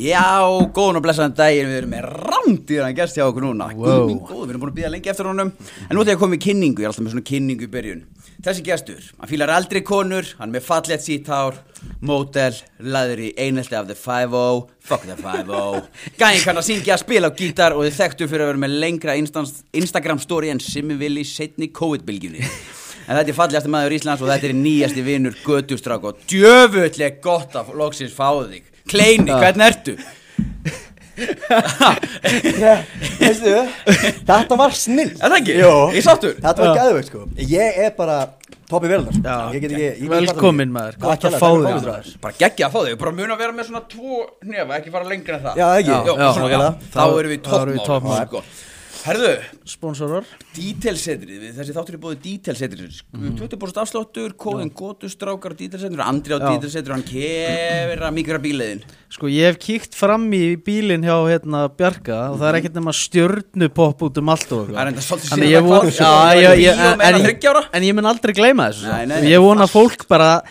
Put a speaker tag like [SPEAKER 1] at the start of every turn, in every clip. [SPEAKER 1] Já, góðan og blessaðan daginn, við erum með rándýran gest hjá okkur núna
[SPEAKER 2] Wow.
[SPEAKER 1] Guð minn góð, við erum búin að býða lengi eftir honum En nú ætla ég að koma í kynningu, ég er alltaf með svona kynningu í byrjun Þessi gestur, hann fílar aldrei konur, hann er með fallett síthár Mótel, laður í einhelti af The 5-0, fuck The 5-0 Gæinn kann að syngja, spila á gítar og þið þekktu fyrir að vera með lengra instans, Instagram story en Simmi Vili setni COVID-bylgjunni En þetta er fallegasti maður Íslands og þetta er nýjasti vinur Götustráku og djöfull er gott að loksins fáðu þig. Kleini, hvernig ertu?
[SPEAKER 3] Veistu, þetta var snill
[SPEAKER 1] Er það ekki?
[SPEAKER 3] Jó.
[SPEAKER 1] Ég sáttur.
[SPEAKER 3] Þetta var gæðveit sko Ég er bara topp í verðunar Ég get ekki ég get ekki
[SPEAKER 2] Velkomin, maður.
[SPEAKER 3] kvartað Takk
[SPEAKER 2] Gott að
[SPEAKER 3] kærlega,
[SPEAKER 2] fá
[SPEAKER 3] takk
[SPEAKER 2] þig,
[SPEAKER 3] fyrir
[SPEAKER 2] maður.
[SPEAKER 3] komuna.
[SPEAKER 1] Bara geggja að fá þig, bara mun að vera með svona tvo nefa, ekki fara lengra en það.
[SPEAKER 3] Já, ekki?
[SPEAKER 1] Jó,
[SPEAKER 3] Já,
[SPEAKER 1] svona,
[SPEAKER 3] nákvæmlega.
[SPEAKER 1] Þá erum við
[SPEAKER 2] Þá erum
[SPEAKER 1] toppmál.
[SPEAKER 2] við í
[SPEAKER 1] toppmál.
[SPEAKER 2] toppmál.
[SPEAKER 1] Sko. Herðu,
[SPEAKER 2] Sponsorar
[SPEAKER 1] dítelsetrið, þessi þáttur er búið dítelsetrið. Mm. 20% afsláttur, kóðin Götustrákar og dítelsetrið, Andri á
[SPEAKER 2] Já.
[SPEAKER 1] dítelsetrið, hann kefir að mikra bíliðin.
[SPEAKER 2] Sko ég hef kíkt fram í bílinn hjá hérna Bjarka og það er ekkert nema stjörnupopp út um allt og eitthvað.
[SPEAKER 1] Það er enda svolítið
[SPEAKER 2] Þannig
[SPEAKER 1] síðan
[SPEAKER 2] ég
[SPEAKER 1] að
[SPEAKER 2] von-
[SPEAKER 1] hvarf, sko.
[SPEAKER 2] Já,
[SPEAKER 1] Ég var í
[SPEAKER 2] ég- ég-
[SPEAKER 1] bíó með
[SPEAKER 2] en-
[SPEAKER 1] hana þriggja ára.
[SPEAKER 2] En ég mun aldrei gleyma þessu
[SPEAKER 1] Nei,
[SPEAKER 2] nei,
[SPEAKER 1] nei, nei,
[SPEAKER 2] Ég vona að fólk bara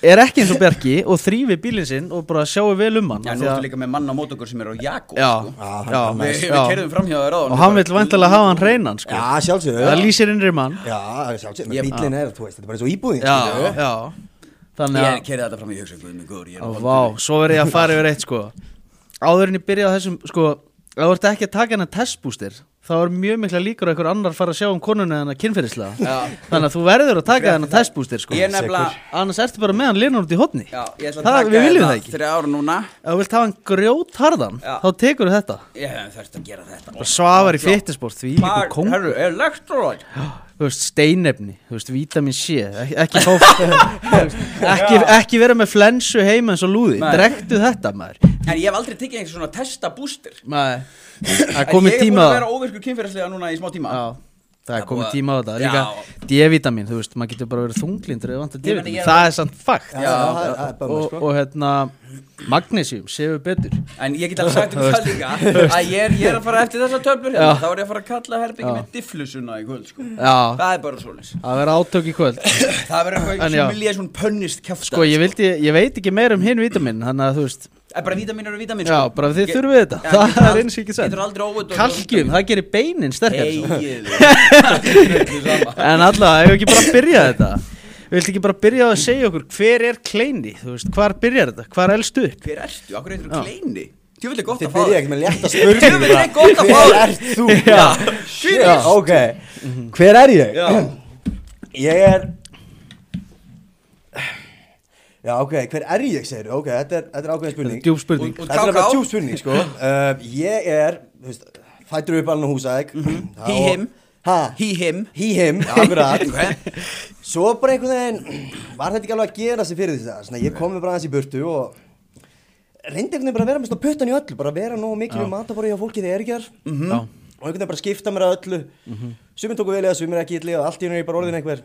[SPEAKER 2] er ekki eins og Bjarki og þrýfi bílinn sinn og bara sjáu vel um hann
[SPEAKER 1] Já,
[SPEAKER 2] af
[SPEAKER 1] nú
[SPEAKER 2] því
[SPEAKER 1] ertu
[SPEAKER 2] að-
[SPEAKER 1] líka með mann á mót okkur sem er á Jakob,
[SPEAKER 2] Já,
[SPEAKER 1] sko.
[SPEAKER 3] Já, hann
[SPEAKER 2] já,
[SPEAKER 3] er
[SPEAKER 1] Við, við
[SPEAKER 2] já.
[SPEAKER 1] kerðum framhjá þér á
[SPEAKER 2] Og hann vil vantilega hafa hann reynan sko.
[SPEAKER 3] Já, sjálfsögðu
[SPEAKER 2] Það lýsir innri mann
[SPEAKER 3] Já, sjálfsögðu
[SPEAKER 1] Ég-
[SPEAKER 3] Bílinn er, þú veist, þetta er bara eins og íbúðin
[SPEAKER 2] Já,
[SPEAKER 3] skilurðu.
[SPEAKER 2] já Þannig
[SPEAKER 1] Ég
[SPEAKER 2] að
[SPEAKER 1] kerði þetta fram í hugsa Guð minn góður, ég er
[SPEAKER 2] Á,
[SPEAKER 1] á
[SPEAKER 2] Vá, svo verð ég að fara yfir eitt sko Áður en ég byrja á þessum sko Ef þú ert ekki að taka hennar testbústir þá er mjög mikla líkur að einhver annar fara að sjá um konunni hennar kynferðislega
[SPEAKER 1] Já.
[SPEAKER 2] Þannig að þú verður að taka hennar testbústir sko
[SPEAKER 1] Ég er nefnilega
[SPEAKER 2] Annars ertu bara með hann linan út í hotni
[SPEAKER 1] Já, ég ætla að
[SPEAKER 2] það,
[SPEAKER 1] taka
[SPEAKER 2] Við viljum
[SPEAKER 1] þetta
[SPEAKER 2] það ekki
[SPEAKER 1] Þrjá ára núna
[SPEAKER 2] Ef þú vilt hafa hann grjótharðan
[SPEAKER 1] Já.
[SPEAKER 2] þá tekur þetta
[SPEAKER 1] Ég hef þurft að gera þetta
[SPEAKER 2] Bara svafar í fyrtisport, því líku
[SPEAKER 1] Hvað,
[SPEAKER 2] kong
[SPEAKER 1] herru, elektrolæt
[SPEAKER 2] Þú veist, steinefni, þú veist, vítamin C Ekki, ekki, fá, ekki, ekki vera með flensu heima eins og lúði
[SPEAKER 1] Nei.
[SPEAKER 2] Drektu þetta maður
[SPEAKER 1] En ég hef aldrei tekið einhver svona testa bústir
[SPEAKER 2] Nei, það er komið
[SPEAKER 1] Ég er
[SPEAKER 2] tíma
[SPEAKER 1] búin að
[SPEAKER 2] á
[SPEAKER 1] vera óvirkur kynferðislega núna í smá tíma
[SPEAKER 2] Já, það
[SPEAKER 1] Það er
[SPEAKER 2] er
[SPEAKER 1] búið
[SPEAKER 2] komið
[SPEAKER 1] að-
[SPEAKER 2] tíma á þetta
[SPEAKER 1] Já.
[SPEAKER 2] Líka D-vitamin, þú veist, maður getur bara verið þunglindur eða vantar
[SPEAKER 1] Ég meina, ég
[SPEAKER 2] D-vitamin
[SPEAKER 1] er-
[SPEAKER 2] Það er samt fakt
[SPEAKER 3] Já, það er- það er bummer,
[SPEAKER 2] og,
[SPEAKER 3] sko.
[SPEAKER 2] og hérna, magnesium, séu betur
[SPEAKER 1] En ég get alveg sagt um það líka Að ég er, ég er að fara eftir þessa töflur hérna
[SPEAKER 2] Já.
[SPEAKER 1] Þá er ég að fara að kalla herbyggi
[SPEAKER 2] Já.
[SPEAKER 1] með difflusuna í kvöld sko.
[SPEAKER 2] Já,
[SPEAKER 1] Það er bara svoleiðis
[SPEAKER 2] að vera átök í kvöld
[SPEAKER 1] Það verður eitthvað
[SPEAKER 2] En já.
[SPEAKER 1] sem vilja svona pönnist kjafta
[SPEAKER 2] Sko, ég, vildi, ég veit ekki meir um hinn vítamin Þannig að þú veist,
[SPEAKER 1] En Eh, bara vítamin eru vítamin
[SPEAKER 2] já, bara þið þurfið þetta Það er eins og ekki
[SPEAKER 1] Getur aldrei óvöld
[SPEAKER 2] Kalkjum, það gerir beinin sterkar
[SPEAKER 1] Egið
[SPEAKER 2] En allavega, hefur ekki bara að byrja þetta Viltu ekki bara byrja á að segja okkur Hver er kleini, þú veist, hvar byrjar þetta Hvar elstu upp
[SPEAKER 1] Hver ertu? Akkur eitthvað kleini? Þú vilja gott
[SPEAKER 3] Þið
[SPEAKER 1] að fá
[SPEAKER 3] byrja
[SPEAKER 1] þig
[SPEAKER 3] ekki með létta spurningu
[SPEAKER 1] Djöfull er gott að fá
[SPEAKER 3] Hver
[SPEAKER 1] þig.
[SPEAKER 3] ert þú?
[SPEAKER 1] Já.
[SPEAKER 3] Shit, Ok, hver er ég?
[SPEAKER 1] Já.
[SPEAKER 3] Ég er Já, ok, hver er ég, segir Ok, þetta er, þetta er ákveðin spurning
[SPEAKER 2] Djúb
[SPEAKER 1] Og-
[SPEAKER 2] spurning
[SPEAKER 1] og-
[SPEAKER 3] Þetta er
[SPEAKER 1] Káká.
[SPEAKER 3] bara tjú spurning sko uh, Ég er, þú veist, fættur upp alveg húsæk
[SPEAKER 1] Mhm. He, him.
[SPEAKER 3] Ha?
[SPEAKER 1] He, him
[SPEAKER 3] He him, akkurat
[SPEAKER 1] Ok.
[SPEAKER 3] Svo bara einhvern veginn Var þetta ekki alveg að gera sig fyrir því það Svona, Ég kom mér bara aðeins í burtu og Reyndi einhvern veginn bara að vera með svona puttan í öllu Bara að vera nógu mikið við matabóri hjá fólki þegar ég er
[SPEAKER 1] Mhm.
[SPEAKER 2] Já.
[SPEAKER 3] Og einhvern veginn bara skipta mér að öllu Sumir tóku vel í það, sumir ekki illi Og allt í hennu er ég bara orðin einhver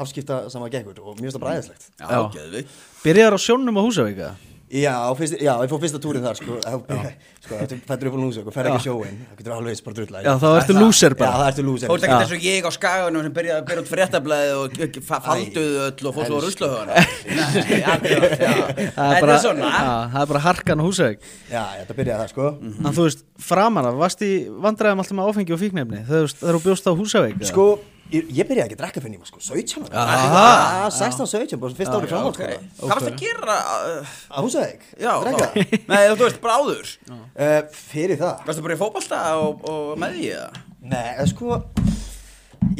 [SPEAKER 3] Afskipta sama gekkur og mér finnst það bara æðislegt
[SPEAKER 1] Já,
[SPEAKER 2] Já.
[SPEAKER 1] geðvikt
[SPEAKER 2] Byrjar á sjónum á Húsavíka
[SPEAKER 3] Já, fyrst, já, ég fór fyrsta túrin þar sko, Þá- sko þetta fættur upp á lúsa og fer ekki á sjóin, það getur alveg eins bara drulla
[SPEAKER 2] Já, þá ertu lúser
[SPEAKER 3] Já,
[SPEAKER 2] bara
[SPEAKER 3] það ertu lúsa
[SPEAKER 1] Þú ert ekki þess að ég á skaganum sem byrjaði að byrja út fréttablaði og k- fa- falduðu öll og fór svo að rusla höfana Nei, akkurat, já.
[SPEAKER 2] Það
[SPEAKER 1] Þetta er svona
[SPEAKER 2] já, það er bara harkan á Húsavík
[SPEAKER 3] Já, já, þetta byrjaði það sko
[SPEAKER 1] Mhm.
[SPEAKER 2] En þú veist, framan af, varst í vandræðum alltaf með áfengi og fíknefni Þegar þú veist, þegar þú bjóst á Húsavík eða?
[SPEAKER 3] Sko, ég, ég byrjaði ekki að drekka fyrir nýma sko, 17 ára
[SPEAKER 2] Aha.
[SPEAKER 3] Já, 16, 17, bara fyrsta ári framhald
[SPEAKER 1] Ok.
[SPEAKER 3] sko
[SPEAKER 1] Hvað varst að gera? uh,
[SPEAKER 3] Að húsa þig,
[SPEAKER 1] Já,
[SPEAKER 3] drekka
[SPEAKER 1] þá- Nei, þú veist, bara áður
[SPEAKER 3] Eh, Fyrir það
[SPEAKER 1] Varstu bara í fótbolta og, og með því eða?
[SPEAKER 3] Nei, eh, sko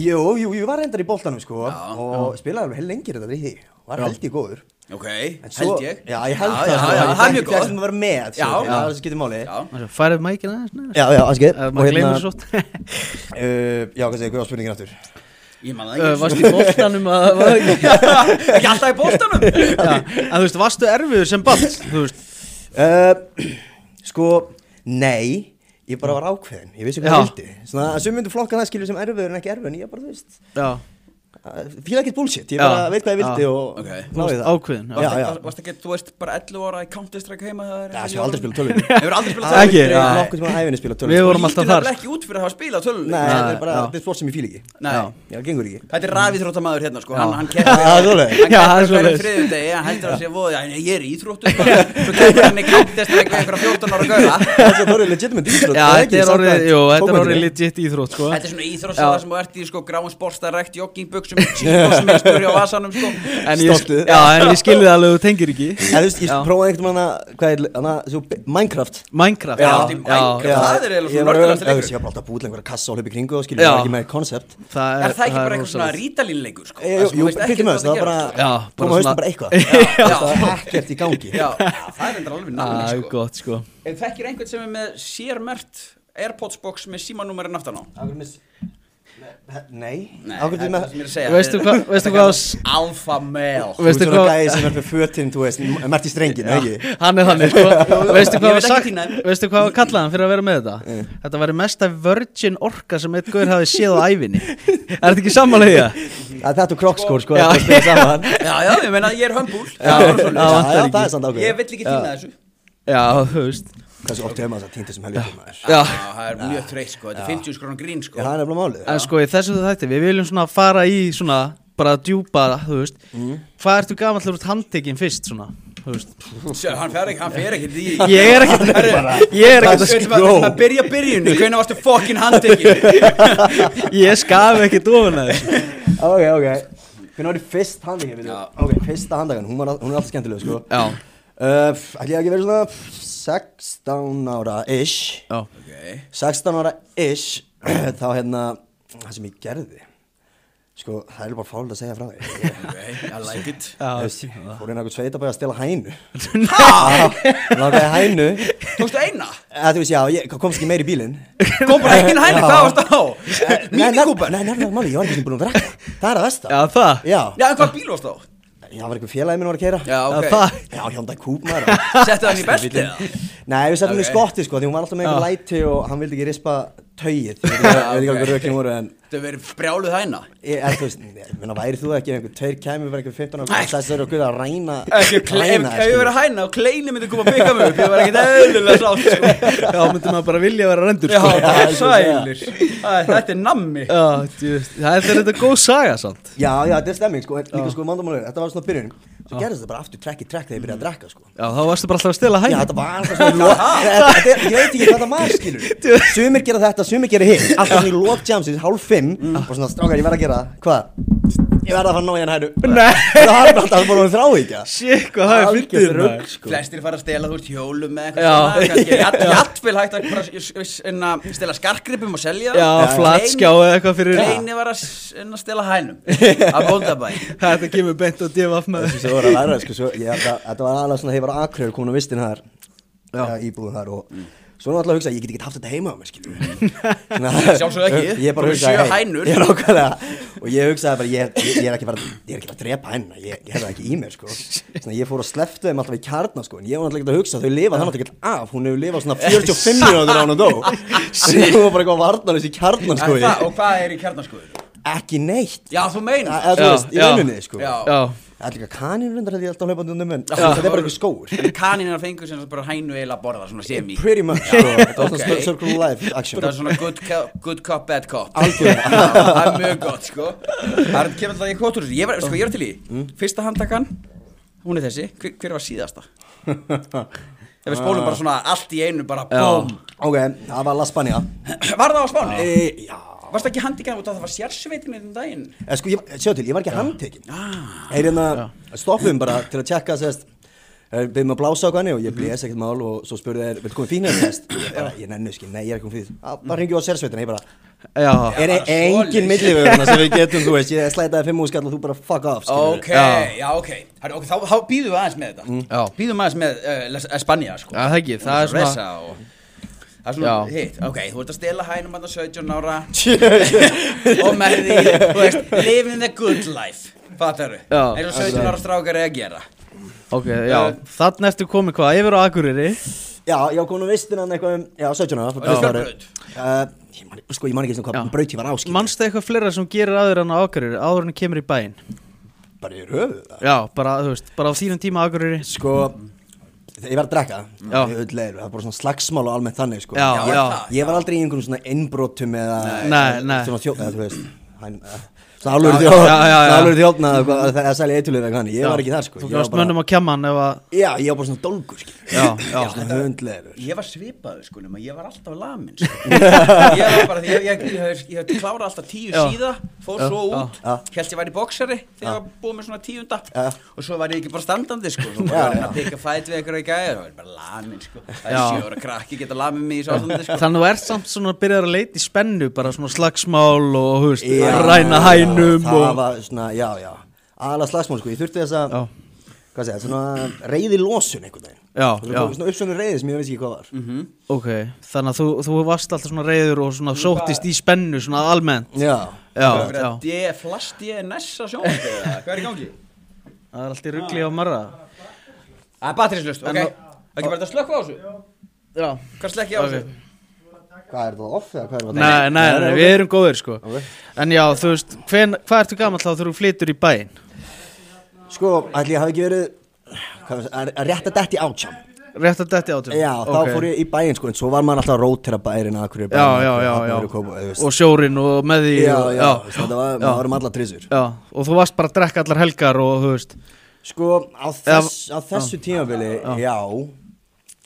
[SPEAKER 3] Jú, jú, ég var reyndar í boltanum sko
[SPEAKER 1] Já.
[SPEAKER 3] og spilaði alveg heil lengir þetta við því Var held ég góður
[SPEAKER 1] Ok,
[SPEAKER 3] En svo-
[SPEAKER 1] held ég
[SPEAKER 3] Já, ég held það
[SPEAKER 1] já,
[SPEAKER 3] sko,
[SPEAKER 1] já,
[SPEAKER 3] ég
[SPEAKER 1] Það er
[SPEAKER 3] fékk-
[SPEAKER 1] mjög góð
[SPEAKER 3] fékkst um að vera með,
[SPEAKER 1] Já.
[SPEAKER 3] skilur,
[SPEAKER 1] Já.
[SPEAKER 3] það skiptir máli
[SPEAKER 1] Já.
[SPEAKER 2] Færið mækina aðeins neður
[SPEAKER 3] Já, já, aðskil
[SPEAKER 2] Ef maður gleymir svo oft.
[SPEAKER 3] Uh, já, hvað segir, hvað var spurningin aftur?
[SPEAKER 1] Ég man
[SPEAKER 2] Ö,
[SPEAKER 1] það
[SPEAKER 2] Varst í boltanum að var það ekki?
[SPEAKER 1] ekki Ekki alltaf í bóstanum
[SPEAKER 2] Já, En þú veist, varstu erfiður sem ball Þú veist,
[SPEAKER 3] Uh, sko, nei, ég bara var ákveðin, ég vissi hvað
[SPEAKER 2] Já.
[SPEAKER 3] ég vildi Svona, að sum myndu flokka það skilur sem erfiður en ekki erfiður En ég bara, þú veist, eh,
[SPEAKER 2] já
[SPEAKER 3] fíla ekkert bullshit, ég
[SPEAKER 2] Já.
[SPEAKER 3] bara veit hvað ég vildi
[SPEAKER 2] Já.
[SPEAKER 3] og
[SPEAKER 1] Ok.
[SPEAKER 3] náði það
[SPEAKER 2] Ákveðin, já.
[SPEAKER 3] já, já,
[SPEAKER 1] Varst- Varst ekki, þú veist, bara 11 ára í Counter-Strike heima
[SPEAKER 3] Já, þessi var aldrei að spila tölvur.
[SPEAKER 1] Hefur aldrei spilað
[SPEAKER 2] Ekki,
[SPEAKER 1] tölvur
[SPEAKER 2] já.
[SPEAKER 1] Nei.
[SPEAKER 3] nokkuð sem að æfinni spila
[SPEAKER 2] Við
[SPEAKER 3] tölvur
[SPEAKER 2] vorum-
[SPEAKER 3] sko.
[SPEAKER 1] Og
[SPEAKER 2] alltaf
[SPEAKER 1] lítur
[SPEAKER 2] þar.
[SPEAKER 1] nefnilega ekki út fyrir að hafa spilað tölvur
[SPEAKER 3] Nei, það
[SPEAKER 2] Já,
[SPEAKER 3] er bara,
[SPEAKER 2] já.
[SPEAKER 3] þetta er sport sem ég fíla ekki
[SPEAKER 1] Nei.
[SPEAKER 2] Já.
[SPEAKER 3] Já, gengur ekki
[SPEAKER 1] Þetta er rafið þróttamaður hérna sko, hann, hann
[SPEAKER 3] Já, það er svoleiðis.
[SPEAKER 1] keppir
[SPEAKER 2] Já, það er
[SPEAKER 1] hann keppir
[SPEAKER 2] svoleiðis.
[SPEAKER 1] hverjum þriðjum degi, hann heldur að sé voði, hann ég er í íþróttu, bara. svo keppir hann í kantestræk við einhverja 14 ára gauða.
[SPEAKER 3] Þetta er orðið legitimate
[SPEAKER 2] Já,
[SPEAKER 3] íþrótt það
[SPEAKER 2] þetta
[SPEAKER 3] ekki,
[SPEAKER 2] er orðið,
[SPEAKER 3] samkvæmt
[SPEAKER 2] jú, þetta er
[SPEAKER 3] bókmyndinni.
[SPEAKER 2] orðið legit íþrótt, sko
[SPEAKER 1] Þetta er svona íþrótt sem þú ert í sko, gráum sporsta, rekt, joggingbuksum, síðbósmeistur á vasanum sko.
[SPEAKER 2] En ég,
[SPEAKER 3] Stoltið.
[SPEAKER 2] já, en ég skilði það alveg, þú tengir ekki
[SPEAKER 3] En þú veist, ég
[SPEAKER 2] Já.
[SPEAKER 3] prófaði einhvern veginn að, hvað er, hana, svo, Minecraft
[SPEAKER 2] Minecraft,
[SPEAKER 1] Já,
[SPEAKER 2] já,
[SPEAKER 1] allt í
[SPEAKER 2] já,
[SPEAKER 1] Minecraft. Það er eiginlega svona
[SPEAKER 3] Ég var-
[SPEAKER 1] nördilegasti
[SPEAKER 3] Já, þú
[SPEAKER 1] leikurinn.
[SPEAKER 3] veist, Ég var bara alltaf að búið einhverja kassa og hlaupa í kringu og skilja, ég
[SPEAKER 2] Já.
[SPEAKER 3] var ekki með koncept
[SPEAKER 2] það
[SPEAKER 1] Er það ekki bara eitthvað
[SPEAKER 2] rosalegt.
[SPEAKER 1] svona rítalínleikur sko? Það
[SPEAKER 3] Eh, Jú,
[SPEAKER 1] sem þú
[SPEAKER 3] jú,
[SPEAKER 1] veist
[SPEAKER 3] fyrir
[SPEAKER 1] ekkert
[SPEAKER 3] mig, það
[SPEAKER 1] hvað
[SPEAKER 3] var bara
[SPEAKER 1] gerist?
[SPEAKER 2] Já, bara
[SPEAKER 3] Koma haustum
[SPEAKER 2] svona-
[SPEAKER 3] bara eitthvað Það
[SPEAKER 1] já.
[SPEAKER 3] var ekkert í gangi
[SPEAKER 1] Já, já, það er endur alveg
[SPEAKER 2] Það
[SPEAKER 1] náli
[SPEAKER 2] er
[SPEAKER 1] sko.
[SPEAKER 2] gott, sko
[SPEAKER 1] Ef þekkir einhvern sem er með sérmert Airpods box með símanúmerinn aftan á?
[SPEAKER 3] Af hverju mis- Ne- Nei,
[SPEAKER 1] Nei,
[SPEAKER 3] af hverju
[SPEAKER 1] það er það sem
[SPEAKER 3] með
[SPEAKER 1] ég er að segja.
[SPEAKER 2] Veistu hvað- veistu hvað-
[SPEAKER 1] Alpha male.
[SPEAKER 3] Þú veist
[SPEAKER 2] Veistu
[SPEAKER 3] svona
[SPEAKER 2] hvað-
[SPEAKER 3] gæði sem er fyrir fötin, þú veist, mert í strengin, ekki?
[SPEAKER 2] Hann er þannig, sko Veistu
[SPEAKER 1] Ég veit
[SPEAKER 2] hvað var
[SPEAKER 1] ekki
[SPEAKER 2] sagt,
[SPEAKER 1] þína, en-
[SPEAKER 2] veistu hvað var kallað hann fyrir að vera með þetta Þetta væri mesta virgin orka sem eitt guður hafi séð á ævinni Er þetta ekki sammálega?
[SPEAKER 3] Að Þetta og krokskór, sko,
[SPEAKER 2] Já.
[SPEAKER 3] þetta er spilað saman
[SPEAKER 1] Já, já, ég meina, ég er hömbúl.
[SPEAKER 3] Já,
[SPEAKER 1] Það er bara svoleiðis.
[SPEAKER 3] já, já,
[SPEAKER 2] ekki.
[SPEAKER 3] það er samt
[SPEAKER 1] Ég
[SPEAKER 3] ákveð
[SPEAKER 1] vill ekki týna þessu
[SPEAKER 2] Já, þú veist
[SPEAKER 3] Hversu oft hefur maður það týnt þessum helgjum maður?
[SPEAKER 2] Já,
[SPEAKER 1] það er mjög þreytt sko, þetta er 50 skrónar grín
[SPEAKER 3] Já,
[SPEAKER 1] sko
[SPEAKER 3] það er nefnilega málið
[SPEAKER 2] en sko í þessu þætti við viljum svona fara í svona bara djúpa, þú veist hvað ertu gamall úr handtekinn fyrst svona þú veist
[SPEAKER 1] Sjá, Hann fer ekki, hann fer ekki í
[SPEAKER 2] ég er ekkert ég er ekkert
[SPEAKER 1] Við ætlum að- við ætlum að byrja byrjunni, hvernig varstu fokkin handtekinn
[SPEAKER 2] að- ég skafi ekkert ofan að þessu
[SPEAKER 3] Ok, ok Hvernig var því fyrst handagin, við
[SPEAKER 1] Já.
[SPEAKER 3] þú? Ok, fyrsta handagin, hún var- hún er alltaf skemmtileg, sko
[SPEAKER 2] já,
[SPEAKER 3] Uh, f- Ætli ég hafi ekki verið svona f- 16 ára-ish
[SPEAKER 2] já,
[SPEAKER 1] Ok,
[SPEAKER 3] 16 ára-ish Þá hérna, það sem ég gerði Sko, það er bara fálega að segja frá því Ég-
[SPEAKER 1] ok, I like it
[SPEAKER 2] já
[SPEAKER 3] þú veist, ég Fór inn á einhvern sveitabæði að stela hænu
[SPEAKER 1] Ha,
[SPEAKER 3] Lákaði hænu
[SPEAKER 1] tókstu eina?
[SPEAKER 3] Eða, Þú veist, já, ég komst ekki meir í bílinn
[SPEAKER 1] Kom bara einn hæni, hvað varstu á?
[SPEAKER 3] Nei, nef-
[SPEAKER 1] Mínikúpar?
[SPEAKER 3] Nei, nefnilega máli, ég var ekki sem búin að drekka Það er að versta
[SPEAKER 2] já það
[SPEAKER 3] Já,
[SPEAKER 1] Já, en hvað bíl varstu á?
[SPEAKER 3] já, var einhver félagi minn var að keira
[SPEAKER 1] Já,
[SPEAKER 2] Já,
[SPEAKER 1] ok,
[SPEAKER 2] það
[SPEAKER 3] Já, Hyundai Coupe maður
[SPEAKER 1] settu hann í beltið eða?
[SPEAKER 3] Nei, við settum henni
[SPEAKER 1] Ok.
[SPEAKER 3] okay. skotti sko, því hún var alltaf með einhver læti og hann vildi ekki rispa taugið Ég veit ekki hvað- ég veit ekki hvað rökin voru en
[SPEAKER 1] Þetta verið brjáluð hæna
[SPEAKER 3] Ég, en þú veist, ég meina, væri þú ekki ef einhver tveir kæmi bara einhver 15 ára
[SPEAKER 1] Nei.
[SPEAKER 3] klessar og guða að ræna
[SPEAKER 1] Ekki, ef
[SPEAKER 3] ræna
[SPEAKER 1] ef
[SPEAKER 3] þig,
[SPEAKER 1] ég
[SPEAKER 3] sko.
[SPEAKER 1] verið hæna og kleini myndi koma að byggja mig upp, ég var ekkert eðlilega sátt sko.
[SPEAKER 2] já, myndi maður bara vilja vera rendur
[SPEAKER 1] Já,
[SPEAKER 2] sko.
[SPEAKER 1] sælir Æ, Þetta er nammi
[SPEAKER 2] já, þú veist, það er þetta er góð saga samt
[SPEAKER 3] Já, já, þetta er stemming sko, en líka sko mandamálið, þetta var svona byrjun Svo gerðist það bara aftur trekk í trekk þegar ég byrjaði að drekka sko
[SPEAKER 2] já, þá varstu bara alltaf að stela
[SPEAKER 3] Já,
[SPEAKER 2] hægna
[SPEAKER 3] þetta var alltaf svona lo- Þetta- þetta er- Ég veit ekki hvað það maður skilur Sumir gera þetta, sumir gera hitt Alltaf svona í lókjamsins, hálf fimm Og svona, strákar, ég verð að gera, það." hvað? Mm. Ég verð að fara að ná í hann hæru
[SPEAKER 2] Nei.
[SPEAKER 3] Það var bara alltaf bara þrá ekki
[SPEAKER 2] shit, hvað það er fyndið maður.
[SPEAKER 3] sko
[SPEAKER 1] Flestir fara að stela þú ert hjólum með
[SPEAKER 2] Já.
[SPEAKER 1] eitthvað svona kannski Jattfél hægt að bara s- s- hérna, stela skarkgripum og selja
[SPEAKER 2] já, flatskjá eða eitthvað fyrir
[SPEAKER 1] Kleini var að s- hérna, stela hænum Að bóndabæ
[SPEAKER 2] þetta kemur beint og divaf með
[SPEAKER 3] Svo var að læra, sko, svo, ég, það, þetta var aðalega svona, þegar ég var aðkröður komin á vistin þar, ja, íbúðum þar og svo náttúrulega hugsa, ég get ekki haft þetta heima á mér, skilju.
[SPEAKER 1] Sjálfsögðu ekki.
[SPEAKER 3] Ég bara
[SPEAKER 1] Þú
[SPEAKER 3] hugsa,
[SPEAKER 1] sjö hænur.
[SPEAKER 3] Ég er nákvæmlega, og ég hugsaði bara, ég, ég, ég er ekki bara, ég er ekki bara að drepa hænuna, ég, ég hef það ekki í mér, sko. Svona, ég fór að slefta þeim alltaf í kjarnar, sko, en ég var náttúrulega ekki að hugsa, þau lifa það náttúrulega ekki af, hún hefur lifað svona 45 minútur á hún og dó. Þannig hún var bara eitthvað varnarlaus í kjarnar,
[SPEAKER 1] En það-
[SPEAKER 3] sko.
[SPEAKER 1] Og hvað er í kjarnaskuður?
[SPEAKER 3] Ekki neitt.
[SPEAKER 1] Já, þú meinar
[SPEAKER 3] Eða, þú
[SPEAKER 2] Já,
[SPEAKER 3] veist, í
[SPEAKER 2] já.
[SPEAKER 3] vinnunni, sko.
[SPEAKER 1] Já.
[SPEAKER 2] já,
[SPEAKER 3] Það er líka kanínur undar held ég alltaf hlaupandi undir menn Þetta er bara einhver skóur
[SPEAKER 1] En kanínar fengur sem sagt bara hænu eiginlega að borða svona semi
[SPEAKER 3] Pretty much sko. Þetta var svona
[SPEAKER 1] Ok.
[SPEAKER 3] okay. circle of life action
[SPEAKER 1] Það er svona good, co- good cop, bad cop
[SPEAKER 3] Algjörlega.
[SPEAKER 1] Já, Það er mjög gott, sko Það er- kemur alltaf í kvotur Ég var, sko, ég var til í Fyrsta handtakan, hún er þessi Hver, hver var síðasta? Ef við spólum bara svona allt í einu bara bóm
[SPEAKER 3] Ok, það var La Spania
[SPEAKER 1] Var það á Spáni?
[SPEAKER 3] e, Já
[SPEAKER 1] Varst ekki handtakan út af það var sérsveitin í daginn?
[SPEAKER 3] Eh, Sko, ég, sjá til, ég var ekki handtekinn
[SPEAKER 1] Ah.
[SPEAKER 3] Það er hérna Stoppum bara til að tjekka sérst Við með að blása á hvernig og ég blés ekkert mál og svo spurði þær, vil komið fínir þess? hérna, Ég bara, ég nennu ekki, nei ég er ekki komið fínir. Bara ringi á sérsveitina, ég bara,
[SPEAKER 2] já
[SPEAKER 3] er
[SPEAKER 1] bara svoleiðis.
[SPEAKER 3] engin millivöðuna sem við getum, þú veist, ég slætaði fimm úr skall og þú bara fuck off, skilur.
[SPEAKER 1] Ok,
[SPEAKER 2] Já.
[SPEAKER 1] já, ok Herru, ok, Þá, þá býðum við aðeins með þetta
[SPEAKER 2] Já.
[SPEAKER 1] Býðum aðeins með uh, Spanja, sko
[SPEAKER 2] Já, það ekki,
[SPEAKER 1] Og
[SPEAKER 2] það er svona-
[SPEAKER 1] Ressa og... Það er svona
[SPEAKER 2] Já.
[SPEAKER 1] hitt, ok, þú ert að stela hænum að 17 ára
[SPEAKER 3] Ok.
[SPEAKER 1] og með því, þú veist, living the good life fattar við,
[SPEAKER 2] Já.
[SPEAKER 1] eins og 17 ára strákar er að gera
[SPEAKER 3] Uh,
[SPEAKER 2] Ok, já, þannig ertu komið hvað, yfir á Akureyri
[SPEAKER 3] Já, já, ég var komin á veistin hann eitthvað um, já, 17 ára
[SPEAKER 1] Já.
[SPEAKER 3] það var- Eh, ég man- Sko, ég man ekki eins og
[SPEAKER 2] Já.
[SPEAKER 3] hvað braut ég var áskil
[SPEAKER 2] Manstu eitthvað fleira sem gerir aður hann á Akureyri áður hann kemur í bæinn?
[SPEAKER 3] Bara í röðu það
[SPEAKER 2] Já, bara, þú veist, bara á þínum tíma á Akureyri
[SPEAKER 3] Sko, ég var að drekka
[SPEAKER 2] Já.
[SPEAKER 3] Ég öll leiður, það er bara svona slagsmál og almennt þannig sko.
[SPEAKER 2] Já,
[SPEAKER 1] Já,
[SPEAKER 2] já,
[SPEAKER 1] það.
[SPEAKER 3] Ég var aldrei í einhverjum svona innbrotum eða
[SPEAKER 2] Nei, nei.
[SPEAKER 3] Svona þjóð, eða þú veist hann, eh, Svona alvöru
[SPEAKER 2] Já,
[SPEAKER 3] þjóð
[SPEAKER 2] já, já, já.
[SPEAKER 3] Svona alvöru þjóð Það er sæli eitthulir eða hann Ég var ekki þar sko
[SPEAKER 2] Þú
[SPEAKER 3] Ég var
[SPEAKER 2] gafst
[SPEAKER 3] bara-
[SPEAKER 2] mönnum á kjamman ef að
[SPEAKER 3] Já, ég var bara svona dólgur skilur.
[SPEAKER 2] Já,
[SPEAKER 3] Ég
[SPEAKER 2] já.
[SPEAKER 3] var Svona höndlegur
[SPEAKER 1] Ég var svipaður sko, nema ég var alltaf lamin sko. Ég var bara, ég, ég, ég, ég, ég klára alltaf tíu
[SPEAKER 2] Já.
[SPEAKER 1] síða Fór
[SPEAKER 2] Já.
[SPEAKER 1] svo út,
[SPEAKER 3] Já.
[SPEAKER 1] held ég væri boksari Þegar ég var búið með svona tíunda
[SPEAKER 3] Já.
[SPEAKER 1] Og svo var ég ekki bara standandi sko Svo
[SPEAKER 3] Já,
[SPEAKER 1] var ég
[SPEAKER 3] já.
[SPEAKER 1] að pika fæt við einhverja í gæði Það var ég bara lamin sko Það er
[SPEAKER 2] Já.
[SPEAKER 1] sjóra krakki geta lamin mig í svo ástandi sko
[SPEAKER 2] Þannig þú ert samt svona að byrjaður að leita í spennu bara svona slagsmál og þú veist,
[SPEAKER 3] Já,
[SPEAKER 2] ræna
[SPEAKER 3] já,
[SPEAKER 2] hænum
[SPEAKER 3] Það
[SPEAKER 2] og...
[SPEAKER 3] var svona, já, já Ala slagsmál sko, ég þurfti þess að
[SPEAKER 2] Já.
[SPEAKER 3] Hvað segja, svona reyði lósun einhvern veginn
[SPEAKER 2] Já, já.
[SPEAKER 3] Svo
[SPEAKER 2] Mhm.
[SPEAKER 3] kom Svona uppsvönu reyði sem ég veist ekki hvað var
[SPEAKER 2] Ok, þannig að þú, þú varst alltaf svona reyður og svona sóttist í spennu svona almennt
[SPEAKER 3] Já
[SPEAKER 2] Já,
[SPEAKER 1] Það var verið
[SPEAKER 2] já,
[SPEAKER 1] að de- Flast ég nessa sjónvarpið, eða Hvað er í gangi?
[SPEAKER 2] það er alltaf ruggli á marra
[SPEAKER 1] Það er batterislaust, ok
[SPEAKER 2] En-
[SPEAKER 1] Það er ekki bara að slökka á þessu?
[SPEAKER 2] Já
[SPEAKER 1] Hvað slekki á
[SPEAKER 2] Ok.
[SPEAKER 1] þessu?
[SPEAKER 3] Hvað er það off eða hvað er það?
[SPEAKER 2] Nei, nei, nei, við erum góðir sko
[SPEAKER 3] Ok.
[SPEAKER 2] En já, þú veist, hven, hvað ertu gamall þá þegar þú flytur í bæinn?
[SPEAKER 3] Sko, ætli ég hafi ekki verið hvað, var- að- að rétta dætt í átján
[SPEAKER 2] Rétt að detti átján
[SPEAKER 3] Já, þá fór ég í bæinn sko, en svo var maður alltaf að rótera bærin að hverju
[SPEAKER 2] Já, já, já, já Og sjórin og með því
[SPEAKER 3] Já,
[SPEAKER 2] og-
[SPEAKER 3] já, já þetta var, um
[SPEAKER 2] já.
[SPEAKER 3] maður varum alla trisur
[SPEAKER 2] Já, og þú varst bara að drekka allar helgar og þú veist
[SPEAKER 3] Sko, á, þess, á þessu tímabili, já,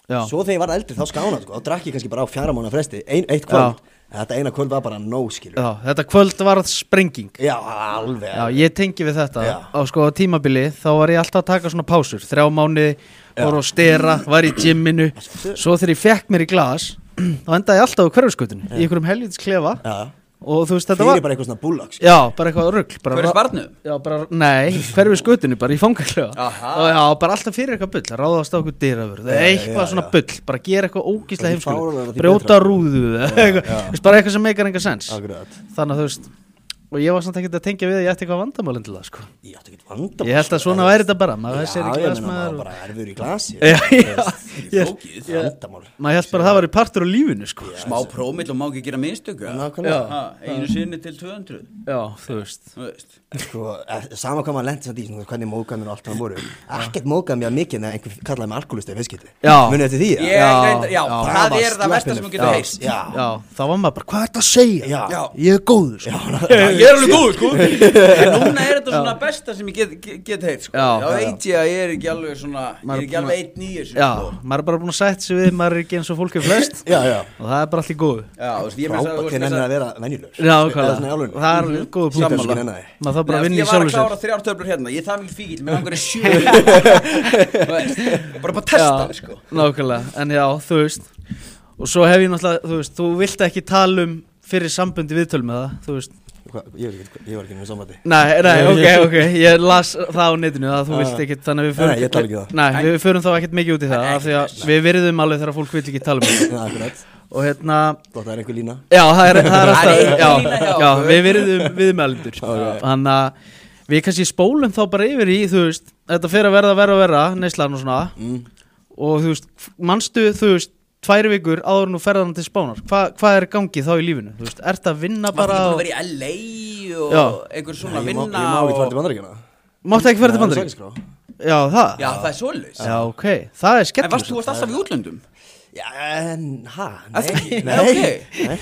[SPEAKER 2] Já,
[SPEAKER 3] Svo þegar ég var eldri þá skánaði sko, þá drakk ég kannski bara á fjara mánu fresti, ein, eitt kvöld En Þetta eina kvöld var bara no, skilur
[SPEAKER 2] já þetta kvöld varð sprenging
[SPEAKER 3] Já, alveg
[SPEAKER 2] Já, ég tengi við þetta
[SPEAKER 3] Já.
[SPEAKER 2] á sko á tímabili þá var ég alltaf að taka svona pásur þrjá mánuði, voru að stera, var í gymminu svo þegar ég fekk mér í glas þá endaði ég alltaf á hverfskutinu í einhverjum helvitis klefa
[SPEAKER 3] Já.
[SPEAKER 2] og þú veist þetta
[SPEAKER 3] Fyrir
[SPEAKER 2] var
[SPEAKER 3] bara eitthvað svona bullock sko.
[SPEAKER 2] Já, bara eitthvað rugl bara
[SPEAKER 1] Hver er
[SPEAKER 2] ra-
[SPEAKER 1] sparnu?
[SPEAKER 2] Já, bara, nei, hverfi skutinu, bara í fangaklefa
[SPEAKER 1] Aha.
[SPEAKER 2] Og Já, bara alltaf fyrir eitthvað bull, ráðast á okkur dyravörð
[SPEAKER 3] Já,
[SPEAKER 2] Eitthvað
[SPEAKER 3] já,
[SPEAKER 2] svona
[SPEAKER 3] já.
[SPEAKER 2] bull, bara gera eitthvað ógíslega
[SPEAKER 3] Og því fáránlegra,
[SPEAKER 2] heimskulega
[SPEAKER 3] því
[SPEAKER 2] Brjóta
[SPEAKER 3] betra.
[SPEAKER 2] rúðu, eða eitthvað Þú veist, bara eitthvað sem meikar enga sens
[SPEAKER 3] Akkurat
[SPEAKER 2] Þannig að þú veist Og ég var samt ekkert að tengja við að ég ætti eitthvað vandamálinn til það sko.
[SPEAKER 3] Ég átti ekki vandamál
[SPEAKER 2] Ég held að
[SPEAKER 3] sko,
[SPEAKER 2] svona
[SPEAKER 3] eða-
[SPEAKER 2] væri þetta bara Maður
[SPEAKER 3] Já,
[SPEAKER 2] þessir ekki
[SPEAKER 3] ég meina
[SPEAKER 2] glasmaður
[SPEAKER 3] maður
[SPEAKER 2] og-
[SPEAKER 3] bara erfur í glasi sko.
[SPEAKER 2] Já, já,
[SPEAKER 1] Ég-
[SPEAKER 2] ég-
[SPEAKER 1] Flókið.
[SPEAKER 3] Vandamál
[SPEAKER 2] Maður held bara að það var í partur á lífinu sko.
[SPEAKER 1] Smá prómill og má ekki gera mistöku eða?
[SPEAKER 3] Nákvæmlega
[SPEAKER 1] Ha, Einu sinni til 200
[SPEAKER 2] Já, þú veist
[SPEAKER 1] Þú veist
[SPEAKER 3] Sko, eh, sama hvað maður lendi samt í svona, hvernig móðgæmir og allt það voru Ekkert móðgæm ég að mikið en einhver kallaði mig alkoholista í fiskildi
[SPEAKER 2] Já.
[SPEAKER 3] Munið þetta því? eða?
[SPEAKER 1] Ég
[SPEAKER 2] Já,
[SPEAKER 1] reyndar, já,
[SPEAKER 2] já.
[SPEAKER 3] Það
[SPEAKER 1] það
[SPEAKER 3] var
[SPEAKER 1] er það versta sem
[SPEAKER 3] slappinu.
[SPEAKER 1] þú getur
[SPEAKER 3] Já,
[SPEAKER 1] heist
[SPEAKER 3] Já
[SPEAKER 2] Já, þá var maður bara, hvað er þetta að segja?
[SPEAKER 3] Já.
[SPEAKER 2] Ég er góður sko.
[SPEAKER 1] Ég er alveg góð, sko En núna er þetta svona besta sem ég get, get, get heist, sko
[SPEAKER 2] Já.
[SPEAKER 1] Þá veit ég að ég er ekki alveg svona Ég er ekki alveg eitt nýjur,
[SPEAKER 2] Já,
[SPEAKER 1] sko
[SPEAKER 2] maður er bara búin að sætt sér við Maður er ekki eins og fólk er flest
[SPEAKER 3] Já, já
[SPEAKER 2] Og það er bara allir góðu
[SPEAKER 1] Já, þú veist, ég með
[SPEAKER 3] Frábært hvernig ennir að vera venjulegur
[SPEAKER 2] Já,
[SPEAKER 3] Eða
[SPEAKER 2] hvað
[SPEAKER 3] svona í alvöru.
[SPEAKER 2] það er alveg góðu punkt
[SPEAKER 3] Sammála.
[SPEAKER 2] sko. Maður
[SPEAKER 1] Mhm.
[SPEAKER 2] þarf bara að
[SPEAKER 1] Nei,
[SPEAKER 2] vinna í
[SPEAKER 1] ég var að
[SPEAKER 2] sjálfu sér
[SPEAKER 1] klára þrjár töflur hérna, ég er það mikið fíkil, mér langar að sjö Þú veist, Bara bara testa,
[SPEAKER 2] Já,
[SPEAKER 1] sko
[SPEAKER 2] Nákvæmlega, en já, þú veist Og svo hef ég náttúrulega, þú veist Þú vilt ekki tala um fyrir sambundi viðtöl með það Þú veist
[SPEAKER 3] Hvað, Ég veit ekki- ég var ekki með sambandi
[SPEAKER 2] Nei, nei, ok, ok, ég las það á netinu að þú
[SPEAKER 3] Já.
[SPEAKER 2] vilt ekkit, þannig að við
[SPEAKER 3] Ah. Nei, ég tala ekki um
[SPEAKER 2] förum
[SPEAKER 3] það.
[SPEAKER 2] Nei, við förum þá ekkit mikið út í það
[SPEAKER 1] Nei,
[SPEAKER 2] af því að við virðum alveg þegar fólk vil ekki tala um það
[SPEAKER 3] Já, akkurat
[SPEAKER 2] og hérna,
[SPEAKER 3] Þótt það er einhver lína
[SPEAKER 2] já, það er, það er
[SPEAKER 1] Það er
[SPEAKER 2] alltaf
[SPEAKER 1] engin
[SPEAKER 2] já,
[SPEAKER 1] lína hjá
[SPEAKER 2] já,
[SPEAKER 1] okkur.
[SPEAKER 2] við virðum viðmælendur þannig að við kannski spólum þá bara yfir í, þú veist þetta fer að verða verða verða, neyslan og svona
[SPEAKER 3] Mm.
[SPEAKER 2] og þú veist, manstu, þú veist tvær vikur áður nú ferðan til spánar Hva, hvað er í gangi þá í lífinu, þú veist, ert að vinna
[SPEAKER 1] Maður er
[SPEAKER 2] bara
[SPEAKER 1] búin að
[SPEAKER 2] og...
[SPEAKER 1] vera í LA og
[SPEAKER 2] Já.
[SPEAKER 1] einhver svona
[SPEAKER 3] Ég má ég
[SPEAKER 1] vinna
[SPEAKER 3] má ekki fara
[SPEAKER 1] og
[SPEAKER 3] til bandaríkjana
[SPEAKER 2] máttu ekki ferði til bandar
[SPEAKER 3] sko.
[SPEAKER 2] já, það,
[SPEAKER 1] Já, það er svoleiðis
[SPEAKER 2] Já, ok, það er
[SPEAKER 1] En varst
[SPEAKER 2] skemmtilegt
[SPEAKER 1] þú varst alltaf í útlöndum?
[SPEAKER 3] Já, en, ha,
[SPEAKER 1] Það er
[SPEAKER 3] nei,
[SPEAKER 1] ekki-
[SPEAKER 3] nei,
[SPEAKER 1] ok.
[SPEAKER 3] nei, nei.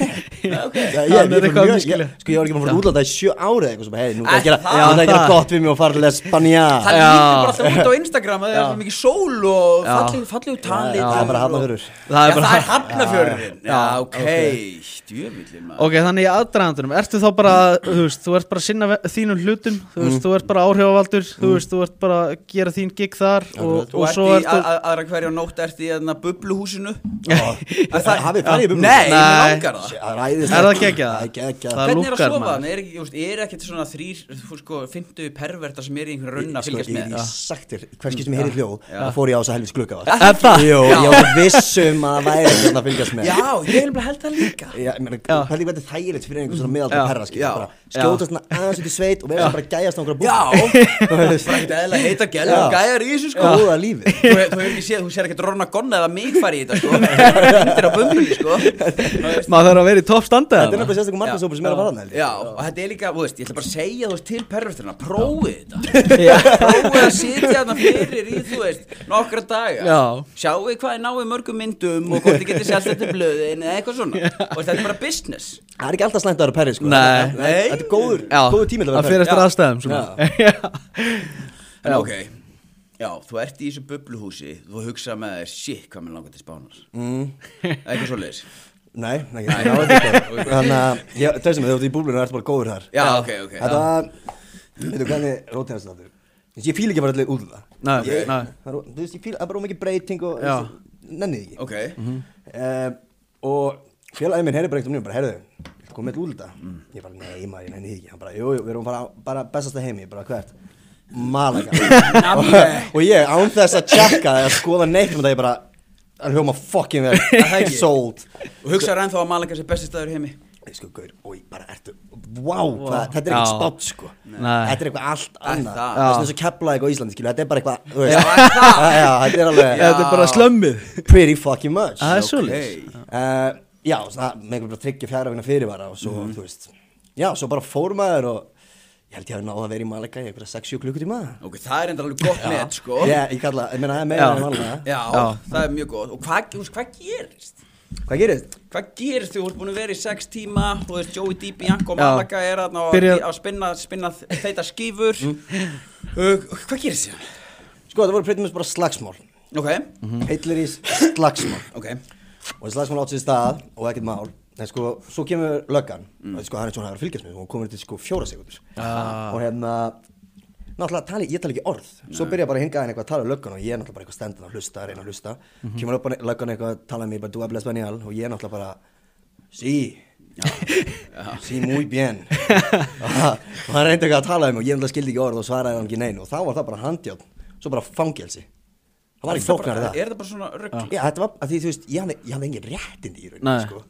[SPEAKER 1] Já, ok
[SPEAKER 2] Það
[SPEAKER 3] Já, ég,
[SPEAKER 2] er
[SPEAKER 3] ég,
[SPEAKER 2] eitthvað
[SPEAKER 3] eitthvað mjög,
[SPEAKER 2] miskilja.
[SPEAKER 3] ég, sko ég var ekki búin að fara útlanda í sjö ári eða eitthvað sem hei, nú
[SPEAKER 1] Æ,
[SPEAKER 3] það gera,
[SPEAKER 1] það-
[SPEAKER 3] já, það gera
[SPEAKER 2] það-
[SPEAKER 3] gott við mig og fara til Espanja
[SPEAKER 1] Það
[SPEAKER 3] Já,
[SPEAKER 1] lítur bara
[SPEAKER 2] Já.
[SPEAKER 1] alltaf út á Instagram að það er svo mikið sól og fallið fallið úr
[SPEAKER 3] Það
[SPEAKER 1] talið
[SPEAKER 3] er bara hafna fyrir
[SPEAKER 1] Það er bara hafnafjörðin Já, ok, djöfillin maður
[SPEAKER 2] Ok, þannig í aðdragandunum, ertu þá bara, þú veist, þú ert bara að sinna ve- þínum hlutum, þú
[SPEAKER 3] Mm.
[SPEAKER 2] veist, þú ert bara áhrifavaldur, þú veist, þú ert bara að gera þín gig þar og,
[SPEAKER 1] Þú
[SPEAKER 2] og
[SPEAKER 1] ert
[SPEAKER 2] svo
[SPEAKER 1] í
[SPEAKER 2] ert þú...
[SPEAKER 1] að- að- aðra hverja nótt ert í þarna bubluhúsinu
[SPEAKER 3] Já, Hafið farið í bubblur
[SPEAKER 1] Nei, ég
[SPEAKER 2] Nei.
[SPEAKER 1] langar það
[SPEAKER 3] Það er æðist
[SPEAKER 2] Er það geggjað?
[SPEAKER 3] Það er geggjað
[SPEAKER 2] Það
[SPEAKER 1] Hvernig er að
[SPEAKER 2] lúkkar
[SPEAKER 1] sofa
[SPEAKER 2] maður.
[SPEAKER 1] þarna? Er ekki- þú veist, er ekkert svona þrýr, þú sko, fymtu perverta sem er í einhverju raunna að
[SPEAKER 3] Sko,
[SPEAKER 1] fylgjast
[SPEAKER 3] ég
[SPEAKER 1] með
[SPEAKER 3] ég sagt þér, hverski sem ég heyri hljóð þá fór ég á þess að helvis glugga
[SPEAKER 2] Er það?
[SPEAKER 3] Jó, ég var viss um að það væri þarna að fylgjast með
[SPEAKER 1] Já, ég er nefnilega held það líka
[SPEAKER 3] Já, ég meina, Pæli hvað þetta er þægilegt fyrir einhvern svona miðaldra
[SPEAKER 2] Já,
[SPEAKER 3] perra skilur,
[SPEAKER 1] já,
[SPEAKER 3] bara Skjóta svona aðeins út í sveit og vera sem bara að gæjast á einhverja
[SPEAKER 1] Já,
[SPEAKER 3] búð
[SPEAKER 1] frækt eðla heita gæla
[SPEAKER 3] Já.
[SPEAKER 1] gæjar í þessu sko
[SPEAKER 3] Góða lífið
[SPEAKER 1] þú, þú hefur ekki séð, þú sér ekkert Rona Gonna eða mig fara í þetta sko sko Undir á bumlunni sko
[SPEAKER 2] maður þarf að vera í toppstandi
[SPEAKER 3] Þetta er nefnilega sérstaklega markaðsópur sem er að fara þarna, held ég.
[SPEAKER 1] Já, og þetta er líka, þú veist, ég ætla bara að segja þú veist til perverturna, prófið þetta Prófið að sitja þarna fyrir í, þú veist, nokkra daga
[SPEAKER 2] Já.
[SPEAKER 1] Sjáu hvað er náið mörgum myndum og hvort þið getið selt þetta í blöðin eða eitthvað svona Og þetta er bara business
[SPEAKER 3] Það er ekki alltaf slæmt að vera perri sko
[SPEAKER 2] Nei.
[SPEAKER 3] Þetta er- Þetta er góður,
[SPEAKER 2] Já,
[SPEAKER 3] góður tími til að
[SPEAKER 2] það
[SPEAKER 3] vera
[SPEAKER 2] fyrir
[SPEAKER 3] perri
[SPEAKER 2] eftir
[SPEAKER 1] Já.
[SPEAKER 2] aðstæðum svona.
[SPEAKER 1] En ok, já, þú ert í þessu bubluhúsi, þú hugsa með þér, shit, hvað mér langar til spánar mm. Eitthvað svoleiðis
[SPEAKER 3] Nei, nei, ekki, það var þetta ekki. Þannig að, ég- þau sem þau ert í búblinu ertu bara góður þar
[SPEAKER 1] Já, ok, ok,
[SPEAKER 3] Þetta var, veitum hvernig rótæðast það þau Ég fíl ekki að fara allir út úr það
[SPEAKER 2] Nei,
[SPEAKER 3] Ég-
[SPEAKER 2] nei.
[SPEAKER 3] það er ó- Þú veist, ég fíl, það er bara ómikið breyting og
[SPEAKER 2] Já.
[SPEAKER 3] Nenni því ekki
[SPEAKER 1] Ok,
[SPEAKER 3] Eh, Og félagið minn heyri bara eitt um nýjum, bara heyrðu, komið með úlda mm. Ég bara, nei maður, ég nenni því ekki Hann bara, jú, jú, við erum bara, bara bestasta heimi, Ég bara hvert Malaga og, og ég, án þess að tjekka eða skoða neitt um þetta, ég bara Það er hljóma fucking
[SPEAKER 1] Það
[SPEAKER 3] vel,
[SPEAKER 1] ekki.
[SPEAKER 3] sold
[SPEAKER 1] og hugsaðu ennþá að Malaga sé besti staður í heimi
[SPEAKER 3] Ég sko, gaur, og ég bara ertu Vá, hvað, þetta er
[SPEAKER 2] Já.
[SPEAKER 3] ekki spátt, sko
[SPEAKER 2] Nei.
[SPEAKER 3] Þetta er eitthvað allt annað
[SPEAKER 1] það.
[SPEAKER 3] Það er svona svo keflaðið á Íslandi, skilju Þetta er bara eitthvað, þú veist
[SPEAKER 1] Já, er það?
[SPEAKER 3] Já, já, þetta er alveg
[SPEAKER 2] þetta er bara slömmið
[SPEAKER 3] Pretty fucking much
[SPEAKER 2] það er
[SPEAKER 1] Ok.
[SPEAKER 2] svolítið
[SPEAKER 3] uh, Já, svona, með einhver bara tryggja fjara vina fyrirvara og svo, þú veist Já, svo bara fór maður og ég held ég hafi náða að vera í Malaga í einhverja 6-7 klukkutíma
[SPEAKER 1] Ok, það er enda alveg gott net, sko
[SPEAKER 3] Já, ég kalla, ég meina, það er meira
[SPEAKER 2] Já.
[SPEAKER 3] en Malaga
[SPEAKER 1] Já,
[SPEAKER 2] Já.
[SPEAKER 1] það er mjög gott Og hvað, þú veist, hvað gerist?
[SPEAKER 3] Hvað gerist?
[SPEAKER 1] Hvað gerist þú ert búin að vera í sex tíma Þú veist, Joey D. Bianco
[SPEAKER 2] Já.
[SPEAKER 1] Malaga er að,
[SPEAKER 2] Byrja- Mm.
[SPEAKER 1] að spinna, spinna þeita skífur uh, Hvað gerist þér?
[SPEAKER 3] Sko, það voru pretty much bara slagsmál
[SPEAKER 1] Ok,
[SPEAKER 2] Mhm.
[SPEAKER 3] Hitlerís slagsmál
[SPEAKER 1] ok
[SPEAKER 3] og þessi slagsmál átt sér stað og ekkert mál en sko, svo kemur löggan og sko, hann er svona að vera að fylgjast með og hún komur til sko fjóra sekundur og hérna náttúrulega tali, ég tala ekki orð svo byrja bara að hinga hann eitthvað að tala um löggan og ég er náttúrulega bara eitthvað stendan að hlusta, að reyna að hlusta kemur upp að löggan eitthvað að tala um mig bara du hablas spanial og ég er náttúrulega bara sí sí muy bien og hann- og hann reyndi eitthvað að tala um mig og ég náttúrulega skildi ekki orð og svaraði hann ekki neinu og þá var það bara handjáln, svo bara fangelsi það var ekki flóknar
[SPEAKER 1] bara,
[SPEAKER 3] það
[SPEAKER 1] Er það bara svona rugg?
[SPEAKER 3] Já, þetta var, að því þú veist, ég hafði, ég hafði engin réttindi í
[SPEAKER 2] Nei.
[SPEAKER 3] rauninni, sko.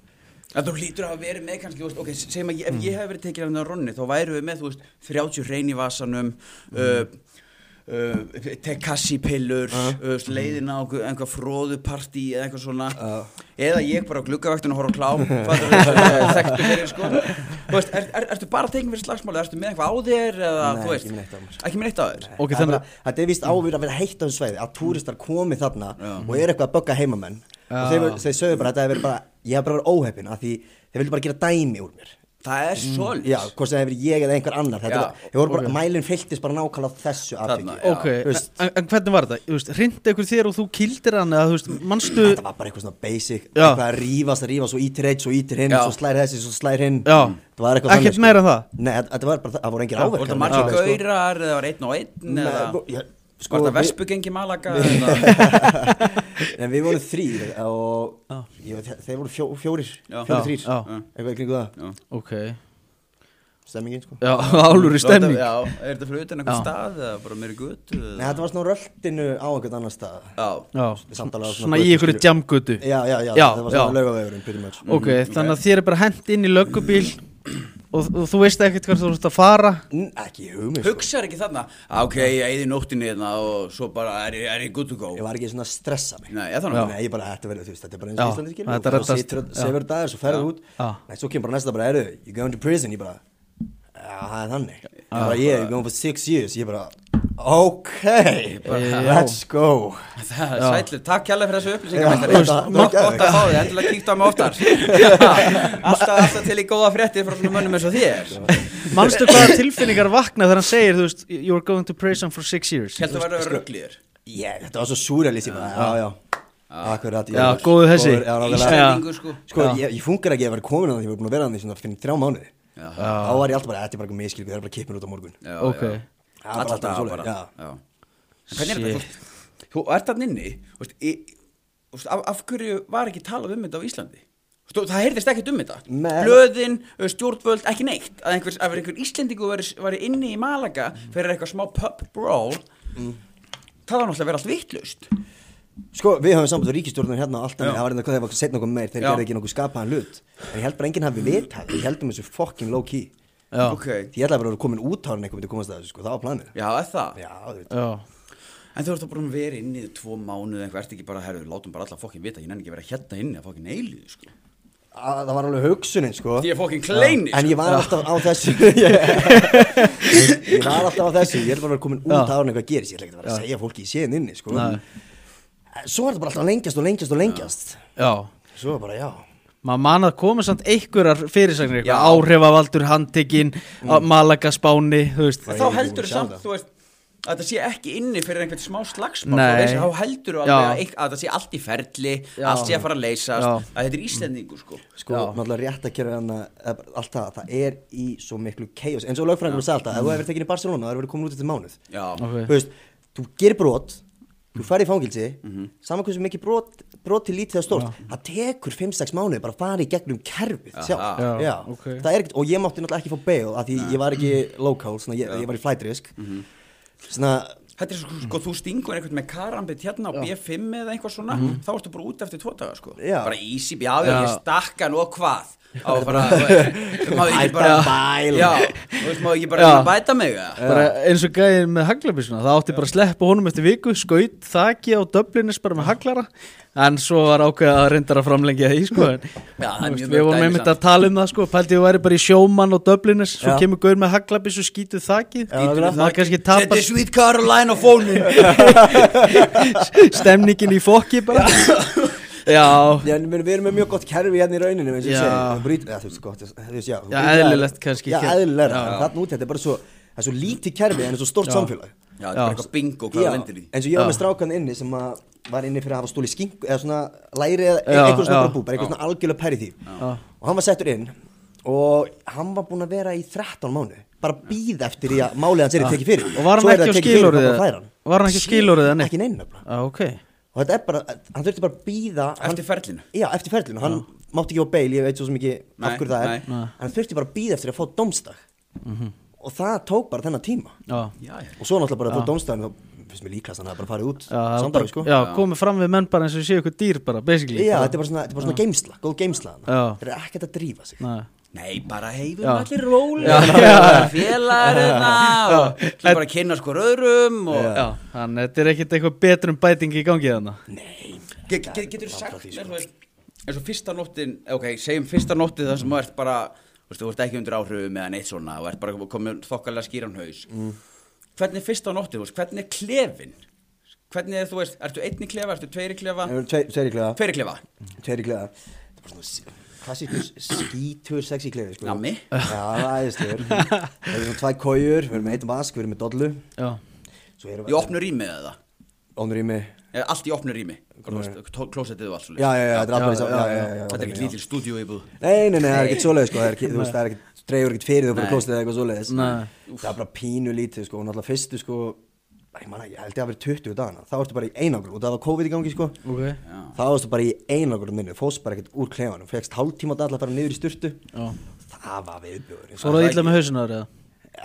[SPEAKER 1] Að þú lítur að hafa verið með kannski, þú veist, ok, segjum að ég,
[SPEAKER 3] Mm.
[SPEAKER 1] ef ég hef verið tekið af hennar ronni, þá væru við með, þú veist, 30 reyn í vasanum,
[SPEAKER 3] Mm.
[SPEAKER 1] uh, uh, tekassipillur,
[SPEAKER 3] Ah.
[SPEAKER 1] uh. uh,
[SPEAKER 3] Mm.
[SPEAKER 1] leiðina á einhver- einhver fróðupartí eða eitthvað svona,
[SPEAKER 3] Ah.
[SPEAKER 1] eða ég bara á gluggavæktinu horf á klám, fattur þú, þekktu fyrir, sko. Þú veist, er, er, ertu bara tekið fyrir slagsmáli, ertu með eitthvað á þér eða,
[SPEAKER 3] Nei,
[SPEAKER 1] þú veist,
[SPEAKER 3] ekki með neitt á mér.
[SPEAKER 1] Ekki með neitt á þér?
[SPEAKER 2] Ok,
[SPEAKER 3] Það er
[SPEAKER 2] þannig-
[SPEAKER 3] bara- Þetta er vist ávir að vera heitt á þessu svæði, að túristar komi þarna og eru eitthvað að bögga heimamenn. Og þeir, þeir sögðu bara að þetta hefur verið bara, ég hef bara verið óheppin, að því þeir vildu bara gera dæmi úr mér.
[SPEAKER 1] Það er mm.
[SPEAKER 3] Já, hvort sem það hefur verið ég eða einhver annar. Þetta
[SPEAKER 1] Já,
[SPEAKER 3] var, ég voru bara, mælinn fylltist bara nákvæmlega af þessu
[SPEAKER 1] Þarna,
[SPEAKER 3] afhengi.
[SPEAKER 1] já.
[SPEAKER 2] Ok,
[SPEAKER 3] Þú veist,
[SPEAKER 2] en, en hvernig var þetta? Þú veist, Hrind einhver þér og þú kildir hann eða þú veist, mannstu
[SPEAKER 3] Þetta var bara eitthvað svona basic,
[SPEAKER 2] Já.
[SPEAKER 3] eitthvað að rífast, að rífast, svo ítir eitt, svo ítir hinn,
[SPEAKER 1] Já.
[SPEAKER 3] svo slær þessi, svo slær hinn.
[SPEAKER 2] Já.
[SPEAKER 3] Það var eitthvað
[SPEAKER 2] Ekkert
[SPEAKER 3] sko.
[SPEAKER 2] meira en það?
[SPEAKER 3] Nei, þetta- þetta var bara, það voru engir
[SPEAKER 1] Voru
[SPEAKER 3] áverkar.
[SPEAKER 1] þetta
[SPEAKER 3] neitt
[SPEAKER 1] margir
[SPEAKER 3] svoleiðis, sko.
[SPEAKER 1] gaurar eða var einn og einn
[SPEAKER 3] Nei,
[SPEAKER 1] eða
[SPEAKER 3] sko, ég- sko,
[SPEAKER 1] var þetta
[SPEAKER 3] við-
[SPEAKER 1] vespugengi Malaga eða
[SPEAKER 3] En við vorum þrýr og ég, veit, þeir voru fjó, fjórir,
[SPEAKER 1] Já.
[SPEAKER 3] fjórir
[SPEAKER 1] Já,
[SPEAKER 3] þrýr,
[SPEAKER 2] já.
[SPEAKER 3] eitthvað í kringu það,
[SPEAKER 1] Já.
[SPEAKER 2] Ok,
[SPEAKER 3] stemmingin sko.
[SPEAKER 2] já, álur í stemming
[SPEAKER 1] Já, er þetta fyrir utan
[SPEAKER 2] Já.
[SPEAKER 1] einhvern stað eða bara meiri gutt
[SPEAKER 3] Nei, þetta var svona á röltinu á einhvern annan stað.
[SPEAKER 1] Já,
[SPEAKER 2] Já,
[SPEAKER 3] Samt alveg á
[SPEAKER 2] svona í
[SPEAKER 3] götu,
[SPEAKER 2] einhverju
[SPEAKER 3] skilju.
[SPEAKER 2] jamgötu
[SPEAKER 3] Já, já, já,
[SPEAKER 2] Já,
[SPEAKER 3] það var
[SPEAKER 2] já.
[SPEAKER 3] svona laugavegurinn, pretty much.
[SPEAKER 2] Ok, þannig að þér er bara hent inn í löggubíl og, og þú veist ekkert hvert þú ert að fara
[SPEAKER 3] Mm, ekki hugmið sko.
[SPEAKER 1] hugsaður ekki þarna "Ah, Ok, ég eigði nóttinni hérna og svo bara er, ég- er ég good to go
[SPEAKER 3] Ég var ekki svona að stressa mig.
[SPEAKER 1] Nei, ég þannig
[SPEAKER 3] Nei, ég bara, þetta verður, þú veist, þetta er bara eins
[SPEAKER 2] Já,
[SPEAKER 3] og Íslandi skilur.
[SPEAKER 2] þetta
[SPEAKER 3] og þú
[SPEAKER 2] reddast.
[SPEAKER 3] situr og-
[SPEAKER 2] Já.
[SPEAKER 3] Sefur dagar, svo ferður út.
[SPEAKER 2] Já.
[SPEAKER 3] Nei, svo kemur bara næsta bara, eru, you going to prison, ég bara, já, það er þannig. Ég bara, yeah, you're going for six years, ég bara, ok, let's go.
[SPEAKER 1] Það er sætlið, takk kjærlega fyrir þessu
[SPEAKER 3] Já,
[SPEAKER 1] upplýsingamættari
[SPEAKER 3] þetta-
[SPEAKER 1] Nótt
[SPEAKER 3] þetta-
[SPEAKER 1] gott að fá þig, endilega kíktu á mig oftar alltaf, alltaf til í góða fréttir frá svona mönnum eins og þér
[SPEAKER 2] Manstu hvaða tilfinningar vakna þegar hann segir, þú veist, you're going to prison for six years
[SPEAKER 1] Heldur þú að vera rugglýður?
[SPEAKER 3] Yeah, þetta var svo súralist, ég bara, já, já, akkurat
[SPEAKER 2] Já, góður þessi.
[SPEAKER 3] já, nákvæmlega.
[SPEAKER 1] Íslendingu sko
[SPEAKER 3] Sko, ég, ég fungar ekki að vera komin að því, ég var búin að vera að því svona fyrir þrjá mánuði
[SPEAKER 1] Já.
[SPEAKER 3] Þá var ég alltaf bara, þetta er bara eitthvað miskilgu, það er bara kippin út á morgun
[SPEAKER 1] Já,
[SPEAKER 2] Ok.
[SPEAKER 1] já.
[SPEAKER 3] Það var
[SPEAKER 1] Alla
[SPEAKER 3] alltaf
[SPEAKER 1] daga
[SPEAKER 3] svoleiðis,
[SPEAKER 1] bara
[SPEAKER 3] já.
[SPEAKER 1] já. En hvernig er þetta? Þú- Þú ert þarna inni þú veist, í- þú veist, af, af hverju var ekki talað um þetta á Íslandi? Þú veist, Það heyrðist ekkert um þetta
[SPEAKER 3] Nei.
[SPEAKER 1] Blöðin, ö, stjórnvöld, ekki neitt Að einhver, að einhver Íslendingu væri, væri inni í Malaga Fyrir eitthvað smá pub brawl Það var náttúrulega að vera allt vittlust
[SPEAKER 3] Sko, við höfum samband við ríkistjórnum hérna og allt
[SPEAKER 1] Já.
[SPEAKER 3] þannig, það var eitthvað þegar var setna okkur meir, þeir
[SPEAKER 1] Já.
[SPEAKER 3] gerði ekki nokkuð skapaðan hlut En ég held bara enginn hafi vitað, ég heldum þessu fucking low key
[SPEAKER 2] Já,
[SPEAKER 1] okay.
[SPEAKER 3] Því ég held að bara að vera komin út ára en eitthvað myndi komast að þessu, sko, það var planið
[SPEAKER 1] Já, er það
[SPEAKER 3] Já, þú veit
[SPEAKER 2] já,
[SPEAKER 1] En þú ert þá bara að vera inni í tvo mánuð eitthvað, ert ekki bara, herru, látum bara alla fokkin vita, ég nenni ekki að vera hérna inni að fokkin eilíðu, sko.
[SPEAKER 3] að, það var alveg hugsunin sko
[SPEAKER 1] Því ég er fucking kleini,
[SPEAKER 3] en ég var
[SPEAKER 1] sko.
[SPEAKER 3] alltaf á þessu ég, ég var alltaf á þessu ég er bara að vera komin út
[SPEAKER 2] Já.
[SPEAKER 3] ára en eitthvað gerist ég ætla ekki að vera að segja fólki í séðin inni sko
[SPEAKER 2] Nei.
[SPEAKER 3] svo er þetta bara alltaf að lengjast og lengjast og lengjast
[SPEAKER 2] Já
[SPEAKER 3] svo bara já
[SPEAKER 2] maður man að koma samt einhverjar fyrirsagnir
[SPEAKER 1] Já.
[SPEAKER 2] eitthvað, áhrifavaldur, handtekinn mm. Malaga, Spáni, þú veist
[SPEAKER 1] En
[SPEAKER 3] Ég
[SPEAKER 1] þá
[SPEAKER 3] er ekki búin
[SPEAKER 1] heldur
[SPEAKER 3] að
[SPEAKER 1] þú
[SPEAKER 3] sjá
[SPEAKER 1] samt,
[SPEAKER 3] það.
[SPEAKER 1] þú veist, að það sé ekki inni fyrir einhvern smá slagsmál,
[SPEAKER 2] Nei.
[SPEAKER 1] þú veist, þá heldur þú
[SPEAKER 2] Já.
[SPEAKER 1] alveg að, eitth- að það sé allt í ferli,
[SPEAKER 2] Já.
[SPEAKER 1] allt sé að fara að leysast,
[SPEAKER 2] Já.
[SPEAKER 1] að þetta er Íslendingur, sko.
[SPEAKER 3] sko, náttúrulega rétt að gera hann allt það, það er í svo miklu chaos eins og lögfræðingur sagði alltaf, ef þú hefur tekinn í Barcelona þá hefur verið komin út eftir mánuð
[SPEAKER 1] Já.
[SPEAKER 2] Ok. Mhm.
[SPEAKER 3] þú veist, þú gerir brot þú farið í fangilsi, saman hversu mikið brot, brot til lítið að stórt það tekur 5-6 mánuði bara að fara í gegnum kerfið sjálf,
[SPEAKER 2] Já,
[SPEAKER 3] já,
[SPEAKER 2] ok.
[SPEAKER 3] það er ekkert og ég mátti náttúrulega ekki fá bail, af því ég var ekki local, svona, ég, ég var í flight risk
[SPEAKER 2] Mhm.
[SPEAKER 3] svona,
[SPEAKER 1] Þetta er svo, sko, þú stingur einhvern með karambit hérna á B5 eða eitthvað svona, þá ertu bara út eftir tvo daga, sko.
[SPEAKER 3] Já.
[SPEAKER 1] Bara easy, já, já,
[SPEAKER 2] Já.
[SPEAKER 1] ég stakka nú og hvað. Á bara, þú veist, maður ekki
[SPEAKER 3] Bæta
[SPEAKER 1] bara,
[SPEAKER 3] bæl.
[SPEAKER 1] já, þú veist, maður ekki bara
[SPEAKER 2] Já. Eh,
[SPEAKER 1] bæta mig, eða?
[SPEAKER 2] bara eins og gæðin með haglabísuna það átti bara að sleppa honum eftir viku skaut, þaki á döblinis bara með haglara en svo var ákveða að reyndar að framlengja því sko en
[SPEAKER 1] Já, það er
[SPEAKER 2] þú
[SPEAKER 1] mjög
[SPEAKER 2] við
[SPEAKER 1] mörg
[SPEAKER 2] vorum
[SPEAKER 1] dæmi
[SPEAKER 2] einmitt
[SPEAKER 1] samt.
[SPEAKER 2] að tala um það sko pælti þú væri bara í sjómann og döblinis svo
[SPEAKER 3] Já.
[SPEAKER 2] kemur gaur með haglabís og skýtu þaki
[SPEAKER 3] Skýtur í
[SPEAKER 2] það kannski
[SPEAKER 1] Þetta
[SPEAKER 2] tapar
[SPEAKER 1] er Sweet Caroline á fónum.
[SPEAKER 2] stemningin í fokki bara já,
[SPEAKER 3] já, en við við erum með mjög gott kerfi hérna í rauninu eins og ég
[SPEAKER 2] Já.
[SPEAKER 3] segi, það brýt, eða, þú veist, gott þú veist, já, þú
[SPEAKER 2] Já,
[SPEAKER 3] brýtur-
[SPEAKER 2] eðlilegt kannski
[SPEAKER 3] já,
[SPEAKER 2] kerfi.
[SPEAKER 3] eðlilega,
[SPEAKER 2] Já.
[SPEAKER 3] þannig út, þetta er bara svo það er svo lítið kerfi en það er svo stórt
[SPEAKER 2] Já.
[SPEAKER 3] samfélag
[SPEAKER 1] Já, þetta er bara eitthvað bingo hvað það
[SPEAKER 3] Já,
[SPEAKER 1] lendir í
[SPEAKER 3] eins og ég var
[SPEAKER 2] Já.
[SPEAKER 3] með strákan inni sem að var inni fyrir að hafa stóli skink eða svona læri eða
[SPEAKER 2] Já,
[SPEAKER 3] eitthvað svona
[SPEAKER 2] já.
[SPEAKER 3] bara bú, bara eitthvað svona algjörlega pæri því og hann var settur inn og hann var búinn að vera í 13 mánu bara býð eftir því að málið hans er tekið fyrir
[SPEAKER 2] og var
[SPEAKER 3] Svo
[SPEAKER 2] hann
[SPEAKER 3] er það
[SPEAKER 2] ekki á
[SPEAKER 3] tekið fyrir,
[SPEAKER 2] skilorðið
[SPEAKER 3] þá bara fær hann.
[SPEAKER 2] var hann ekki á skilorðið eða neitt?
[SPEAKER 3] ekki neina og
[SPEAKER 2] Já, ok
[SPEAKER 3] þetta er bara, hann þurfti bara að býða hann-
[SPEAKER 1] Eftir ferlinu
[SPEAKER 3] já, eftir ferlinu, hann mátti ekki á beil ég veit svo sem ekki af
[SPEAKER 1] Nei,
[SPEAKER 3] hverju það
[SPEAKER 1] nei.
[SPEAKER 3] er hann þurfti bara að býða eftir að fá domstag
[SPEAKER 2] Mhm.
[SPEAKER 3] og það tók bara þennan tíma
[SPEAKER 2] já
[SPEAKER 1] Já, já
[SPEAKER 3] og svo náttúrulega bara að fá domstagin þá finnst mér líkast að hann hafi bara farið út
[SPEAKER 2] Já, það
[SPEAKER 3] samdægur,
[SPEAKER 2] bara,
[SPEAKER 3] sko.
[SPEAKER 2] já, komið fram við menn bara eins og séu ykkur dýr bara, basically
[SPEAKER 3] Já,
[SPEAKER 2] bara,
[SPEAKER 3] þetta er bara svona, þetta er bara svona geimsla, góð geimsla þarna.
[SPEAKER 2] Já.
[SPEAKER 3] Þeir eru ekkert að drífa sig
[SPEAKER 2] Nei.
[SPEAKER 1] Nei, bara heifum
[SPEAKER 2] Já.
[SPEAKER 1] allir róli
[SPEAKER 2] Já.
[SPEAKER 1] Félagarina og ætlum bara að kynna sko röðrum og
[SPEAKER 2] Já, þannig að þetta er ekkert eitthvað betrum bæting í gangi þarna
[SPEAKER 3] Nei
[SPEAKER 1] Ge- ge- ge- Getur þú sagt
[SPEAKER 3] því,
[SPEAKER 1] mér,
[SPEAKER 3] sko.
[SPEAKER 1] þú veist, eins og fyrsta nóttin ok, segjum fyrsta nóttin þar sem þú ert bara þú veist, þú ert ekki undir áhrifum eða neitt svona og ert bara komin þokkalega skýran haus
[SPEAKER 3] Mm.
[SPEAKER 1] Hvernig er fyrsta nóttin, þú veist, hvernig er klefin? Hvernig er, þú veist, ertu einni klefa, ertu tveiri klefa,
[SPEAKER 3] Það eru tveir- Tveir í klefa Mm.
[SPEAKER 1] tveiri klefa?
[SPEAKER 3] Tveir í klefa Þetta er bara svona klassíkur skítur sexy klefi sko.
[SPEAKER 1] Nammi.
[SPEAKER 3] Já, það er æðislegur Það eru svona tvæ kójur, við erum með eitt mask, við erum með dollu
[SPEAKER 2] Já,
[SPEAKER 3] Svo erum
[SPEAKER 1] Í opnu rými eða?
[SPEAKER 3] Opnur í mig
[SPEAKER 1] Eða Allt í opnu rými, Hvað þú veist, tó- klósettið og allt svo
[SPEAKER 3] Já, já, já, þetta er alltaf eins og- já, já, já, já,
[SPEAKER 1] Þetta er ekki
[SPEAKER 3] já.
[SPEAKER 1] lítil stúdíu íbúð
[SPEAKER 3] Nei, nei, nei, það er ekkert svoleiðis sko, það er ekki, þú veist, það er ekkert, dreifur ekkert fyrir þú fyrir
[SPEAKER 1] Nei.
[SPEAKER 3] klóstið eða eitthvað svoleiðis
[SPEAKER 2] Nei.
[SPEAKER 3] Það er bara pínu lítið sko, og náttúrulega fyrstu sko, ég manna, ég held ég að vera 20 dagana, þá ertu bara í einangur, og það var COVID í gangi sko
[SPEAKER 2] ok
[SPEAKER 3] Þá varstu bara í einangur minni, fóst bara ekkert úr klefanum, fegst hálftíma á dag til að fara niður í styrtu
[SPEAKER 2] Já.
[SPEAKER 3] Það var viðbjörn
[SPEAKER 2] Svo er það illa með hausinu þar eða?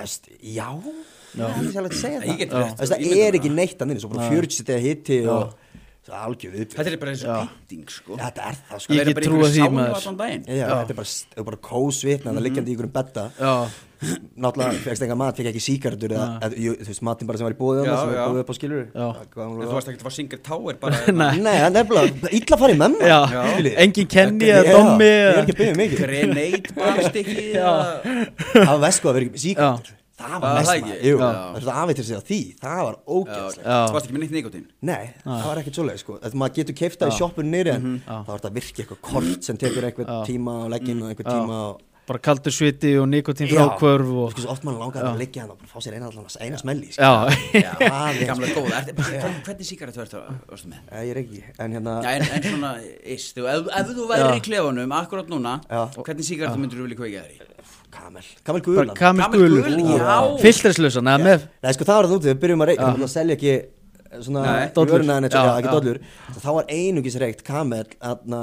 [SPEAKER 3] Æst, já, já. það er alveg að segja
[SPEAKER 1] Ég get
[SPEAKER 3] það
[SPEAKER 1] rétt
[SPEAKER 3] Þú veist, Það
[SPEAKER 1] ímyndað mér
[SPEAKER 3] er ekki neitt að minni, svo bara 40 stegar hitti og það er algjör
[SPEAKER 1] Þetta
[SPEAKER 3] viðbjörn
[SPEAKER 1] er bara eins og pynting sko
[SPEAKER 3] Þetta er það
[SPEAKER 2] Ég
[SPEAKER 3] sko
[SPEAKER 1] Það er
[SPEAKER 2] get
[SPEAKER 1] bara
[SPEAKER 2] trúað
[SPEAKER 1] einhverju
[SPEAKER 2] því,
[SPEAKER 1] sána
[SPEAKER 2] maður.
[SPEAKER 1] allan daginn
[SPEAKER 3] Já, þetta er bara, þetta er bara kósvitna,
[SPEAKER 1] Mhm.
[SPEAKER 3] það er liggjandi í einhverjum betta
[SPEAKER 2] Já,
[SPEAKER 3] Náttúrulega fegst enga mat, fekk ekki síkardur eða, eða, jú, þú veist, matinn bara sem var í bóðið
[SPEAKER 1] Já,
[SPEAKER 3] sem
[SPEAKER 1] já.
[SPEAKER 3] var bóðið upp á skilur
[SPEAKER 2] Já.
[SPEAKER 1] En þú varst ekki að fá single tower bara
[SPEAKER 2] Nei.
[SPEAKER 3] Nei, það er nefnilega, illa farið með
[SPEAKER 2] já,
[SPEAKER 3] maður skilurðu.
[SPEAKER 2] engin kenni
[SPEAKER 3] Já,
[SPEAKER 2] eða dommi
[SPEAKER 3] Ég er
[SPEAKER 2] eða-
[SPEAKER 3] ekki að byggja mikið
[SPEAKER 1] Grenade brandstykki eða-
[SPEAKER 3] Það var vest sko að vera ekki með síkardur Það
[SPEAKER 1] Var
[SPEAKER 3] var mest
[SPEAKER 1] það
[SPEAKER 3] maður,
[SPEAKER 1] ekki?
[SPEAKER 3] jú,
[SPEAKER 1] Já.
[SPEAKER 3] það er svona afveitir sig á því Það var
[SPEAKER 1] Já,
[SPEAKER 3] ógæðslega
[SPEAKER 1] Þú varst ekki með neitt nikotín
[SPEAKER 3] Nei, það var ekkert svoleið sko Þetta maður getur keifta í sjoppunni niður en það var þetta virkið eitthvað kort sem tekur eitthvað tíma og legginn og eitthvað tíma og
[SPEAKER 2] bara kaldur sviti og nikotín
[SPEAKER 3] Já.
[SPEAKER 2] frákvörf og
[SPEAKER 3] Sko svo oft mann langar að liggja hann og bara fá sér eina allan eina smelli sko.
[SPEAKER 2] Já,
[SPEAKER 1] Já,
[SPEAKER 3] Aðeins.
[SPEAKER 1] gamla góða Ertu- hvern- Hvernig síkaretu ertu að- varstu með?
[SPEAKER 3] Nei, Ég er ekki, en hérna
[SPEAKER 1] Já, en, en svona, is, þú, ef, ef þú væri í klefanum akkurat núna,
[SPEAKER 3] Já.
[SPEAKER 1] hvernig síkaretu myndur þú vilja kveika þér í?
[SPEAKER 3] Kamel, Kamel
[SPEAKER 2] bara
[SPEAKER 3] Guðurland
[SPEAKER 2] kamil
[SPEAKER 1] Gamall
[SPEAKER 2] gulur
[SPEAKER 1] gul, já.
[SPEAKER 2] Filtreslösan, eða með
[SPEAKER 3] Nei, sko það var það úti, við byrjum að reyka, við erum að selja ekki eh, svona
[SPEAKER 1] Nei,
[SPEAKER 2] dollur.
[SPEAKER 3] vöruna en
[SPEAKER 2] Já,
[SPEAKER 3] eitthvað, ekki
[SPEAKER 2] já.
[SPEAKER 3] dollur Svo Þá var einungis reykt Kamel aðna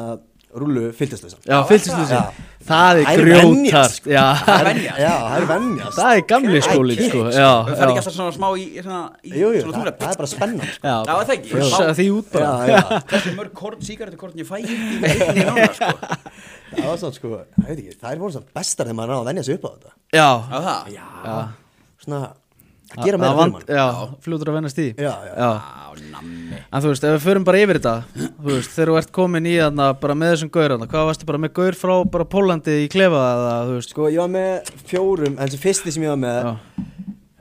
[SPEAKER 3] rullu fylgdislausan
[SPEAKER 2] Já,
[SPEAKER 3] Já.
[SPEAKER 2] filtreslösan Það er
[SPEAKER 3] Það er
[SPEAKER 2] grjótart
[SPEAKER 3] venja,
[SPEAKER 2] Já,
[SPEAKER 1] Það er venja.
[SPEAKER 3] Já, það er venjast
[SPEAKER 2] það er gamli skólin sko Já,
[SPEAKER 1] Það er ekki
[SPEAKER 2] já
[SPEAKER 1] alltaf svona smá í, svona, í
[SPEAKER 3] Jú, jú,
[SPEAKER 1] svona
[SPEAKER 3] það,
[SPEAKER 1] túnlega.
[SPEAKER 3] það er bara spennan sko.
[SPEAKER 2] Já,
[SPEAKER 1] Já, það er ekki.
[SPEAKER 2] Fussa því út bara
[SPEAKER 3] Já, já,
[SPEAKER 1] Hversu mörg korn síkaretu korn ég fæ í einni núna, sko?
[SPEAKER 3] það var svona sko, það veit ekki, það er voru svona bestar þegar maður náði að venja sig upp á þetta
[SPEAKER 2] Já,
[SPEAKER 1] Já, það.
[SPEAKER 3] Já Svona, að gera meira
[SPEAKER 2] Það
[SPEAKER 3] fyrir mann
[SPEAKER 2] Já, fljótur að vennast í
[SPEAKER 3] Já, já.
[SPEAKER 1] Á, nammi
[SPEAKER 2] En þú veist, ef við förum bara yfir þetta Þú veist, þegar þú ert komin í þarna bara með þessum gaur þarna Hvað varstu bara með gaur frá bara Pólandi í klefa eða, þú veist
[SPEAKER 3] Sko, ég var með fjórum, en þessi fyrsti sem ég var með
[SPEAKER 2] Já,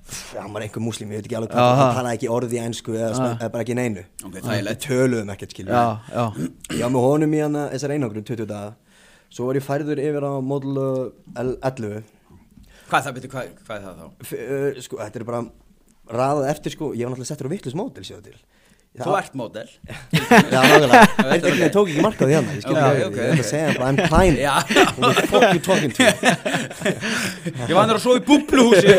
[SPEAKER 3] pff, hann var einhver múslim, ég veit ekki alveg
[SPEAKER 2] Já,
[SPEAKER 3] hvað
[SPEAKER 2] ha.
[SPEAKER 3] hann talaði ekki orði í einsku eða, svona- eða bara ekki neinu
[SPEAKER 1] Ok, það er
[SPEAKER 3] Við
[SPEAKER 1] lett
[SPEAKER 3] töluðum ekkert skilur
[SPEAKER 2] já,
[SPEAKER 3] við.
[SPEAKER 2] já
[SPEAKER 3] ég var með honum í hana þessar einangrun 20 daga svo var ég færður yfir á model uh, L- 11
[SPEAKER 1] Hvað er það, betur, hvað, hvað er það þá?
[SPEAKER 3] F- uh, sko, þetta er bara raðað eftir sko, ég var náttúrulega settur á vittlis mótil séu til
[SPEAKER 1] Þú ert módel
[SPEAKER 3] Já, nákvæmlega,
[SPEAKER 1] Þetta var
[SPEAKER 3] þetta okay.
[SPEAKER 1] ok.
[SPEAKER 3] tók ekki mark á því hann Ég skil
[SPEAKER 1] Já,
[SPEAKER 3] ekki,
[SPEAKER 1] ok,
[SPEAKER 3] ég ætla
[SPEAKER 1] ok.
[SPEAKER 3] að segja hann bara, I'm Klein
[SPEAKER 1] Já.
[SPEAKER 3] What the fuck you talking to
[SPEAKER 1] Ég vann þér að sofa í búbluhúsi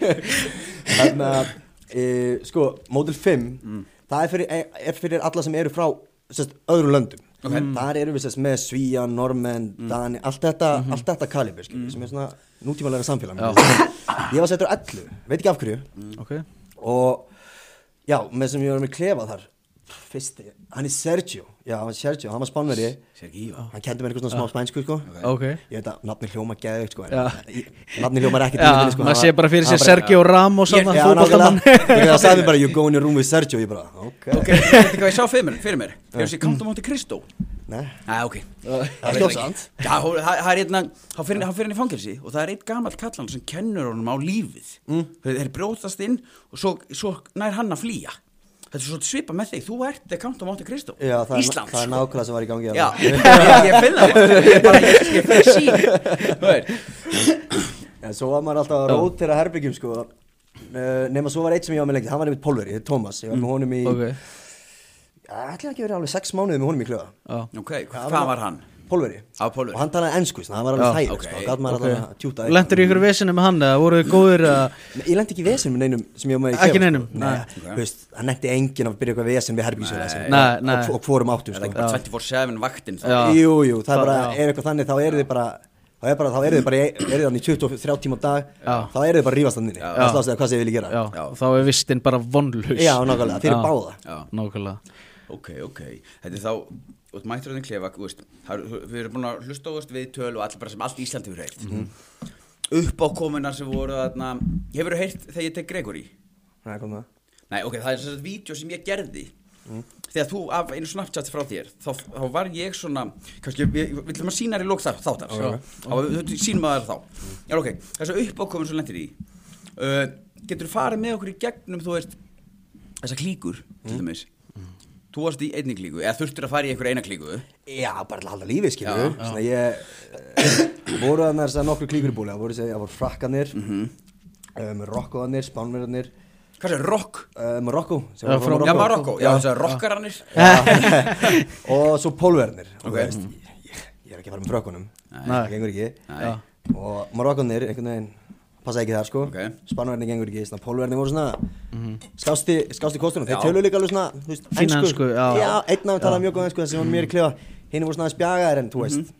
[SPEAKER 3] Þannig að, e, sko, mótil 5
[SPEAKER 2] Mm.
[SPEAKER 3] Það er fyrir, e, er fyrir alla sem eru frá sest, öðrum löndum okay. Þar eru við sest, með Svíja, Normen,
[SPEAKER 2] Mm.
[SPEAKER 3] Dani Allt þetta,
[SPEAKER 2] Mhm.
[SPEAKER 3] allt þetta kalibur, skil, sem er svona nútímalega samfélag Ég var settur á 11, veit ekki af hverju
[SPEAKER 2] Ok
[SPEAKER 3] og já, með sem ég var með klefa þar fyrsti, hann er Sergio já, hann er Sergio, hann var spánveri
[SPEAKER 1] Sergíva
[SPEAKER 3] hann kendi mér eitthvað svona smá spænsku sko
[SPEAKER 2] Ah. Ok
[SPEAKER 3] ég veit að nafni hljóma geðveikt sko en
[SPEAKER 2] Já.
[SPEAKER 3] í- nafni hljóma er ekkert í
[SPEAKER 2] Já,
[SPEAKER 3] myndinni, sko,
[SPEAKER 2] maður
[SPEAKER 3] hann
[SPEAKER 2] sé
[SPEAKER 3] var-
[SPEAKER 2] bara fyrir sér
[SPEAKER 3] hann
[SPEAKER 2] Sergio Ramos
[SPEAKER 1] Ég-
[SPEAKER 2] þarna,
[SPEAKER 3] já,
[SPEAKER 2] fótboltamann.
[SPEAKER 3] nákvæmlega þegar það sagði bara you go in your room with Sergio ég bara, ok,
[SPEAKER 1] Ok, ég veit ekki hvað ég sá fyrir mér Fyrir mér Fyrir þessi Count of Monte Cristo
[SPEAKER 3] Nei.
[SPEAKER 1] Næ, ok
[SPEAKER 3] er skjálfsand.
[SPEAKER 1] Já, hún- það það er hérna- einna Hann fyrir hann fyrir hann í fangelsi Og það er einn gamall kallan sem kennur honum á lífið
[SPEAKER 3] Mm.
[SPEAKER 1] Þeir þeir brjótast inn Og svo, svo nær hann að flýja Þetta er svolítið svipa með þig Þú ert the Count of Monte Cristo
[SPEAKER 3] já, það, er,
[SPEAKER 1] Íslands
[SPEAKER 3] það er nákvæmlega sem var í gangi
[SPEAKER 1] sko. Já,
[SPEAKER 3] þarna.
[SPEAKER 1] ég, ég finn það Ég bara, ég, ég finn sín Þú veist
[SPEAKER 3] en svo var maður alltaf að rótera herbyggjum sko Eh, nema svo var eitt sem ég var með lengi hann var einmitt Pólveri, Thomas ég var
[SPEAKER 1] Mm.
[SPEAKER 3] með honum í
[SPEAKER 2] Ok
[SPEAKER 3] ég ætla ekki að vera alveg sex mánuði með honum í klöða
[SPEAKER 2] Já
[SPEAKER 1] Ok, hvað var hann?
[SPEAKER 3] Pólveri
[SPEAKER 1] Á, Pólverji.
[SPEAKER 3] Og hann talaði ennsku, þannig að hann var alveg
[SPEAKER 2] Já,
[SPEAKER 3] þægir
[SPEAKER 1] ok,
[SPEAKER 3] sko, Gat maður
[SPEAKER 2] ok.
[SPEAKER 3] alltaf að tjúta eitthvað.
[SPEAKER 2] Lendur í ykkur vesinu með hann eða voru þið góðir eða
[SPEAKER 3] Nei, Ég lendi ekki í vesen með neinum sem ég var með í
[SPEAKER 2] Ekki
[SPEAKER 3] klefa,
[SPEAKER 2] neinum,
[SPEAKER 3] sko.
[SPEAKER 2] nei.
[SPEAKER 3] Nei, þú veist, hann nefndi enginn að byrja eitthvað vesen við sko. herbísjóla
[SPEAKER 2] Nei, nei.
[SPEAKER 3] Og hvorum áttum
[SPEAKER 1] Það er
[SPEAKER 3] sko.
[SPEAKER 1] ekki bara 24-7 vaktinn þá.
[SPEAKER 2] Já.
[SPEAKER 3] Jú, jú, það er bara,
[SPEAKER 2] Já.
[SPEAKER 3] er eitthvað þannig, þá eru þið bara Þá er bara, þá eru þið bara, í- eru þið hann í 23 tíma á dag
[SPEAKER 2] Já.
[SPEAKER 3] Þá eru þið bara að rífast hann þinni Það slást þið að hvað sem þið vilja gera
[SPEAKER 2] Já, þá er vistinn bara vonlaus
[SPEAKER 3] Já, nákvæmlega, fyrir
[SPEAKER 2] Já.
[SPEAKER 3] báða.
[SPEAKER 1] Já.
[SPEAKER 2] Nákvæmlega
[SPEAKER 1] Ok, ok. Þetta er þá, og mættur hann í klefa, þú veist, það eru- við erum búin að hlusta á þú veist, viðtöl og allir bara sem allt Íslandi hefur heyrt. Uppákomunar sem voru þarna, hefur þú heyrt þegar ég tek Gregory?
[SPEAKER 3] Nei, kom það
[SPEAKER 1] Nei, ok, það er þess að vídeo sem ég gerði Þegar þú af einu Snapchat frá þér Þá, þá var ég svona kannski, Við við ætlum að sína þér í lók þar- þáttar Þá sínum að það þá Já, ok, þess að uppákomum sem lendir í uh, Getur þú farið með okkur í gegnum Þú veist, þessa klíkur Til dæmis Þú varst í einni klíku, eða þurftur að fara í einhver eina klíku
[SPEAKER 3] Já, bara til að halda lífi, skilur
[SPEAKER 1] Já,
[SPEAKER 3] við Svona ég eh, voru þannig að nokkur klíkur búlega voru, þessi- það voru frakkanir mm
[SPEAKER 1] Mhm.
[SPEAKER 3] um, Rokkoðanir, spánverðanir
[SPEAKER 1] Hvað er rokk?
[SPEAKER 3] um, Rokko sem
[SPEAKER 2] Já,
[SPEAKER 3] var frá
[SPEAKER 2] frá-
[SPEAKER 1] Já,
[SPEAKER 3] Marokko.
[SPEAKER 1] Marokko, já, þess að rokkarannir
[SPEAKER 3] Já. og svo pólverðnir og þú veist, ég, ég er ekki að fara með frökkunum
[SPEAKER 2] Nei.
[SPEAKER 3] það gengur ekki
[SPEAKER 1] Nei.
[SPEAKER 3] og marokkanir, einhvern veginn passa ekki þar sko,
[SPEAKER 1] Ok.
[SPEAKER 3] spánverðnir gengur ekki svona, pólverðnir voru svona
[SPEAKER 2] Mhm.
[SPEAKER 3] skásti, skásti kostunum, þeir
[SPEAKER 1] Já.
[SPEAKER 3] tölu líka alveg svona þú veist,
[SPEAKER 2] Fína ensku, já. Mhm.
[SPEAKER 3] já, einn af þeim talaði mjög góð ensku þessi var mér í klefa, hinn voru svona aðeins bjagaðir en þú veist,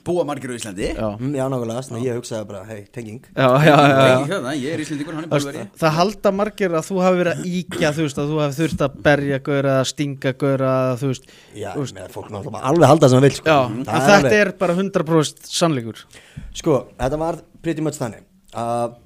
[SPEAKER 1] Búa margir á Íslandi
[SPEAKER 2] Já,
[SPEAKER 3] mm, já nákvæmlega, svona ég hugsaði bara hei, tenging,
[SPEAKER 2] já, já, já, já.
[SPEAKER 1] Ég, hérna, ég er Íslandingur, hann er
[SPEAKER 2] Það,
[SPEAKER 1] búlveri
[SPEAKER 2] það halda margir að þú hafi verið að íkja þú veist að þú hafi þurft að berja gauðra eða stinga gauðra eða þú veist
[SPEAKER 3] já, með að fólk náttúrulega bara alveg halda það sem það vil sko,
[SPEAKER 2] Já,
[SPEAKER 3] Mm,
[SPEAKER 2] en
[SPEAKER 3] það
[SPEAKER 2] þetta
[SPEAKER 3] alveg-
[SPEAKER 2] er bara 100% sannleikur
[SPEAKER 3] Sko, þetta var pretty much þannig að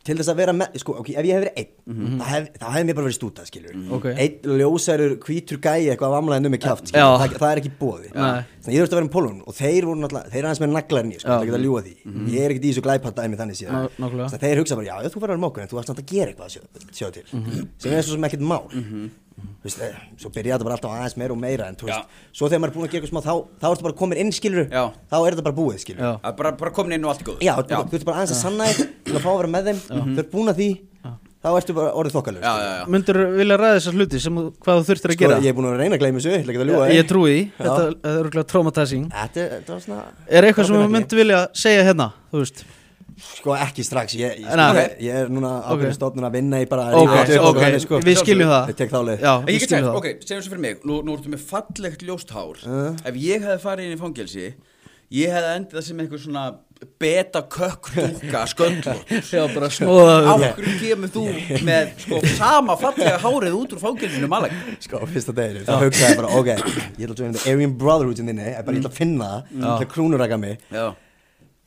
[SPEAKER 3] til þess að vera með, sko, ok, ef ég hef verið einn þá, hef, þá hef mér bara verið stútað, skilur mm
[SPEAKER 2] Mhm. Ok.
[SPEAKER 3] einn ljósærur, hvítur gæi eitthvað af amlaðinu með kjáft,
[SPEAKER 2] Já.
[SPEAKER 3] skilur, það, það er ekki bóði
[SPEAKER 2] Nei.
[SPEAKER 3] þannig ég þurfti að vera með pólun og þeir voru náttúrulega, þeir er aðeins með naglar en ég, sko, það er ekki að ljúa því ég er ekkert í þessu glæpata dæmi þannig síðan
[SPEAKER 2] Mhm. Ná- nákvæmlega.
[SPEAKER 3] þannig að þeir hugsa bara, já, þú verður með okkur en þú ert samt að gera eitthvað sjá, sjá til
[SPEAKER 2] Mhm.
[SPEAKER 3] sem er svo sem ekkert mál Þú veist, eh, svo byrjaði þetta bara alltaf aðeins meira og meira en, þú veist, svo þegar maður er búin að gera eitthvað smá þá, þá ertu bara komin inn skilur
[SPEAKER 1] Já.
[SPEAKER 3] þá er þetta bara búið skilur
[SPEAKER 2] Já.
[SPEAKER 1] Að Bara, bara komin inn og allt í góð
[SPEAKER 3] Já, þú þú ert bara aðeins að sanna þig til að fá að vera með þeim, þú ert búin að því þá ertu bara orðið þokkalur
[SPEAKER 1] já, já, já.
[SPEAKER 2] Myndur vilja ræða þessar hluti sem þú- hvað þú þurftir að
[SPEAKER 3] Sko,
[SPEAKER 2] gera
[SPEAKER 3] ég er búin að vera að reyna að gleyma þessu, ég ætla ekki að ljúga
[SPEAKER 2] Ég, ég trúi því,
[SPEAKER 3] Já.
[SPEAKER 2] þetta þetta er örgulega traumatizing
[SPEAKER 3] Þetta er- þetta var svona
[SPEAKER 2] Er eitthvað sem þú
[SPEAKER 3] Þetta er
[SPEAKER 2] myndur vilja segja hérna, þú veist
[SPEAKER 3] Sko, ekki strax, ég, ég,
[SPEAKER 2] Nei.
[SPEAKER 3] ég, ég er núna ákveðin
[SPEAKER 2] Ok.
[SPEAKER 3] stofnun að vinna í bara að
[SPEAKER 2] Ok,
[SPEAKER 3] rífa þetta upp og
[SPEAKER 2] ok,
[SPEAKER 3] þannig, sko.
[SPEAKER 2] við skiljum það
[SPEAKER 3] Ég tek þá leið.
[SPEAKER 2] Já,
[SPEAKER 1] En Ég
[SPEAKER 2] við
[SPEAKER 1] get sagt,
[SPEAKER 2] skiljum það
[SPEAKER 1] ok, segjum svo fyrir mig Nú, nú ertu með fallegt ljóst hár Ef ég hefði farið inn í fangelsi Ég hefði endið það sem einhver svona beta kökk dúka sköndlótt
[SPEAKER 2] Já, bara snóða
[SPEAKER 1] Af hverju kemur þú með sko, sama fallega hárið út úr fangelsinu malag
[SPEAKER 3] Sko, á fyrsta deginu, þá hugsaði ég bara, ok, ég ætla að joina the Aryan Brotherhood in þinni, ég bara ég ætla að finna það, ég ætla að krúnuræka mig
[SPEAKER 1] Já,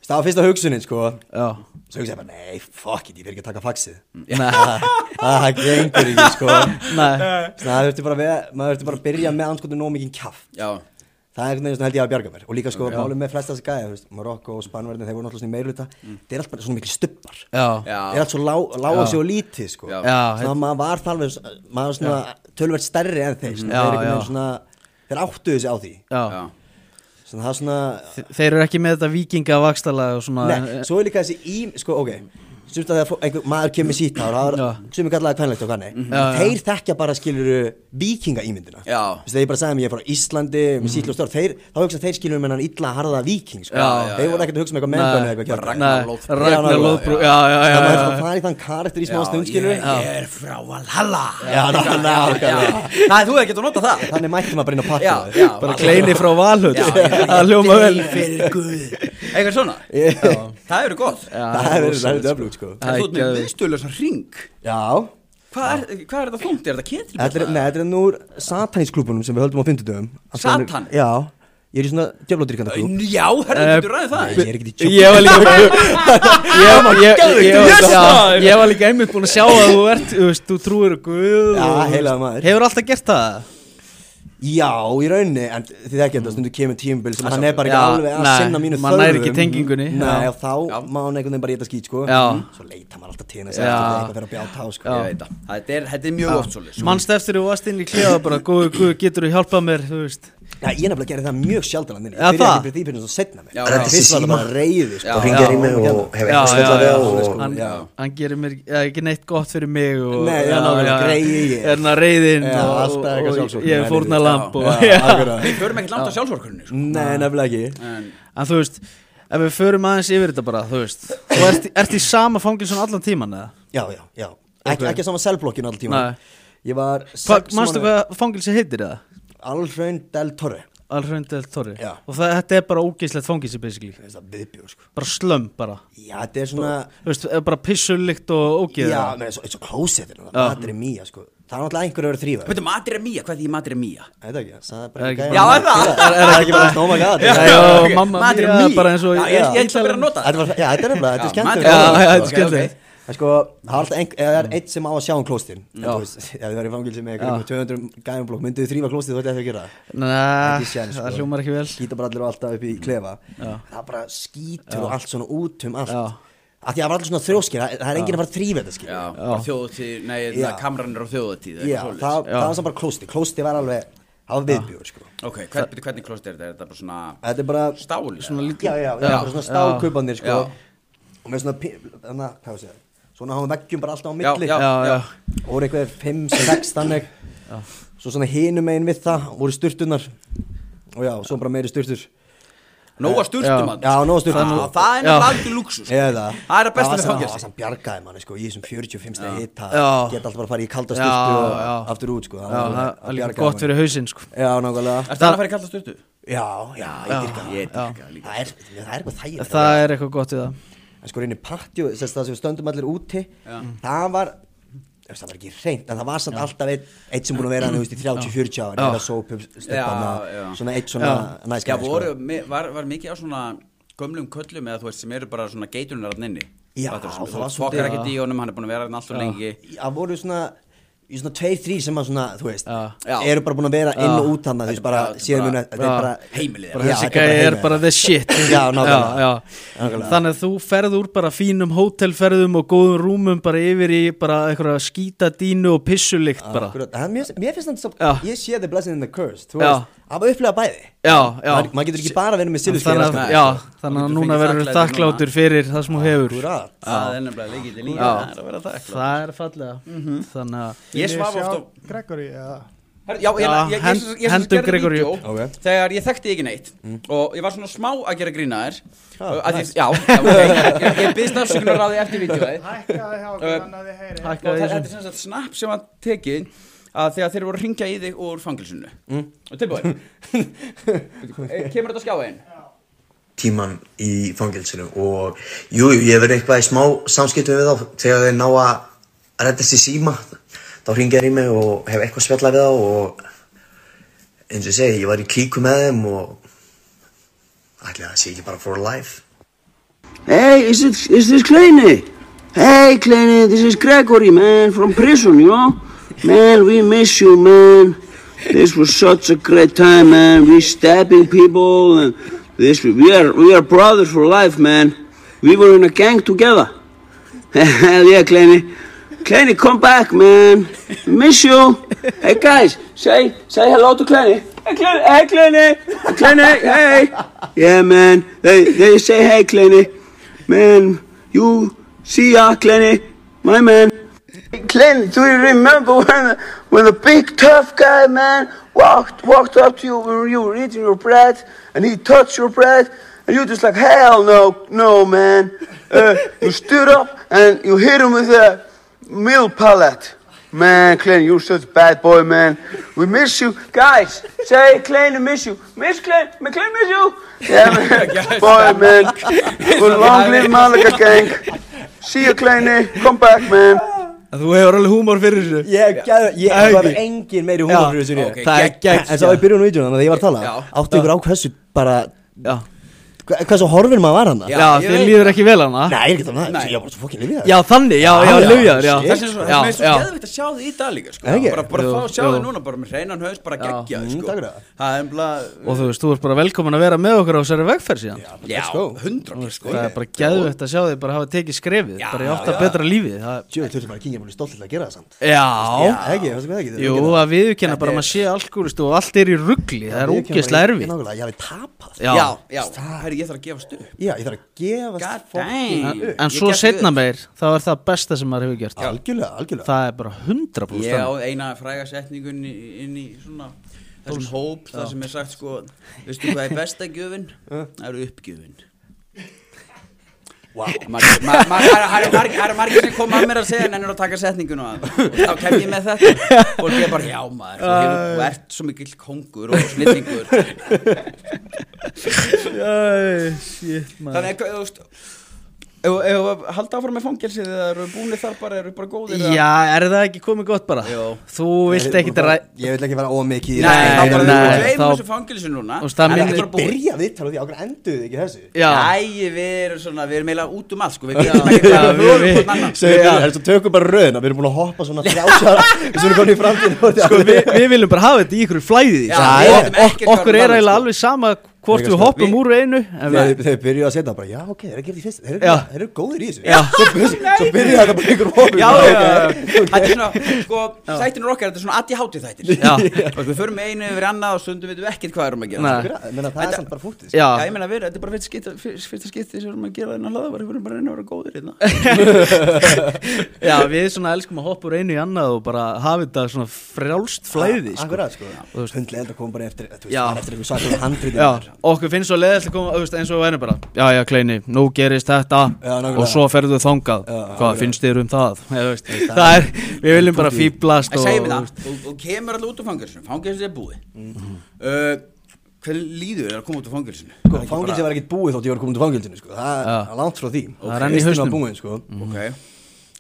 [SPEAKER 3] það var fyrsta hugsunin sko
[SPEAKER 2] Já
[SPEAKER 3] svo hugsaði ég bara, nei, fuck it, ég verð ekki að taka faxið
[SPEAKER 2] Nei,
[SPEAKER 3] það það gengur ekki sko
[SPEAKER 2] nei
[SPEAKER 3] Svona, það þurfti bara, að vera- maður þurfti bara að byrja með anskotu nóg mikið kjaft
[SPEAKER 1] Já,
[SPEAKER 3] það er einhvern veginn svona held ég að bjarga mér og líka sko okay, málum með flest þessi gæja, þú veist, Marokko og Spanverðin þeir voru náttúrulega svona í meirluta mm. þeir eru allt bara svona mikil stubbar
[SPEAKER 2] Já,
[SPEAKER 1] já,
[SPEAKER 3] þeir eru allt svo lá- lága sig og lítið sko
[SPEAKER 1] Já.
[SPEAKER 2] Já,
[SPEAKER 3] svona maður var þalveg maður var svona tölvert stærri en þeir svona,
[SPEAKER 2] Já,
[SPEAKER 3] þeir, einhvern
[SPEAKER 2] já.
[SPEAKER 3] veginn svona, þeir áttuðu sig á því
[SPEAKER 2] já
[SPEAKER 1] já.
[SPEAKER 3] svona, það er svona,
[SPEAKER 2] Þe- Þeir eru ekki með þetta vikinga vakstalega og svona
[SPEAKER 3] nei, svo er líka þessi í, sko, ok Sumt að þegar einhver maður kemur sítt ár, það
[SPEAKER 2] Já.
[SPEAKER 3] var sumi kallaði kvænlegt og hvernig,
[SPEAKER 2] Já, já.
[SPEAKER 3] þeir þekkja bara skiluru vikinga ímyndina.
[SPEAKER 1] Já.
[SPEAKER 3] Þess að ég bara sagði mér, ég er frá Íslandi,
[SPEAKER 2] Mhm.
[SPEAKER 3] með sítt og stór, þeir, þá hugsa þeir skiluru með hann illa harða viking, sko.
[SPEAKER 1] Já, já,
[SPEAKER 3] þeir voru
[SPEAKER 1] já.
[SPEAKER 3] ekkert að hugsa með eitthvað mennbönni
[SPEAKER 2] Nei,
[SPEAKER 3] eða eitthvað
[SPEAKER 1] bara
[SPEAKER 3] kjátt.
[SPEAKER 1] Ragnar Lóðbrú.
[SPEAKER 2] Ragnar Ragnar
[SPEAKER 3] Já,
[SPEAKER 2] Lóðbrú,
[SPEAKER 1] já.
[SPEAKER 2] já, já,
[SPEAKER 3] Það
[SPEAKER 2] já,
[SPEAKER 3] er
[SPEAKER 2] já
[SPEAKER 3] að fara í þann karakter í smá
[SPEAKER 2] um,
[SPEAKER 3] stund,
[SPEAKER 1] ég,
[SPEAKER 3] skiluru.
[SPEAKER 1] ég er frá Valhalla
[SPEAKER 3] Já, ná, ná,
[SPEAKER 1] já.
[SPEAKER 3] ná.
[SPEAKER 1] Nei, þú hefði getið að nota það
[SPEAKER 3] Þannig mættum að bara inn á
[SPEAKER 1] Já,
[SPEAKER 3] pakka.
[SPEAKER 1] já.
[SPEAKER 2] Bara kleini frá Valhut
[SPEAKER 1] Já, já, já.
[SPEAKER 2] Það hljóma vel
[SPEAKER 1] Degi fyrir Guð Eitthvað svona Það eru gott
[SPEAKER 2] Já,
[SPEAKER 3] Það
[SPEAKER 2] það er
[SPEAKER 3] hefur verið
[SPEAKER 2] rosalegt,
[SPEAKER 3] ræðið öflugt, sko.
[SPEAKER 1] En
[SPEAKER 2] Það
[SPEAKER 1] þú
[SPEAKER 2] er
[SPEAKER 1] ert með
[SPEAKER 2] geðveikt.
[SPEAKER 1] viðstöðlösa ring
[SPEAKER 3] Já,
[SPEAKER 1] Hvað er, hvað er þetta þungt? Er þetta ketil?
[SPEAKER 3] Þetta er, nei, þetta er nú úr satanísklúbunum sem við höldum á fimmtudöfum
[SPEAKER 1] Satan?
[SPEAKER 3] Já, ég er í svona djöflótrykkanda klúb
[SPEAKER 1] Já, herrðu,
[SPEAKER 2] Eh,
[SPEAKER 1] getur ræðið það?
[SPEAKER 3] Nei, ég er ekki í tjöflótrykkanda
[SPEAKER 2] Ég var líka ég, ég, ég, ég,
[SPEAKER 1] Yes,
[SPEAKER 2] já,
[SPEAKER 1] maður!
[SPEAKER 2] ég var líka einmitt búin að sjá að þú ert þú, veist, þú trúir á Guð
[SPEAKER 3] Já,
[SPEAKER 2] og, þú
[SPEAKER 3] heilagur
[SPEAKER 2] veist,
[SPEAKER 3] maður.
[SPEAKER 2] Hefur alltaf gert það?
[SPEAKER 3] Já, í rauninni, en þið ekki þetta stundu kemur tímubil sem hann er bara ekki
[SPEAKER 2] Já,
[SPEAKER 3] alveg að
[SPEAKER 2] nei,
[SPEAKER 3] sinna mínu
[SPEAKER 2] maður
[SPEAKER 3] þörfum
[SPEAKER 2] nær ekki tengingunni, já.
[SPEAKER 3] Nei, og þá
[SPEAKER 1] Já.
[SPEAKER 3] má hann einhvern veginn bara geta skýt, sko
[SPEAKER 2] Já.
[SPEAKER 3] Svo leita maður alltaf
[SPEAKER 2] Já.
[SPEAKER 3] tíðina sér eitthvað fyrir að bjáta á, sko
[SPEAKER 1] Ég veit það Þetta er, þetta er mjög oft svolítið sko.
[SPEAKER 2] Manst eftir þú varst inn í klefa bara Guð, Guð, getur þú hjálpað mér, þú veist
[SPEAKER 3] Já, ég nefnilega gerði það mjög sjaldan hann inni
[SPEAKER 2] Já,
[SPEAKER 3] Ég byrjaði
[SPEAKER 2] það?
[SPEAKER 3] ekki fyrir því fyrir þess að setna mér
[SPEAKER 1] Já, já.
[SPEAKER 3] Fyrst var það bara reyði,
[SPEAKER 1] Já,
[SPEAKER 3] sko
[SPEAKER 1] já.
[SPEAKER 4] Hringir í mig og hefur
[SPEAKER 2] Já,
[SPEAKER 4] eitthvað
[SPEAKER 2] já,
[SPEAKER 4] skellað
[SPEAKER 2] já,
[SPEAKER 4] við á
[SPEAKER 3] hann er
[SPEAKER 4] og-
[SPEAKER 3] sko-
[SPEAKER 2] hann,
[SPEAKER 3] já.
[SPEAKER 2] hann gerir mér eða ekki neitt gott fyrir mig og,
[SPEAKER 3] Nei, já, nákvæmlega, greiði ég.
[SPEAKER 2] Erna reyðin
[SPEAKER 3] Já,
[SPEAKER 2] Hérna og,
[SPEAKER 3] alltaf eitthvað
[SPEAKER 2] og, og
[SPEAKER 3] sjálfsvorkunn,
[SPEAKER 2] ég er
[SPEAKER 3] nei,
[SPEAKER 2] fórnalamb
[SPEAKER 3] já,
[SPEAKER 2] og-
[SPEAKER 3] já,
[SPEAKER 2] Já.
[SPEAKER 3] akkurat.
[SPEAKER 1] Við förum ekkert langt á sjálfsvorkunni sko.
[SPEAKER 3] Nei, nefnilega ekki
[SPEAKER 1] En
[SPEAKER 2] En þú veist, ef við förum aðeins yfir þetta bara, þú veist Þú ert, ert í sama fangilsun allan tíman eða?
[SPEAKER 3] Já, já, já Ekki, ekki saman selblokkinu alltaf tíma
[SPEAKER 2] Nei.
[SPEAKER 3] Ég var
[SPEAKER 2] Hvað,
[SPEAKER 3] sex
[SPEAKER 2] manstu hvað fangilsi heitir eða?
[SPEAKER 3] Alhraun del Torre
[SPEAKER 2] Alhraun del Torri
[SPEAKER 3] Já.
[SPEAKER 2] Og það, þetta er bara ógeislegt fangilsi basically
[SPEAKER 3] Mér finnst Það viðbjóð sko
[SPEAKER 2] Bara slömm bara
[SPEAKER 3] Já, þetta er svona
[SPEAKER 2] Þú veist, er bara pissulikt og ógeð
[SPEAKER 3] Já,
[SPEAKER 2] eða?
[SPEAKER 3] með þessu, þessu klósetin Það er í mía sko Það er náttúrulega einhver að vera að þrýfa
[SPEAKER 1] Veitum, Madre Mía, hvað því Madre Mía?
[SPEAKER 3] Það er ekki, það er
[SPEAKER 2] Er
[SPEAKER 3] bara
[SPEAKER 2] ekki bara-
[SPEAKER 3] gæja-
[SPEAKER 1] Já, er það?
[SPEAKER 3] Er er ekki bara Oh my god
[SPEAKER 2] Já,
[SPEAKER 3] Já,
[SPEAKER 2] já,
[SPEAKER 1] ok.
[SPEAKER 2] mamma
[SPEAKER 1] Madre
[SPEAKER 2] mía,
[SPEAKER 1] mía.
[SPEAKER 2] bara eins og-
[SPEAKER 1] Já, ég, ég, ég ætla að vera að nota
[SPEAKER 3] Þetta var- já, þetta er nefnilega, þetta er
[SPEAKER 1] Já,
[SPEAKER 3] skemmtilegt
[SPEAKER 1] Madre
[SPEAKER 2] Já,
[SPEAKER 1] Mía.
[SPEAKER 2] já,
[SPEAKER 1] Ok,
[SPEAKER 2] þetta er skemmtilegt.
[SPEAKER 1] ok.
[SPEAKER 3] En sko, það er alltaf ein, eða það er eitt sem á að sjá um klóstin Já Það er í fangilsi með einhverjum 200 gæjum blokk Mynduðu þrýfa klóstið þú ætti ekki að gera það
[SPEAKER 2] Næ,
[SPEAKER 3] Ekki séns,
[SPEAKER 2] það
[SPEAKER 3] sko.
[SPEAKER 2] hljómar ekki vel Mm.
[SPEAKER 3] skýta bara allir og alltaf upp í klefa það er bara skýtur og allt svona út um allt
[SPEAKER 2] Já.
[SPEAKER 3] að því að það var allir svona þrjóskir það, það er enginn að fara að þrýfa þetta skil
[SPEAKER 1] Já,
[SPEAKER 3] já,
[SPEAKER 1] bara þjóðutíð, nei,
[SPEAKER 3] Já.
[SPEAKER 1] það kamranir á þjóðutíð eitthvað
[SPEAKER 3] það,
[SPEAKER 1] svoleiðis.
[SPEAKER 3] það var samt bara klósti klósti var alveg, það var viðbjör sko.
[SPEAKER 1] Ok, hvern, byrju, hvernig klóst er þetta? Er þetta bara svona
[SPEAKER 3] þetta er bara
[SPEAKER 1] stáli?
[SPEAKER 2] Svona lítið-
[SPEAKER 3] já, já, já,
[SPEAKER 2] Já.
[SPEAKER 3] bara svona stákupanir sko.
[SPEAKER 1] Já.
[SPEAKER 3] og með svona pi- þarna, hvað sé ég, svona háum veggjum bara alltaf á
[SPEAKER 1] Já,
[SPEAKER 3] milli
[SPEAKER 1] já,
[SPEAKER 2] Já,
[SPEAKER 1] já
[SPEAKER 2] já.
[SPEAKER 3] og voru eitthvað 5-6 þannig svo svona hinum einn við það voru sturtunar og já, svo bara meiri sturtur
[SPEAKER 1] Nóa sturtum
[SPEAKER 2] Já.
[SPEAKER 1] hann
[SPEAKER 3] Já, nóg sturtum.
[SPEAKER 1] Já, Það er náttúrulega algjör lúksus
[SPEAKER 3] Ég veit það
[SPEAKER 1] Það er að besta við
[SPEAKER 3] Það var
[SPEAKER 1] fangelsi
[SPEAKER 3] samt bjargaði manni sko Í þessum 45 stegi hitta
[SPEAKER 2] Já.
[SPEAKER 3] Geta alltaf bara að fara í kalda
[SPEAKER 2] Já,
[SPEAKER 3] styrtu og
[SPEAKER 2] já.
[SPEAKER 3] aftur út sko
[SPEAKER 2] Já, það er líka gott fyrir hausinn sko
[SPEAKER 3] Já, nákvæmlega
[SPEAKER 1] Er það að fara í kalda sturtu?
[SPEAKER 3] Já, já, ég dyrka það.
[SPEAKER 1] Ég dyrka það líka
[SPEAKER 3] Það er, það er eitthvað þægir
[SPEAKER 2] Það er eitthvað gott í það
[SPEAKER 3] En sko reynir patjó, þess það sem við stöndum allir úti Mm. Það var þú veist, Það var ekki reynd, en það var samt alltaf einn einn sem búin að vera hann, þú veist, í 30-40 ára eða
[SPEAKER 1] Já,
[SPEAKER 3] sópum,
[SPEAKER 1] já.
[SPEAKER 3] stöppana, svona eitt svona sko.
[SPEAKER 1] Já,
[SPEAKER 3] næskæði,
[SPEAKER 1] voru, mi- var, var mikið á svona gömlum köllum eða þú veist sem eru bara svona geitunar að nynni
[SPEAKER 3] Já, það
[SPEAKER 1] Þú
[SPEAKER 3] var
[SPEAKER 1] fokkar
[SPEAKER 3] svolítið-
[SPEAKER 1] ekkert í honum, hann er búin að vera hann alltaf lengi
[SPEAKER 3] Það voru svona í svona tveir, þrýr sem að svona, þú veist
[SPEAKER 1] Já.
[SPEAKER 3] eru bara búin að vera inn og út hann þú veist bara,
[SPEAKER 1] Þetta er bara-
[SPEAKER 3] síðan muni, þetta er
[SPEAKER 2] Já.
[SPEAKER 3] bara
[SPEAKER 1] Heimilið
[SPEAKER 3] Já,
[SPEAKER 1] þeirra.
[SPEAKER 2] bara þessi
[SPEAKER 3] þetta
[SPEAKER 2] gæi er
[SPEAKER 3] heimilið.
[SPEAKER 2] bara the shit
[SPEAKER 3] Já, nákvæmlega.
[SPEAKER 2] já, já.
[SPEAKER 3] Nákvæmlega.
[SPEAKER 2] þannig að þú ferð úr bara fínum hótelferðum og góðum rúmum bara yfir í bara einhverja skítadínu og pissulikt bara já,
[SPEAKER 3] Akkurat, það er mjög, mér finnst þannig
[SPEAKER 2] Já.
[SPEAKER 3] að ég sé the blessing and the curse, þú
[SPEAKER 2] Já.
[SPEAKER 3] veist, að bara upplega bæði
[SPEAKER 2] já
[SPEAKER 3] maður maður getur ekki bara verið með silfurskeiðar
[SPEAKER 2] þannig
[SPEAKER 3] alltaf.
[SPEAKER 2] að, já,
[SPEAKER 1] Nei,
[SPEAKER 2] þannig
[SPEAKER 1] þú
[SPEAKER 2] að
[SPEAKER 1] getur
[SPEAKER 2] núna
[SPEAKER 1] fengið
[SPEAKER 2] verður
[SPEAKER 1] þakklæti
[SPEAKER 2] þakkláttur fyrir það sem þú hefur
[SPEAKER 3] Ah, Akkurat.
[SPEAKER 1] Það er nefnilega leikillin í
[SPEAKER 2] Já.
[SPEAKER 1] það er að vera það klart.
[SPEAKER 2] það er fallega þannig að
[SPEAKER 1] Ég svaf
[SPEAKER 5] sjá
[SPEAKER 1] ofta á
[SPEAKER 5] Gregory, eða
[SPEAKER 1] Herra, Já, ég,
[SPEAKER 2] Já,
[SPEAKER 1] ég, ég, ég,
[SPEAKER 2] hend-
[SPEAKER 1] ég, ég
[SPEAKER 2] hendum
[SPEAKER 1] gerði
[SPEAKER 2] Gregory
[SPEAKER 1] vídeó
[SPEAKER 3] upp. Ok.
[SPEAKER 1] Þegar ég þekkti ekki neitt Og ég var svona smá að gera grína þér
[SPEAKER 3] Já,
[SPEAKER 1] uh, að því-
[SPEAKER 3] nice.
[SPEAKER 1] Já, já, ok Ég, ég byggðist afsökunar á því eftir vídeóið
[SPEAKER 5] hækkaði hjá okkur hann að þið heyri
[SPEAKER 1] Og það-
[SPEAKER 2] hækkaði
[SPEAKER 1] Þetta er
[SPEAKER 2] þessum
[SPEAKER 1] sem sagt snapp sem að tekið að þegar þeir voru að ringja í þig úr fangilsinu og tilbúin Eh, kemur þetta á skjáin
[SPEAKER 4] tíman í fangilsinu og jú, jú, ég hef verið eitthvað í smá samskiptum við þá þegar þeir ná að reddast í síma þá hringja þeir í mig og hef eitthvað spjallað við þá og eins og ég segi, ég var í klíku með þeim og ætli að það sé ekki bara for life
[SPEAKER 6] Hey, is, it, is this Kleine? Hey, Kleine, this is Gregory, man, from prison, you know? Man, we miss you, man. This was such a great time, man. We stabbing people, and this we are we are brothers for life, man. We were in a gang together. Hell yeah, Kleine. Kleine, come back, man. We Miss you. Hey guys, say say hello to Kleine. Hey Kleine, hey Kleine, Kleine, hey. Yeah, man. They they say hey Kleine, man. You see ya, Kleine, my man. Glenn, do you remember when the, when the big tough guy man walked walked up to you when you were eating your bread and he touched your bread and you just like hell no no man uh, you stood up and you hit him with a meal palette man Glenn you're such a bad boy man we miss you guys say Glenn I miss you miss Glenn Glenn miss you yeah man boy man good long live Malaga gang see you Glenn come back man
[SPEAKER 2] Þú hefur alveg húmor fyrir þessu
[SPEAKER 3] Ég, gæð, ég
[SPEAKER 2] Það er
[SPEAKER 3] var
[SPEAKER 2] ekki.
[SPEAKER 3] engin meiri húmur
[SPEAKER 2] Já,
[SPEAKER 3] fyrir þessu en ég.
[SPEAKER 1] ok,
[SPEAKER 3] Það er
[SPEAKER 1] gegn-
[SPEAKER 3] gegn En svo í byrjun á vídjónu þannig að ég var að
[SPEAKER 1] Já.
[SPEAKER 3] tala Áttu ykkur á hversu bara
[SPEAKER 2] Já,
[SPEAKER 3] hva- Hversu horfin maður var hann
[SPEAKER 1] Já, ég
[SPEAKER 2] já þið
[SPEAKER 1] veit
[SPEAKER 2] líður ekki vel hana
[SPEAKER 3] Nei, ég er ekki þannig að
[SPEAKER 1] Nei.
[SPEAKER 3] Ég var bara svo fokkin lifið
[SPEAKER 2] Já, þannig, já, já,
[SPEAKER 3] já,
[SPEAKER 2] lögjaður, já
[SPEAKER 3] shit.
[SPEAKER 1] Þess er svo,
[SPEAKER 2] Já,
[SPEAKER 1] það er svo
[SPEAKER 2] já.
[SPEAKER 1] geðvitt að sjá þig í dag líka sko.
[SPEAKER 3] Ekki?
[SPEAKER 1] Bara, bara
[SPEAKER 2] Jú,
[SPEAKER 1] fá að sjá þig
[SPEAKER 2] jú.
[SPEAKER 1] núna, bara með hreinan haus, bara geggja
[SPEAKER 3] Mm,
[SPEAKER 1] sko.
[SPEAKER 3] takk fyrir það.
[SPEAKER 1] Það er umlað
[SPEAKER 2] Og þú veist, þú ert bara velkomin að vera með okkur á þessari vegferð síðan
[SPEAKER 1] Já,
[SPEAKER 3] go.
[SPEAKER 1] hundra sko.
[SPEAKER 2] Mm, Það er bara geðvægt að sjá þig bara hafa tekið skrefið
[SPEAKER 1] Já,
[SPEAKER 2] Bara í átt
[SPEAKER 1] já.
[SPEAKER 2] að betra lífið það...
[SPEAKER 3] Jú, þurftum bara að kíkja múli stolt til að gera það samt
[SPEAKER 2] Já,
[SPEAKER 3] Ekki, það sem við ekki
[SPEAKER 2] jú, að viðurkenna bara að maður sé alkoholist og allt er í ruggli Það er ógeðslega erfið
[SPEAKER 3] Nákvæmlega, ég hafi tapað
[SPEAKER 2] Já,
[SPEAKER 1] Já, já, herri, ég þarf að gefa stuð
[SPEAKER 3] Já, ég þarf að gefast
[SPEAKER 1] God
[SPEAKER 3] fokkin
[SPEAKER 1] dang.
[SPEAKER 3] upp.
[SPEAKER 2] en
[SPEAKER 1] Ég
[SPEAKER 2] svo
[SPEAKER 1] gekk
[SPEAKER 2] setna
[SPEAKER 1] upp.
[SPEAKER 2] meir þá er það besta sem maður hefur gert
[SPEAKER 3] Algjörlega, algjörlega
[SPEAKER 2] Það er bara 100%
[SPEAKER 1] Ég á
[SPEAKER 2] þannig.
[SPEAKER 1] eina fræga setningun inn í svona þessum hóp, það sem er sagt sko veistu hvað er besta gjöfin? Það eru uppgjöfin
[SPEAKER 3] Vá.
[SPEAKER 1] Margir- ma- ma- Það eru margir- það eru margir sem koma að mér að segja en ennur að taka setningun og þá kem ég með þetta og ég bara já maður þú hefur- þú ert svo mikill kongur og snillingur
[SPEAKER 2] Æ, shit, maður.
[SPEAKER 1] þannig að þú veist ef ef að halda áfram með fangelsið eða eru búinir þar bara, eru bara góðir eða-
[SPEAKER 2] Já, er það ekki komið gott bara?
[SPEAKER 1] Jó. hérna
[SPEAKER 2] Þú vilt ekki ræ...
[SPEAKER 3] Ég vil ekki vera ómikið
[SPEAKER 1] Nei, þá bara
[SPEAKER 2] nei,
[SPEAKER 1] við gleymum
[SPEAKER 2] þá-
[SPEAKER 1] þessu fangelsi núna
[SPEAKER 2] Og það
[SPEAKER 1] En
[SPEAKER 2] minnir-
[SPEAKER 1] þetta er bara búið.
[SPEAKER 3] Byrja viðtal á því, okkur enduðu þið ekki þessu
[SPEAKER 2] Já,
[SPEAKER 1] Æ, við erum svona, við erum eiginlega út um allt sko, við veitum ekki hvað
[SPEAKER 2] Já,
[SPEAKER 1] við
[SPEAKER 2] við-
[SPEAKER 1] höfum hvort annan
[SPEAKER 3] Segðu þér, helst að tökum bara röðina Við erum búin að hoppa svona 30 ára Við erum komin í framtíðin
[SPEAKER 2] sko, við, við viljum bara hafa þetta í ykkur flæði
[SPEAKER 1] Já,
[SPEAKER 3] við
[SPEAKER 2] og,
[SPEAKER 1] vitum ekkert hvað
[SPEAKER 2] Okkur
[SPEAKER 1] við
[SPEAKER 2] er
[SPEAKER 1] erum
[SPEAKER 2] eiginlega
[SPEAKER 1] sko.
[SPEAKER 2] alveg sama hvort
[SPEAKER 3] Við-
[SPEAKER 2] við hoppum
[SPEAKER 1] við-
[SPEAKER 2] úr einu en
[SPEAKER 3] Þegar
[SPEAKER 2] við-
[SPEAKER 3] þeir byrjuðu að setja bara, já ok, þeir eru að gera því fyrst Þeir
[SPEAKER 2] Já.
[SPEAKER 3] eru- þeir eru góðir í þessu
[SPEAKER 2] Já.
[SPEAKER 3] Svo byrjuðu- Svo byrjuðu þetta bara ykkur hópi
[SPEAKER 1] Já, já, já, þetta er svona, sko, þættinur okkar, þetta er svona addi hátíð þættir
[SPEAKER 2] Já.
[SPEAKER 1] Og Við förum með einu yfir annað og stundum veitum við ekkert hvað erum að gera
[SPEAKER 2] Nei.
[SPEAKER 1] sko.
[SPEAKER 3] Menna það er samt bara fútið sko.
[SPEAKER 2] Já,
[SPEAKER 1] Já, ég meina við, þetta er bara fyrsta skipti- fyrst- fyrsta skipti sem við erum að gera þennan hlaða Við erum bara að reyna að vera góðir hérna
[SPEAKER 2] já, við svona elskum að hoppa úr einu í annað og bara hafa þetta svona frjálst flæði
[SPEAKER 1] Ah,
[SPEAKER 2] sko.
[SPEAKER 3] Akkurat sko
[SPEAKER 2] Þú veist-
[SPEAKER 3] Hundlega enda kom bara eftir Þú veist,
[SPEAKER 2] Já.
[SPEAKER 3] bara eftir einhver svartur handrið
[SPEAKER 2] Já, okkur finnst svo leiðast að koma þú veist, eins og við erum bara Já, já, Kleini, nú gerist þetta
[SPEAKER 3] Já, nákvæmlega.
[SPEAKER 2] og svo ferðu þangað Hvað finnst þér um það? Já, þú veist, það er, við viljum bara fýblast
[SPEAKER 1] Það segir mér það, þú, þú kemur alltaf út úr fangelsinu, fangelsinu er búið
[SPEAKER 2] Mhm.
[SPEAKER 1] uh, Hvernig líður þér að koma út úr fangelsinu?
[SPEAKER 3] Sko, fangilsi var ekkert búið þótt ég var komin til fangilsinu sko. Það
[SPEAKER 2] Já.
[SPEAKER 3] það er langt frá því
[SPEAKER 2] Það rann í
[SPEAKER 3] Restin var
[SPEAKER 2] hausnum.
[SPEAKER 3] búin, sko.
[SPEAKER 1] Mhm. Ok,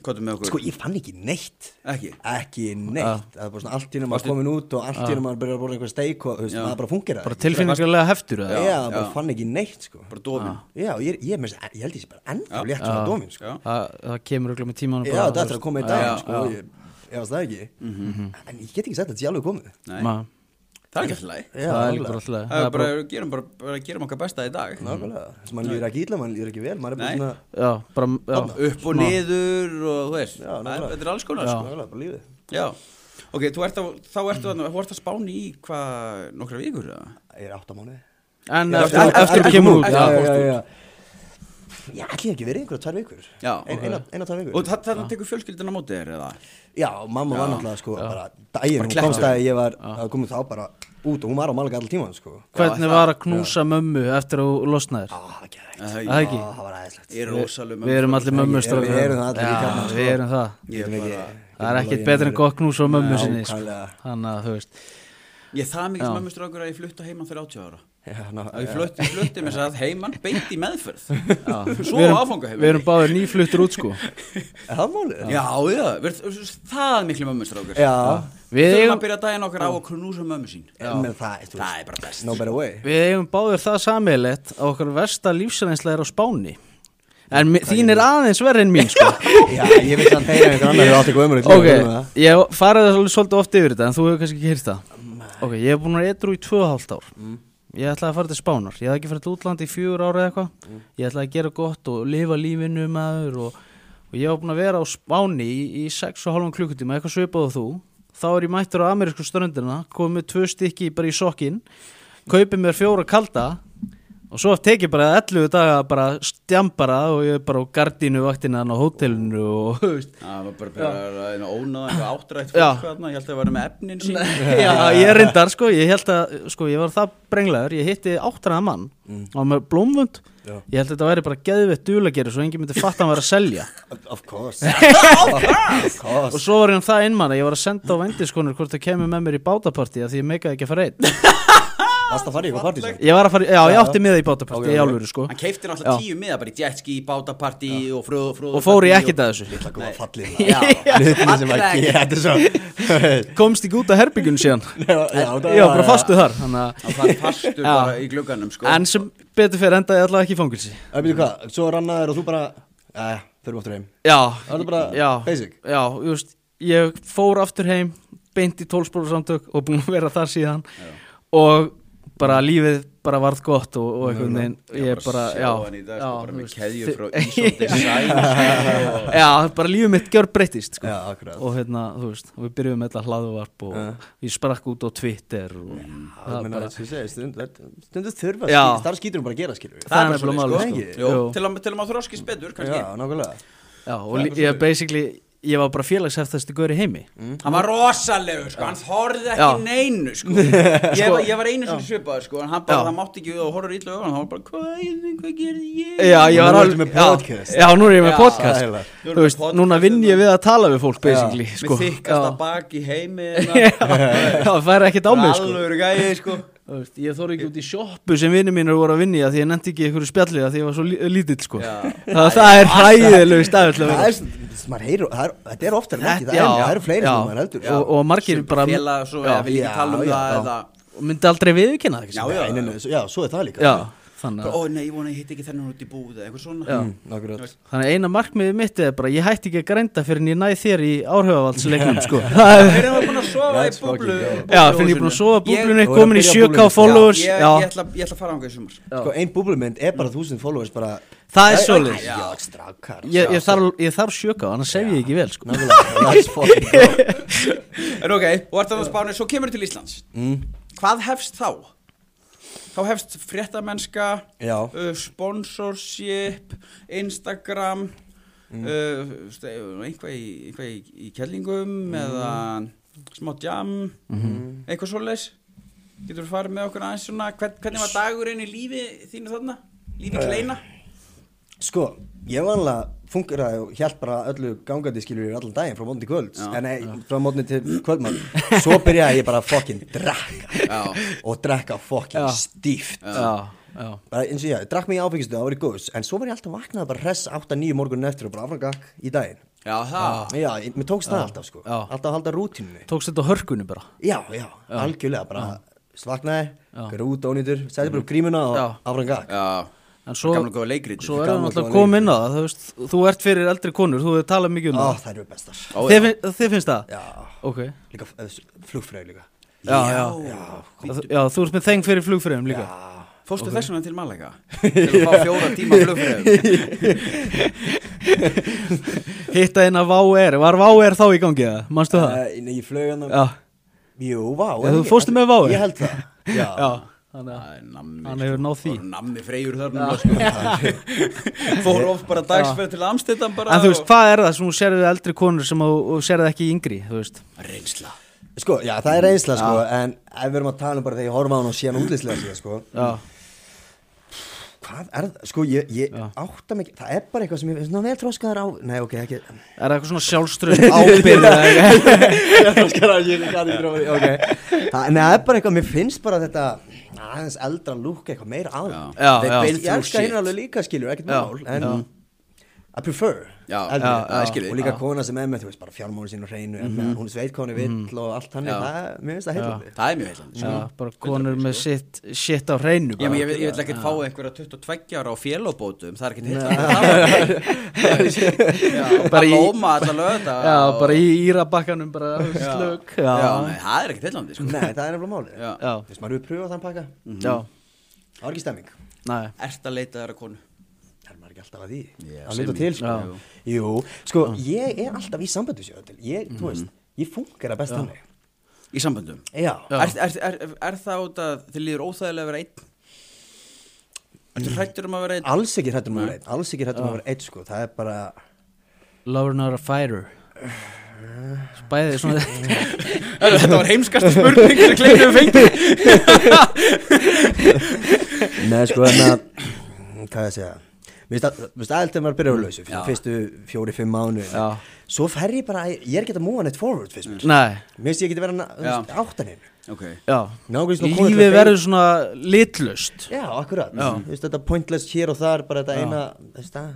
[SPEAKER 1] hvað er með okkur?
[SPEAKER 3] sko, ég fann ekki neitt
[SPEAKER 1] Ekki?
[SPEAKER 3] Ekki neitt Það er bara svona allt í hennum maður komin út Og allt í hennum maður byrjar að borða einhver steik Og þú veist, maður bara fungir
[SPEAKER 2] Bara tilfinningarlega heftur
[SPEAKER 3] Já,
[SPEAKER 2] það
[SPEAKER 3] já, bara
[SPEAKER 1] já.
[SPEAKER 3] fann ekki neitt sko
[SPEAKER 1] Bara dofin?
[SPEAKER 3] Já, ég, ég, ég, ég held ég sé bara ennþá létt svona dómin sko.
[SPEAKER 1] Já.
[SPEAKER 2] Það það kemur okkur með tímanum
[SPEAKER 3] Já,
[SPEAKER 2] bara,
[SPEAKER 3] þetta
[SPEAKER 2] þú
[SPEAKER 3] ætlar að
[SPEAKER 2] veist.
[SPEAKER 3] koma í
[SPEAKER 1] Já,
[SPEAKER 3] dag sko, ég, ég varst það ekki En ég get ekki sagt að þetta sé alveg komið
[SPEAKER 1] Nei,
[SPEAKER 2] Ma-
[SPEAKER 1] það er ekki alltaf læg
[SPEAKER 3] Já,
[SPEAKER 2] Það er líka bara
[SPEAKER 3] nákvæmlega.
[SPEAKER 2] alltaf leið.
[SPEAKER 1] Það
[SPEAKER 2] Það
[SPEAKER 1] er bara, gerum bara, bara gerum okkar besta í dag
[SPEAKER 3] Nákvæmlega, þess að mann líður ekki illa, mann líður ekki vel Maður er bara
[SPEAKER 1] Nei.
[SPEAKER 3] svona,
[SPEAKER 2] Já, bara já,
[SPEAKER 1] Upp og niður og þú veist það
[SPEAKER 3] Já,
[SPEAKER 1] er-
[SPEAKER 3] nákvæmlega.
[SPEAKER 1] Þetta er alls konar sko
[SPEAKER 3] nákvæmlega, bara lífið
[SPEAKER 1] Já Ok, þú ert á, þá ertu að, þú ert að spáni í hvað nokkra vikur eða?
[SPEAKER 3] Ég er átta mánuði
[SPEAKER 2] En
[SPEAKER 3] Já,
[SPEAKER 2] eftir
[SPEAKER 1] eftir-
[SPEAKER 2] eftir
[SPEAKER 1] eftir-
[SPEAKER 2] að kemur út
[SPEAKER 1] eftir-
[SPEAKER 2] já.
[SPEAKER 1] já,
[SPEAKER 3] já, já. Já, ætli ég ekki verið einhverja tvær vikur
[SPEAKER 1] Já, ok.
[SPEAKER 3] Ein, okay. Eina, eina tvær vikur
[SPEAKER 1] Og þa- þarna tekur fjölskyldina á móti þér eða?
[SPEAKER 3] Já, mamma var náttúrulega sko bara daginn, hún
[SPEAKER 1] klettur.
[SPEAKER 3] komst að ég var að koma þá bara út og hún var á Malaga allan tíman sko
[SPEAKER 2] Hvernig var að knúsa mömmu eftir að þú losnaðir?
[SPEAKER 3] Á, það gerði
[SPEAKER 1] Æ,
[SPEAKER 2] Það ekki?
[SPEAKER 3] Það var aðeinslegt
[SPEAKER 1] Ég er rosalum
[SPEAKER 2] Við erum allir mömmu
[SPEAKER 3] Við erum- við erum það allir í kjarnanum, sko.
[SPEAKER 2] Við erum það
[SPEAKER 1] Ég, er bara,
[SPEAKER 2] Það er
[SPEAKER 3] hérna
[SPEAKER 2] ekkert betur en gott knús á mömmu sinni sko.
[SPEAKER 3] nákvæmlega.
[SPEAKER 2] Þannig að þú veist
[SPEAKER 1] ég er það mikið sem mömmur strákur að ég flutta heiman þegar 80 ára
[SPEAKER 3] Já, ná,
[SPEAKER 1] Að ég flutti, flutti með þess að heiman beint í meðferð
[SPEAKER 2] Við
[SPEAKER 1] Svo
[SPEAKER 2] erum-
[SPEAKER 1] áfanga
[SPEAKER 2] Við erum báðir nýfluttur út sko
[SPEAKER 3] Er það málið?
[SPEAKER 1] Já, já, við erum það miklu mömmur strákur
[SPEAKER 3] Já,
[SPEAKER 2] Við
[SPEAKER 1] Þurfum
[SPEAKER 2] eigum,
[SPEAKER 1] að byrja daginn okkar á að knúsa mömmu sín
[SPEAKER 3] menn það, þú
[SPEAKER 1] Það
[SPEAKER 3] veist,
[SPEAKER 1] er bara best
[SPEAKER 3] no better way
[SPEAKER 2] við eigum báðir það samilegt að okkar versta lífsreynsla er á Spáni En mi- þín er aðeins verri en mín sko
[SPEAKER 3] Já, ég vil samt heyra einhver annar Þú átt eitthvað ömurlegt
[SPEAKER 2] Ok,
[SPEAKER 3] líf, þú veist það.
[SPEAKER 2] ég hef farið það svolítið- svolítið oft yfir þetta En þú hefur kannski ekki heyrt það Ok, ég hef búin að etru í 2,5 ár Ég ætlaði að fara til Spánar Ég hafði ekki farið til útlandi í fjögur ára eða eitthvað Ég ætlaði að gera gott og lifa lífinu maður og, og ég hef búin að vera á Spáni í, í 6,5 klukkutíma Eitthvað svipað og þú Þá er ég mættur á amerísku ströndina Komið tvö stykki bara í sokkin Kaupið mér fjóra kalda Og svo tekið bara 11 daga bara stjambara og ég er bara á gardínu vaktina hann á hótelinu og þú veist,
[SPEAKER 1] Það var bara bara einu ónáð, eitthvað áttrætt
[SPEAKER 2] Já.
[SPEAKER 1] fólk hérna, ég held að það var með efnin sín.
[SPEAKER 2] Já, ég reyndar sko, ég held að sko, ég var það brenglaður, ég hitti áttræða mann
[SPEAKER 3] Mm.
[SPEAKER 2] og hann var með blómvönd ég held að þetta væri bara geðvett dulagerir svo enginn myndi fatta að hann var að selja
[SPEAKER 3] Of course Of
[SPEAKER 2] og
[SPEAKER 3] course
[SPEAKER 2] svo var hann það innmann að ég var að senda á vendiskonur hvort það kemur með mér í bátapartí af því ég meikaði ekki að fara einn
[SPEAKER 3] Varst að fara í eitthvað sko? partí sem?
[SPEAKER 2] ég var að fara, já, ég
[SPEAKER 3] Já,
[SPEAKER 2] átti miða í bátapartí
[SPEAKER 3] Ok,
[SPEAKER 2] í
[SPEAKER 3] ok.
[SPEAKER 2] álfuru sko
[SPEAKER 1] Hann keipti náttúrulega
[SPEAKER 2] Já.
[SPEAKER 1] tíu miða bara í jetski, bátapartí og fröðu fröðu.
[SPEAKER 2] og fór ég ekkert að þessu
[SPEAKER 3] Það góða fallið
[SPEAKER 1] Já.
[SPEAKER 3] Hlutinni sem að
[SPEAKER 1] Fallegt.
[SPEAKER 3] gera Þetta er svo
[SPEAKER 2] komst ekki út af herbyggjun síðan
[SPEAKER 3] Já, það-
[SPEAKER 2] ég var bara fastu þar þannig að-
[SPEAKER 1] Hann fann fastur
[SPEAKER 2] Já.
[SPEAKER 1] bara í glugganum sko.
[SPEAKER 2] en sem betur fyrir endaði ég allavega ekki í fangilsi
[SPEAKER 3] Það er býtu hvað Svo rannaður og þú bara Æ, förum aftur heim
[SPEAKER 2] Já,
[SPEAKER 3] Það er bara
[SPEAKER 2] já,
[SPEAKER 3] basic.
[SPEAKER 2] Já, þú veist, ég fór aftur heim beint í tólsprófarsamtök og búin að vera þar síðan og bara lífið bara varð gott og, og einhvern veginn ég bara,
[SPEAKER 1] sjá
[SPEAKER 2] já,
[SPEAKER 1] hann í dag sko, bara
[SPEAKER 2] þú
[SPEAKER 1] með
[SPEAKER 2] veist,
[SPEAKER 1] keðjur
[SPEAKER 2] þi-
[SPEAKER 1] frá Ísold Design sko, og-
[SPEAKER 2] Já, bara lífið mitt gjör breytist sko.
[SPEAKER 3] Já, akkurat.
[SPEAKER 2] og hérna, þú veist, og við byrjuðum með þetta hlaðuvarp og ég sprakk út á Twitter og
[SPEAKER 3] Það er bara Stundu þurfa
[SPEAKER 2] Já.
[SPEAKER 3] Þar skýtur hún bara að gera skilur við.
[SPEAKER 2] það er nefnilega
[SPEAKER 1] svoleiðis,
[SPEAKER 2] máli
[SPEAKER 1] sko.
[SPEAKER 2] sko.
[SPEAKER 1] Jú,
[SPEAKER 2] Jú.
[SPEAKER 1] Til að- til að maður þroskist betur kannski.
[SPEAKER 3] Já, nákvæmlega
[SPEAKER 2] Já, og lí- ég basically, ég var bara félagsheftast í í heimi
[SPEAKER 1] Hann var rosalegur sko, hann þorði ekki
[SPEAKER 2] Mhm. Já.
[SPEAKER 1] neinu sko. ég, var, ég var einu sem svipaður sko, en hann bara,
[SPEAKER 2] Já.
[SPEAKER 1] það mátti ekki og horfður illa á hann, hann var bara, hvað, hvað gerði ég?
[SPEAKER 2] Já, ég
[SPEAKER 3] Og
[SPEAKER 2] var
[SPEAKER 3] nú
[SPEAKER 2] alveg
[SPEAKER 3] ertu með
[SPEAKER 2] já,
[SPEAKER 3] podcast.
[SPEAKER 2] Já, nú er ég með
[SPEAKER 1] Já.
[SPEAKER 2] podcast
[SPEAKER 3] Sælar.
[SPEAKER 1] Nú erum
[SPEAKER 2] Þú
[SPEAKER 1] við
[SPEAKER 2] veist,
[SPEAKER 1] podcast
[SPEAKER 2] núna vinn ég við að tala við fólk basically,
[SPEAKER 1] Með
[SPEAKER 2] sko
[SPEAKER 1] sko, þykkasta
[SPEAKER 2] Já.
[SPEAKER 1] bak í heimi Það
[SPEAKER 2] Já, það er ekkert á mig, sko
[SPEAKER 1] alveg gæði sko
[SPEAKER 2] Þú veist, Ég þóri ekki út í sjoppu sem vinnir mínur voru að vinna í að því ég nefndi ekki einhverju spjalli að því ég var svo lí- lítill, sko
[SPEAKER 1] Já.
[SPEAKER 2] það, það er hræðilegu stafell
[SPEAKER 3] Það er s- maður heyrir- það er- Þetta er oftar en ekki Það er- það eru fleiri sem maður heldur
[SPEAKER 2] og, og margir bara
[SPEAKER 1] Félag svo, já, vil
[SPEAKER 2] já,
[SPEAKER 1] ekki
[SPEAKER 3] já,
[SPEAKER 1] tala um
[SPEAKER 3] já,
[SPEAKER 1] það
[SPEAKER 3] já.
[SPEAKER 1] eða
[SPEAKER 2] og myndi aldrei viðkynna það, ekki
[SPEAKER 1] Já,
[SPEAKER 2] satt?
[SPEAKER 1] já,
[SPEAKER 3] Nei, nei, nei, svo- Já, svo er það líka
[SPEAKER 2] já, þannig að
[SPEAKER 1] sko, Ó nei, ég vona ég hitt ekki þennan út í búð eða eitthvað svona Mm.
[SPEAKER 2] Já.
[SPEAKER 3] Nákvæmlega
[SPEAKER 2] Þannig að eina markmiðið mitt er bara ég hætti ekki að grænda fyrir en ég næ þér í árhugavaldsleiknum sko. Það er-
[SPEAKER 1] Þeir eru búin að sofa í
[SPEAKER 3] Let's
[SPEAKER 1] búblu
[SPEAKER 3] fucking
[SPEAKER 2] Já, fyrir ég er búin að sofa búblunni,
[SPEAKER 1] Ég-
[SPEAKER 3] Ég-
[SPEAKER 2] komin í
[SPEAKER 3] Ég-
[SPEAKER 2] 7k followers
[SPEAKER 1] Ég,
[SPEAKER 2] Já,
[SPEAKER 1] ég, ætla, ég ætla að fara á einhverjum sumar
[SPEAKER 3] Sko ein búblumynd er bara 1000 followers bara
[SPEAKER 2] það er svolítið
[SPEAKER 3] Já, strakkar
[SPEAKER 2] Ég, ég, þarf, ég þarf 7k, annars sef ég ekki vel sko.
[SPEAKER 3] That's fucking good
[SPEAKER 1] En ok, og ert þannig að spánu, svo kemur til Íslands Hvað hefst þá? Þá hefst fréttamennska
[SPEAKER 3] Já.
[SPEAKER 1] uh, Sponsorship Instagram uh, ste- Einhvað í, einhvað í, í kellingum Eða smá jam Eitthvað svoleiðis Getur þú farið með okkur aðeins svona hvern, Hvernig var dagurinn í lífi þínu þarna? Lífi kleina?
[SPEAKER 3] Sko, ég vanlega fungraði og hjælt bara öllu gangandi skilur við allan daginn frá mótni til kvölds en nei, frá mótni til kvöldmann svo byrjaði ég bara að fucking drekka
[SPEAKER 1] Já.
[SPEAKER 3] og drekka fucking stíft
[SPEAKER 2] Já, já
[SPEAKER 3] bara eins og ég, ég drakk mig í áfengistu það var í góðs en svo var ég alltaf vaknað bara hress 8-9 morgunin eftir og bara afrangakk í daginn
[SPEAKER 1] Já, það
[SPEAKER 3] já, ég, mér tókst það alltaf sko
[SPEAKER 2] Já.
[SPEAKER 3] alltaf að halda rútinu
[SPEAKER 2] Tókst þetta á hörkunni bara
[SPEAKER 3] já, já, algjörlega bara svaknaði, hver út ónýtur setti bara upp grímuna
[SPEAKER 2] Mm. Já.
[SPEAKER 3] og afrangakk
[SPEAKER 1] Já,
[SPEAKER 2] En svo,
[SPEAKER 1] gamla góða leikritið.
[SPEAKER 2] svo erum
[SPEAKER 3] Gamla
[SPEAKER 2] við alltaf
[SPEAKER 3] góða
[SPEAKER 2] komin inn á það þú, veist, þú ert fyrir eldri konur, þú hefur talað mikið um
[SPEAKER 3] Ó, það eru bestar
[SPEAKER 1] Ó,
[SPEAKER 2] það Þið fin- Þið finnst það?
[SPEAKER 3] já,
[SPEAKER 2] Ok Já,
[SPEAKER 3] líka flugfræði líka
[SPEAKER 2] já, já, þú ert með þeng fyrir flugfröðum líka
[SPEAKER 1] Fórstu þess vegna til Malaga? Til að fá fjóra tíma flugfræðum
[SPEAKER 2] Hitta inn að Váer, var Váer þá í gangi það? Manstu það?
[SPEAKER 3] Eh, Nei, ég flög hann
[SPEAKER 2] Já,
[SPEAKER 3] Jú, vá
[SPEAKER 2] Já,
[SPEAKER 3] en
[SPEAKER 2] þú
[SPEAKER 3] ég-
[SPEAKER 2] fórstu með Wow-ið?
[SPEAKER 3] Ég held það Já,
[SPEAKER 2] já, þannig að
[SPEAKER 1] Nammi, sko.
[SPEAKER 2] hann hefur náð því
[SPEAKER 1] nammi freyjur þarna sko. Fór of bara dagsferð til Amstedam bara
[SPEAKER 2] En þú veist, hvað er það sem þú sérðu eldri konur sem þú þú sérðu ekki í yngri, þú veist
[SPEAKER 1] og... Reynsla
[SPEAKER 3] Sko, já, það er reynsla, sko En ef við erum að tala um bara þegar ég horfa á hann og sé hann útlýslega síðan, sko
[SPEAKER 2] Já,
[SPEAKER 3] Hvað er það? Sko, ég, ég átta mig Það er bara eitthvað sem ég veist Ná, vel þróskaður á Nei, ok, ekki
[SPEAKER 2] er það eitthvað svona sjálfströnd ábyrð eða eitthvað?
[SPEAKER 3] Þróskaður á, ég er ekki þróskaður á Ok Það- Nei, það er bara eitthvað Mér finnst bara þetta aðeins eldra lúk eitthvað meira á
[SPEAKER 1] Já.
[SPEAKER 2] Já,
[SPEAKER 3] Þeir
[SPEAKER 2] já.
[SPEAKER 3] beint- Ég
[SPEAKER 1] Through
[SPEAKER 3] elska
[SPEAKER 1] shit.
[SPEAKER 3] hinn alveg líka, skilur, ekkert mál En I prefer
[SPEAKER 1] Já,
[SPEAKER 3] heldur
[SPEAKER 1] já,
[SPEAKER 3] ég.
[SPEAKER 1] já, ég skil þig.
[SPEAKER 3] Og líka
[SPEAKER 1] Já.
[SPEAKER 3] kona sem er með, þú veist, bara fjármónu sín og hreinu mm -hmm. Hún sveit hvað hún er vill og allt hann
[SPEAKER 1] Mhm. Já.
[SPEAKER 3] það, Mér finnst það heillandi
[SPEAKER 1] Það er mjög heilandi sko.
[SPEAKER 3] Mm.
[SPEAKER 2] Já, bara konur með sitt, sitt á hreinu
[SPEAKER 1] Ég,
[SPEAKER 2] bara.
[SPEAKER 1] ég, ég vil ekkert fá einhverja 22 ára á félóbótum, það er ekkert heilt
[SPEAKER 2] Bara
[SPEAKER 1] Bara
[SPEAKER 2] í-
[SPEAKER 1] lóma alla lögða
[SPEAKER 2] Já, bara í írabakkanum bara þú veist, slök
[SPEAKER 1] Já,
[SPEAKER 2] Já,
[SPEAKER 1] nei, það er ekkert heilandi sko.
[SPEAKER 3] Nei, það er nefnilega málið
[SPEAKER 1] Já. Mm.
[SPEAKER 2] já,
[SPEAKER 3] Þú veist, maður hefur pröfað þann pakka
[SPEAKER 2] já,
[SPEAKER 3] Það var ekki stemming
[SPEAKER 2] næ
[SPEAKER 1] Ert að leita þeirra konu
[SPEAKER 3] Það er maður ekki alltaf að því
[SPEAKER 1] Já,
[SPEAKER 3] Að luta
[SPEAKER 1] semi.
[SPEAKER 3] til, sko
[SPEAKER 1] Já.
[SPEAKER 3] Jú, sko, ég er alltaf í samböndu sér til Ég, þú veist, ég funkar best þannig
[SPEAKER 1] í samböndum
[SPEAKER 3] Já,
[SPEAKER 1] er, er, er, er það út að þið líður óþægilega að vera einn? Ertu hrættur um að vera einn?
[SPEAKER 3] alls ekki hrættum að vera einn Alls ekki hrættum að vera einn, sko Það er bara
[SPEAKER 2] Lover not a fighter Bæðið svona
[SPEAKER 1] Herra, Þetta var heimskast spurning sem kleinum við fengið
[SPEAKER 3] Nei, sko, en að mm, Hvað ég að segja Mér finnst að- mér finnst aðeins þegar maður byrjar að lausu Fyrir fyrstu fjóri, fimm mánu
[SPEAKER 2] Já. Mm.
[SPEAKER 3] Svo fer ég bara, ég er ekki að múa neitt forward fyrst mér
[SPEAKER 2] Nei,
[SPEAKER 3] Mér finnst ég ekki að vera
[SPEAKER 1] Já.
[SPEAKER 3] áttaninn
[SPEAKER 1] Ok,
[SPEAKER 2] já
[SPEAKER 3] Nákvæmlega svona konur til
[SPEAKER 2] Lífið
[SPEAKER 3] að
[SPEAKER 2] verður svona litlust
[SPEAKER 3] Já, akkurat Þú veist, þetta pointless hér og þar Bara þetta eina, þú veist, það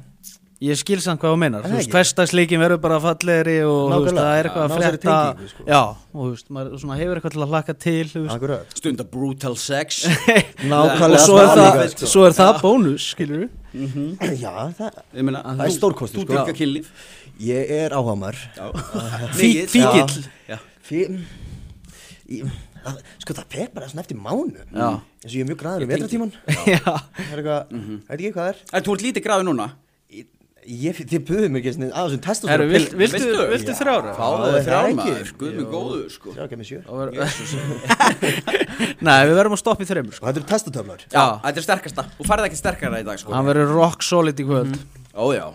[SPEAKER 2] Ég skil samt hvað þú meinar
[SPEAKER 3] Er
[SPEAKER 2] Þú
[SPEAKER 3] það
[SPEAKER 2] veist,
[SPEAKER 3] ekki?
[SPEAKER 2] festagsleikin verður bara fallegri og þú veist,
[SPEAKER 3] Nákvæmlega.
[SPEAKER 2] það er eitthvað
[SPEAKER 3] Ná
[SPEAKER 2] að
[SPEAKER 3] þessari
[SPEAKER 2] frétta
[SPEAKER 3] tengingu, sko.
[SPEAKER 2] Já, og þú veist, maður svona hefur eitthvað til að hlaka til þú veist.
[SPEAKER 3] Akkurat
[SPEAKER 1] stunda brutal sex
[SPEAKER 3] Nákvæmlega
[SPEAKER 2] Og svo er
[SPEAKER 3] það
[SPEAKER 2] það,
[SPEAKER 3] líka, sko.
[SPEAKER 2] svo er það bónus, skilur við
[SPEAKER 3] Já, það
[SPEAKER 1] Ég meina,
[SPEAKER 3] Það er
[SPEAKER 1] þú-
[SPEAKER 3] stórkostlegt,
[SPEAKER 1] Þú
[SPEAKER 3] sko.
[SPEAKER 1] dyrka kynlíf
[SPEAKER 3] Ég er áhamar
[SPEAKER 1] Mikið.
[SPEAKER 2] fíkill.
[SPEAKER 1] Já.
[SPEAKER 3] Sko það fer bara svona eftir mánu
[SPEAKER 2] Já. Mhm.
[SPEAKER 3] Eins og ég er mjög græður í vetratíman
[SPEAKER 2] Já,
[SPEAKER 3] Það er eitthvað, veit ekki hvað það er
[SPEAKER 1] Er þú ert lítið gráði núna?
[SPEAKER 3] Ég, þið buðum mér ekki svona að þessum testum
[SPEAKER 2] Herru, vilt- viltu,
[SPEAKER 1] Veistu?
[SPEAKER 2] viltu þrjára?
[SPEAKER 1] Fáðu
[SPEAKER 3] það
[SPEAKER 1] þið
[SPEAKER 3] er
[SPEAKER 1] þrjár
[SPEAKER 3] ekki.
[SPEAKER 1] maður, guð mig góður sko
[SPEAKER 3] Já, ekki með sjö Og
[SPEAKER 2] Nei, við verðum að stoppa í þreymur sko.
[SPEAKER 3] þetta eru testatöflar
[SPEAKER 1] Já, þetta er sterkasta, þú farið ekki sterkara í dag sko
[SPEAKER 2] Hann verður rock solid í kvöld
[SPEAKER 1] Ó já,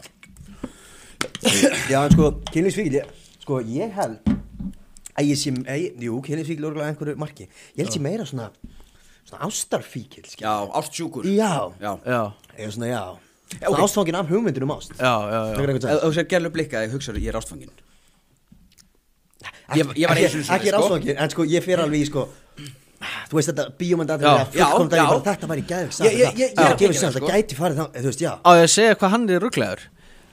[SPEAKER 3] Já, en sko, kynlífsvíkil ég, Sko, ég held að ég sé, að ég, jú, kynlífsvíkil er örgulega einhverju marki Ég held sé meira svona, svona ástarfíkil skil.
[SPEAKER 1] já, ástsjúkur
[SPEAKER 3] Já.
[SPEAKER 1] Já,
[SPEAKER 2] Já,
[SPEAKER 3] Ég er svona, já
[SPEAKER 1] Já, ok.
[SPEAKER 3] Svona ástfangin af hugmyndinu um ást
[SPEAKER 2] já, já, já.
[SPEAKER 3] Tekur
[SPEAKER 1] Ef
[SPEAKER 3] einhvern veginn.
[SPEAKER 1] þú sér gerlu blikka, ég hugsaður, ég er ástfangin Ég, ég var
[SPEAKER 3] Ekki-
[SPEAKER 1] eins og
[SPEAKER 3] Ekki ráðsvangir, en sko ég fer alveg í sko Þú veist þetta bíómyndandi
[SPEAKER 2] Já,
[SPEAKER 3] að fullkom
[SPEAKER 1] já,
[SPEAKER 3] dagi bara
[SPEAKER 1] já.
[SPEAKER 3] þetta var í gæðvik
[SPEAKER 1] Ég- ég- ég- ég er að
[SPEAKER 3] gefur
[SPEAKER 1] gera
[SPEAKER 3] sér
[SPEAKER 1] það,
[SPEAKER 3] það
[SPEAKER 1] sko.
[SPEAKER 3] gæti farið þá Þú veist, já
[SPEAKER 2] Á ég að segja hvað hann er rugglegur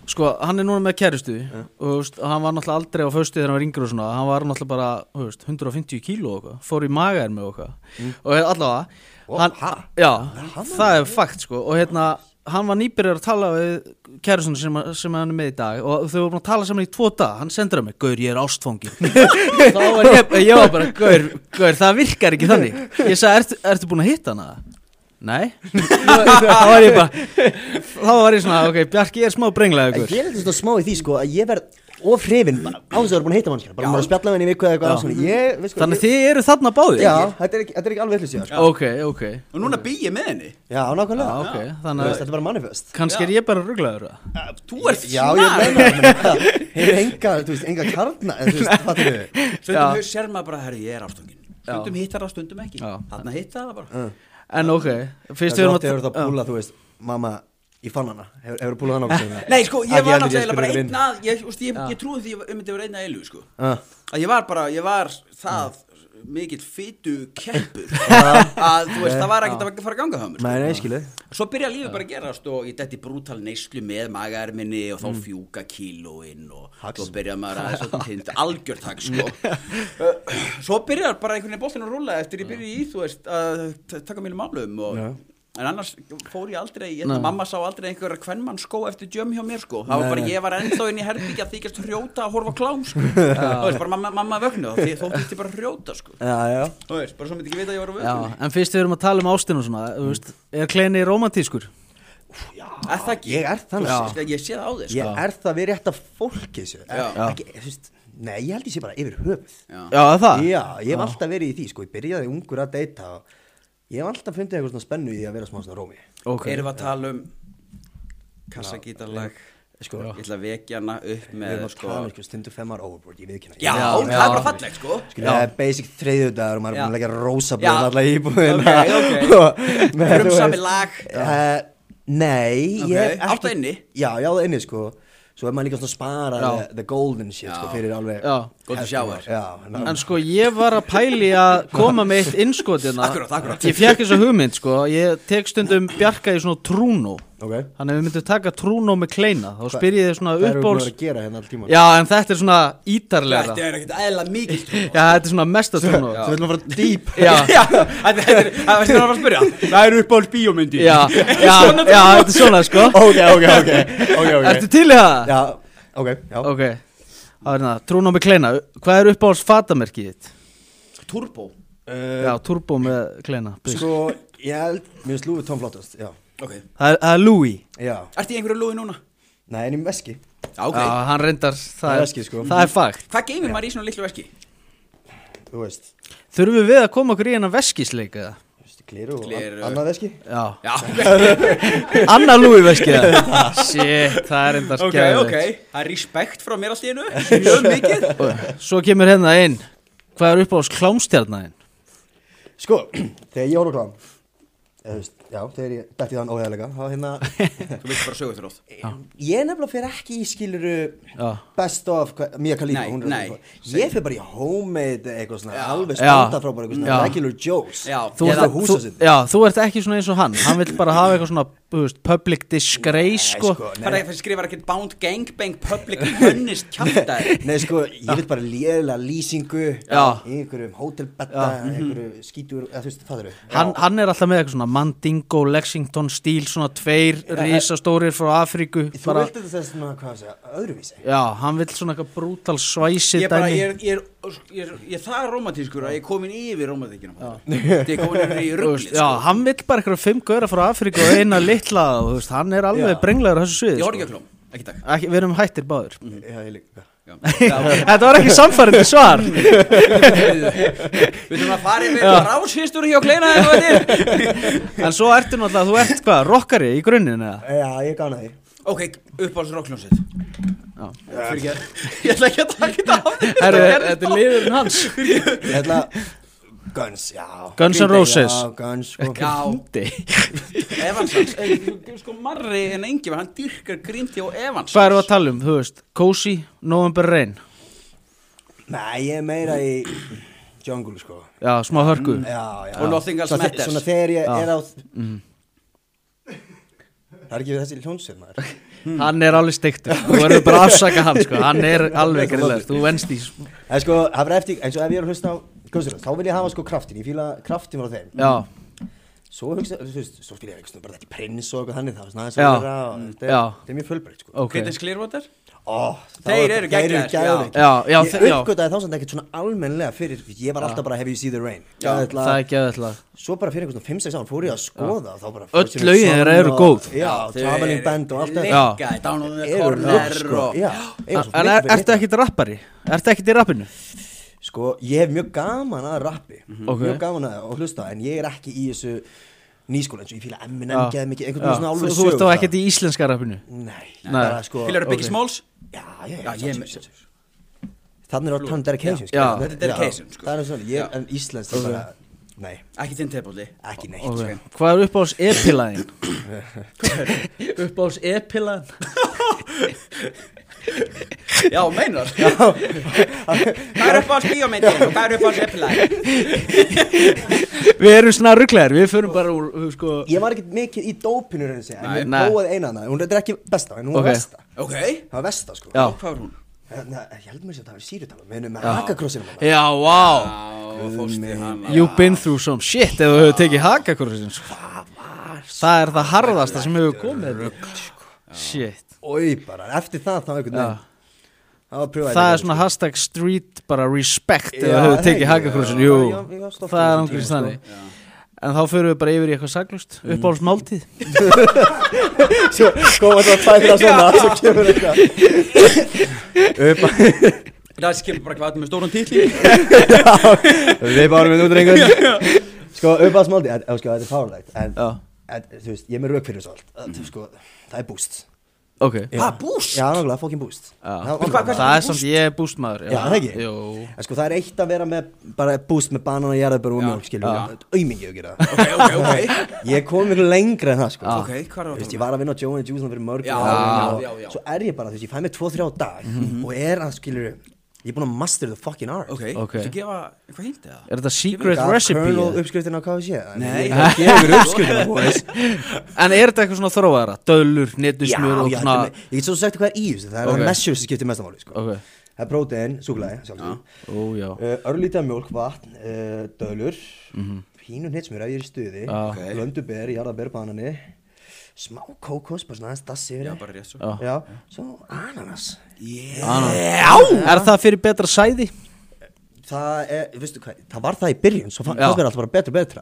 [SPEAKER 2] Sko, hann er núna með kæristu og þú veist, hann var náttúrulega aldrei á föstu þegar hann var yngri og svona hann var náttúrulega bara þú veist, 150 kíló og eitthvað, fór í magaðir með eitthvað og hérna, allavega
[SPEAKER 3] Mm. Ó,
[SPEAKER 2] hann,
[SPEAKER 3] ha?
[SPEAKER 2] Já, það er fakt sko og hérna, hann var nýbyrjar að tala við kæristuna sem, sem hann er með í dag og þau voru búin að tala saman í tvo dag hann sendur að mig, Gaur, ég er ástfangin þá var ég, ég var bara, Gaur, Gaur það virkar ekki þannig ég sagði, ertu, ertu búin að hitta hana? Nei Þá var ég bara Þá var ég svona, ok, Bjarki er smá brenglega
[SPEAKER 3] En
[SPEAKER 2] ykkur
[SPEAKER 3] ég er eitthvað svona smá í því sko að ég verð of hrifin bara á þess að vera búin að heita mannskjara bara maður að spjalla við henni í viku eða eitthvað á svona Ég, veist sko
[SPEAKER 2] Þannig að þið eru þarna báðir
[SPEAKER 3] Já, þetta er ekki, þetta er ekki alveg eitthvað síðan sko
[SPEAKER 2] Ok, ok,
[SPEAKER 1] Og núna bý ég með henni
[SPEAKER 3] Já, nákvæmlega
[SPEAKER 2] Já, ok, þannig
[SPEAKER 3] Þú
[SPEAKER 2] að-
[SPEAKER 3] veist, Þetta er bara manifest
[SPEAKER 2] kannski er ég bara rugglegaður það
[SPEAKER 1] Þú ert
[SPEAKER 3] Já, ég
[SPEAKER 1] snar
[SPEAKER 3] meina það, menn það Hefur enga, þú veist, enga karna en Þú veist, fattir við
[SPEAKER 2] Já.
[SPEAKER 1] Stundum hör sér maður bara, herri, ég er ástfangin Stundum hittar það, stundum ekki
[SPEAKER 2] Já.
[SPEAKER 1] Þarna hittar það bara
[SPEAKER 2] En ok, fyrst við
[SPEAKER 3] Það er
[SPEAKER 2] erum
[SPEAKER 3] oft hefur það
[SPEAKER 2] Já.
[SPEAKER 3] púla, þú veist, mamma, ég fann hana Hefur hefurðu púlað hana okkur
[SPEAKER 1] Nei, sko, ég var náttúrulega bara
[SPEAKER 2] um
[SPEAKER 3] einn
[SPEAKER 1] einn að Ég, úst, ég, ég trúi því að ég myndi vera einn að eilu, sko
[SPEAKER 3] Ah.
[SPEAKER 1] Að ég var bara, ég var það mikill fytu keppur að þú veist, það var ekkert að fara að ganga það mér sko.
[SPEAKER 3] Nei, nei, skilu
[SPEAKER 1] Svo byrja lífið bara að gerast og ég detti brútal neyslu með magaerminni og þá fjúka kílóinn og
[SPEAKER 3] Mm. Hax.
[SPEAKER 1] svo byrja maður að þess að týnd algjört hag sko. Uh, svo byrjar bara einhvern veginn boltinn að rúla eftir ég byrja í þú veist að t- taka mínum álum og En annars fór ég aldrei, ég, mamma sá aldrei einhverja kvenmann skó eftir djöm hjá mér sko Það var bara, ég var ennþá inn í herbyggja að þykjast hrjóta að horfa á klám sko Þú veist, bara mamma, mamma vögnu þá, því þó þýtti bara hrjóta sko
[SPEAKER 3] Já, já
[SPEAKER 1] Þú veist, bara svo myndi ekki vita að ég var á
[SPEAKER 2] Já,
[SPEAKER 1] vögnu
[SPEAKER 2] en fyrst við erum að tala um ástin og svona þú veist, Er Kleini romantískur?
[SPEAKER 1] Er það ekki?
[SPEAKER 3] Ég er þannig
[SPEAKER 1] Þú
[SPEAKER 3] sko.
[SPEAKER 1] veist, Ég sé það á þér sko
[SPEAKER 3] Ég er það við rétt að fólki þessu
[SPEAKER 1] Já.
[SPEAKER 3] ekki, þú veist, Nei, ég held ég sé bara yfir höfuð Ah.
[SPEAKER 1] Já.
[SPEAKER 2] Já, er það?
[SPEAKER 3] Já, ég hef alltaf verið í því, sko Ég byrjaði ungur að deyta og Ég hef alltaf fundið eitthvað svona spennu í að vera smá svona rómi
[SPEAKER 2] Ok,
[SPEAKER 1] erum við að tala um kassagítarlag
[SPEAKER 3] Sko,
[SPEAKER 1] ég ætla að vekja hana upp
[SPEAKER 3] við
[SPEAKER 1] með
[SPEAKER 3] erum að
[SPEAKER 1] sko
[SPEAKER 3] tala um sko, stundu femmar overboard, ég viðkynna
[SPEAKER 1] já, það er bara fallegt sko
[SPEAKER 3] Skilja, það er basic þriðjudagur og maður er búin að
[SPEAKER 1] Já.
[SPEAKER 3] leggja
[SPEAKER 1] Já.
[SPEAKER 3] rósablóð allar í búinna
[SPEAKER 1] Ok, ok. Frumsamið lag.
[SPEAKER 3] Nei,
[SPEAKER 1] Ok,
[SPEAKER 3] ég hef
[SPEAKER 1] áttu inni?
[SPEAKER 3] Já, já, það inni sko Svo er maður líka svona að spara
[SPEAKER 2] Já.
[SPEAKER 3] the, the golden shit sko,
[SPEAKER 1] Já.
[SPEAKER 3] fyrir alveg
[SPEAKER 2] Já.
[SPEAKER 1] Golden shower.
[SPEAKER 3] Já, ná,
[SPEAKER 2] En sko, ég var að pæli að koma með eitt hérna. innskotina
[SPEAKER 1] Akkurat, akkurat.
[SPEAKER 2] Ég fekk þess að hugmynd, sko Ég tek stundum Bjarka í svona trúnu
[SPEAKER 3] Ok
[SPEAKER 2] Þannig að við myndum taka trúnó með kleina Þá spyr ég þið svona
[SPEAKER 3] Það eru búin
[SPEAKER 2] uppbóls
[SPEAKER 3] að gera hérna all tíma
[SPEAKER 2] Já, en þetta er svona ítarlega
[SPEAKER 1] Þetta er ekkert eðla mikið sko. trúnó.
[SPEAKER 2] Já, þetta er svona mesta trúnó
[SPEAKER 3] Svo viljum við fara deep
[SPEAKER 2] Já,
[SPEAKER 1] Já, þetta þetta er, það veistu hvað það var að spyrja Það eru upp á alls bíómyndi
[SPEAKER 2] já, já, já, þetta er svona sko
[SPEAKER 3] Ok, ok, ok Ok, ok
[SPEAKER 2] Ertu til í það?
[SPEAKER 3] Já, ok, já
[SPEAKER 2] Ok, það er það, trúnó með kleina Hvað er uppbóls fatamerkið þitt?
[SPEAKER 1] Turbo
[SPEAKER 2] Já, turbo með kleina please.
[SPEAKER 3] Eh. Sko, ég held Mér finnst Lúfi Tom flottast Já
[SPEAKER 1] Ok
[SPEAKER 2] Það er, það er Louis
[SPEAKER 3] Já
[SPEAKER 1] Ertu í einhverju lóði núna?
[SPEAKER 3] Nei, en ég með veski
[SPEAKER 1] Já, ok
[SPEAKER 2] Já, hann reyndar, það,
[SPEAKER 3] Það er
[SPEAKER 2] er,
[SPEAKER 3] veski, sko.
[SPEAKER 2] það er fakt
[SPEAKER 1] Hvað geymir maður í svona litlu veski?
[SPEAKER 3] Þú veist
[SPEAKER 2] Þurfum við að koma okkur í hennar veskisleika?
[SPEAKER 3] þú veist, Gleru og
[SPEAKER 1] Gleru.
[SPEAKER 3] an- annað veski
[SPEAKER 2] Já,
[SPEAKER 1] Já,
[SPEAKER 2] Anna Lúi veskið Shit, það er reyndar
[SPEAKER 1] ok,
[SPEAKER 2] skæðið
[SPEAKER 1] ok Það er respekt frá mér allt í einu Mjög mikið
[SPEAKER 2] Svo kemur hérna inn Hvað er upp á sklámstjarnæðin?
[SPEAKER 3] Sko, þegar ég horf á klám eða þú veist, Já, þegar ég dætti þann óheðalega Þá hérna
[SPEAKER 1] Þú veist bara sögur þrótt
[SPEAKER 3] Ég nefnilega fer ekki í skiluru
[SPEAKER 2] Já.
[SPEAKER 3] Best of hva- Mia Khalifa
[SPEAKER 1] Nei,
[SPEAKER 3] hún er
[SPEAKER 1] nei.
[SPEAKER 3] alveg- Ég fer bara í homemade Eitthvað svona
[SPEAKER 2] Já.
[SPEAKER 3] Alveg standa frá bara Eitthvað svona
[SPEAKER 2] Já.
[SPEAKER 3] regular jokes
[SPEAKER 1] Já.
[SPEAKER 3] Þú
[SPEAKER 1] Ég
[SPEAKER 3] veist
[SPEAKER 1] er
[SPEAKER 3] að húsa
[SPEAKER 2] þú,
[SPEAKER 3] sitt
[SPEAKER 2] já, þú ert ekki svona eins og hann Hann vill bara hafa eitthvað svona þú veist, public disgrace sko.
[SPEAKER 1] Það er að skrifa ekkert Bound Gangbang Public Hönnist kjaftaði
[SPEAKER 3] Nei sko, ég vil bara lélega lýsingu
[SPEAKER 2] Já. Mhm.
[SPEAKER 3] í einhverjum hótelbetta, einhverju skítur, eða þú veist, það eru
[SPEAKER 2] hann, hann er alltaf með eitthvað svona Mandingo, Lexington stíl Svona tveir risastórir frá Afríku
[SPEAKER 3] Þú bara,
[SPEAKER 2] bara,
[SPEAKER 3] vildi þetta svona, hvað að segja, öðruvísi
[SPEAKER 2] Já, hann vill svona eitthvað brútal svæsi
[SPEAKER 1] Ég er bara,
[SPEAKER 2] dæmi.
[SPEAKER 1] ég er, ég er, ég er, ég er það romantískur að ég er komin yfir romantíkina Ég er komin yfir í
[SPEAKER 2] Þú
[SPEAKER 1] rugglið
[SPEAKER 2] veist, Já,
[SPEAKER 1] sko.
[SPEAKER 2] hann vill bara eitthvað fimm gauðra frá Afríku og eina litla og, þú veist, Hann er alveg
[SPEAKER 3] Já.
[SPEAKER 2] brenglegur á þessu
[SPEAKER 1] Ég
[SPEAKER 2] sviði sko.
[SPEAKER 1] horf ekki að klóm, ekki takk
[SPEAKER 2] ekki, Við erum hættir báður
[SPEAKER 3] Já, ég líka
[SPEAKER 1] Já.
[SPEAKER 2] Þetta var ekki samfærandi svar
[SPEAKER 1] Við þurfum að fara yfir ráshýstur hjá kleinaði og þetta
[SPEAKER 2] En svo ertu náttúrulega, þú ert hvað, rockari í grunninn eða?
[SPEAKER 3] Já, ég gana því
[SPEAKER 1] Ok, uppáhalds rockljónsið Fyrir ekki að Ég ætla ekki að taka þetta af þér,
[SPEAKER 2] Herru,
[SPEAKER 1] þetta er-
[SPEAKER 2] þetta er liðurinn hans
[SPEAKER 3] Hérna, Guns, já
[SPEAKER 2] Guns N'
[SPEAKER 3] Green Day,
[SPEAKER 2] Roses.
[SPEAKER 3] Já, Guns, sko
[SPEAKER 1] Já,
[SPEAKER 2] Hvað
[SPEAKER 1] Evans hans, eh, sko marri en engi hann dyrkar gríndi á Evans
[SPEAKER 2] erum við að tala um, þú veist, Cozy, November Rain
[SPEAKER 3] Nei, ég er meira í jungle, sko
[SPEAKER 2] Já, smá hörku
[SPEAKER 3] Já, já
[SPEAKER 1] Og Nothing Else
[SPEAKER 3] Svona þe-
[SPEAKER 1] Matters.
[SPEAKER 3] Svona þegar ég er á
[SPEAKER 2] Mm.
[SPEAKER 3] Það er ekki við þessi hljónsir, maður
[SPEAKER 2] Hann er alveg steiktur, þú verður bara að afsaka hann sko. Hann er alveg grillar, þú venst í
[SPEAKER 3] Það er sko, það verður eftir, eins og ef ég er að hlusta á Gunsirans, þá vil ég hafa sko kraftin, ég fíla kraftin frá þeim
[SPEAKER 2] Já,
[SPEAKER 3] Svo hugsa, þú veist, svo fíla ég ekki svona bara þetta í prins og eitthvað þannig það, svona aðeins
[SPEAKER 2] Já.
[SPEAKER 3] að vera og þetta er-
[SPEAKER 2] Já.
[SPEAKER 3] þetta er mjög fjölbreytt, sko.
[SPEAKER 2] ok
[SPEAKER 1] Kvitins Clearwater Þeir
[SPEAKER 3] Ó, þá er-
[SPEAKER 1] eru
[SPEAKER 3] þeir eru
[SPEAKER 1] geggjaðir,
[SPEAKER 3] geðveikir.
[SPEAKER 2] já. Já, já, þe-
[SPEAKER 3] Ég
[SPEAKER 2] já.
[SPEAKER 3] uppgötaði þá samt ekkert svona almennilega fyrir, sko. ég var alltaf bara Have you seen the rain? Já, ætla,
[SPEAKER 2] Það er ekki að ætla
[SPEAKER 3] Svo bara fyrir einhvern 5-6 án fór ég að skoða og þá bara
[SPEAKER 2] Öll
[SPEAKER 3] Fortune
[SPEAKER 2] lögin
[SPEAKER 3] Son
[SPEAKER 2] þeirra eru
[SPEAKER 3] og-
[SPEAKER 2] góð.
[SPEAKER 3] Já,
[SPEAKER 1] þeir
[SPEAKER 3] Traveling
[SPEAKER 1] eru
[SPEAKER 3] Band og allt þetta.
[SPEAKER 1] Ligga, Down on the
[SPEAKER 3] Eru
[SPEAKER 1] Corner
[SPEAKER 3] lög, sko,
[SPEAKER 1] og-
[SPEAKER 3] já, eiga
[SPEAKER 2] En er,
[SPEAKER 3] svo mikið
[SPEAKER 2] ertu
[SPEAKER 3] fyrir þetta.
[SPEAKER 2] ekkit rappari? Ertu ekkit í rappinu?
[SPEAKER 3] Sko, ég hef mjög gaman að rappi
[SPEAKER 2] Mhm. Ok.
[SPEAKER 3] Mjög gaman að að hlusta En ég er ekki í þessu nýskóla eins og ég fíla Eminem
[SPEAKER 2] Já.
[SPEAKER 3] geði mikið Einhvern
[SPEAKER 2] Já,
[SPEAKER 3] veginn svona
[SPEAKER 2] Þú
[SPEAKER 3] alveg
[SPEAKER 2] þú ert þá ekkit í íslenska rappinu?
[SPEAKER 3] Nei,
[SPEAKER 2] Nei.
[SPEAKER 3] bara sko
[SPEAKER 1] Fílar Biggie Smalls
[SPEAKER 3] Já, ég
[SPEAKER 1] Já, ég-
[SPEAKER 3] er Þannig er á tann dedication
[SPEAKER 2] Já.
[SPEAKER 3] skilur.
[SPEAKER 1] Þetta er dedication,
[SPEAKER 3] Já,
[SPEAKER 1] sko.
[SPEAKER 3] Það er svona,
[SPEAKER 1] Já.
[SPEAKER 3] ég en íslensk er bara Nei,
[SPEAKER 1] Ekki þinn tepulli
[SPEAKER 3] ekki neitt
[SPEAKER 2] Okay.
[SPEAKER 3] okay.
[SPEAKER 2] Hvað er uppáhalds epilæðin? uppáhalds epilæðin?
[SPEAKER 1] Já, meinar Hvað er upp á spíómyndin? Hvað er E upp á seppilæg?
[SPEAKER 2] Við erum svona rugglegar, við förum bara úr uh, sko,
[SPEAKER 3] Ég var ekkert mikið í dópinu en ég
[SPEAKER 1] Nei.
[SPEAKER 2] Nei.
[SPEAKER 3] prófaði eina hana Hún þetta er ekki besta, en hún
[SPEAKER 2] Ok.
[SPEAKER 3] var besta
[SPEAKER 1] Ok
[SPEAKER 3] Það var besta sko
[SPEAKER 2] Já.
[SPEAKER 1] Hvað er hún?
[SPEAKER 3] Þannig að ég held mér sér að það var sírutala Við erum með hakakrossinum hana
[SPEAKER 2] Já, vá
[SPEAKER 1] Já, fósti hann
[SPEAKER 2] You've been through some shit ef þú hefur tekið hakakursin Það var Það er það harðasta sem
[SPEAKER 3] sko.
[SPEAKER 2] hefur komið Shit
[SPEAKER 3] Ói bara, eftir það þá einhvern veginn Það sko. var pröfaði
[SPEAKER 2] Það er svona hashtag street bara respect ef þú hefur
[SPEAKER 3] það
[SPEAKER 2] tekið
[SPEAKER 3] ekki?
[SPEAKER 2] hakakursin
[SPEAKER 3] Já,
[SPEAKER 2] Jú,
[SPEAKER 3] já, ég var stoltur sko.
[SPEAKER 2] það
[SPEAKER 3] á
[SPEAKER 2] er
[SPEAKER 3] þessum
[SPEAKER 2] angriðs
[SPEAKER 3] tíma,
[SPEAKER 2] þannig En þá förum við bara yfir í eitthvað saklust
[SPEAKER 3] Mm.
[SPEAKER 2] Uppáhalds máltíð
[SPEAKER 3] Svo koma þetta tvær þrjá svona Svo kemur eitthvað
[SPEAKER 1] Það skilur bara hvað með stóran titli
[SPEAKER 3] Við bárum við nú hérna drengur Sko, uppáðsmáldi, sko, þetta er fárlegt En,
[SPEAKER 2] Já.
[SPEAKER 3] en þú veist, ég er með rauk fyrir þessu allt Að, þú veist, sko, Það er boost
[SPEAKER 2] Ok
[SPEAKER 1] Ha, Ah, boost?
[SPEAKER 3] Já, nákvæmlega, fokkin boost Það
[SPEAKER 1] Hvað- hvað-
[SPEAKER 3] það-
[SPEAKER 2] Það er samt ég er bústmaður
[SPEAKER 3] Já, það ekki
[SPEAKER 2] Jú
[SPEAKER 3] En sko, það er eitt að vera með bara boost með banan og jarðabur og
[SPEAKER 1] Já.
[SPEAKER 3] mjölk, skiljum Aumingi að gera það
[SPEAKER 1] Ok, ok, ok
[SPEAKER 3] Ég kom miklu lengra en það, sko
[SPEAKER 1] Ok, hvað er
[SPEAKER 3] Þú veist,
[SPEAKER 1] það?
[SPEAKER 3] ég var að vinna á Joe and Juice þannig fyrir mörg
[SPEAKER 1] Já, Mhm.
[SPEAKER 3] árum og
[SPEAKER 1] já, já.
[SPEAKER 3] Svo er ég bara, þú veist, ég fæ mig 2-3 á dag og er að, skiljur Ég er búin að master the fucking art
[SPEAKER 1] Ok,
[SPEAKER 2] Ok.
[SPEAKER 1] okay. gefa eitthvað hint eða?
[SPEAKER 2] Er þetta
[SPEAKER 1] Give
[SPEAKER 2] secret
[SPEAKER 1] me
[SPEAKER 3] Gaf
[SPEAKER 2] recipe?
[SPEAKER 3] Colonel
[SPEAKER 2] eða?
[SPEAKER 3] uppskriftin á KFC
[SPEAKER 1] Nei.
[SPEAKER 3] Ég er gefur uppskriftin á boys
[SPEAKER 2] En er þetta eitthvað svona þróaðara? Döðlur, netusmjör og
[SPEAKER 3] já,
[SPEAKER 2] svona
[SPEAKER 3] þetta er- Ég get svo sagt hvað er í þessu Það er
[SPEAKER 2] Ok.
[SPEAKER 3] okay. measures sem skiptir mestamáli sko.
[SPEAKER 2] Ok,
[SPEAKER 3] Það er prótein, súkulæði sjálfsögðu.
[SPEAKER 2] ó já
[SPEAKER 3] uh, Örlítið af mjólk, vatn, uh, dölur mm -hmm. Pínu hnitsmjör ef ég er í stuði
[SPEAKER 2] Mhm. Já.
[SPEAKER 1] Ok.
[SPEAKER 3] Blönduber, jarðaber, banani Smá kókos, bara svona aðeins dassi yfir
[SPEAKER 1] Já,
[SPEAKER 3] þig.
[SPEAKER 1] bara rétt svo
[SPEAKER 2] Já.
[SPEAKER 3] Já, svo ananas
[SPEAKER 1] yeah.
[SPEAKER 2] Er það fyrir betra sæði?
[SPEAKER 3] Það er, veistu hvað, það var það í byrjun Svo fann
[SPEAKER 2] Já.
[SPEAKER 3] það verið alltaf bara betra og betra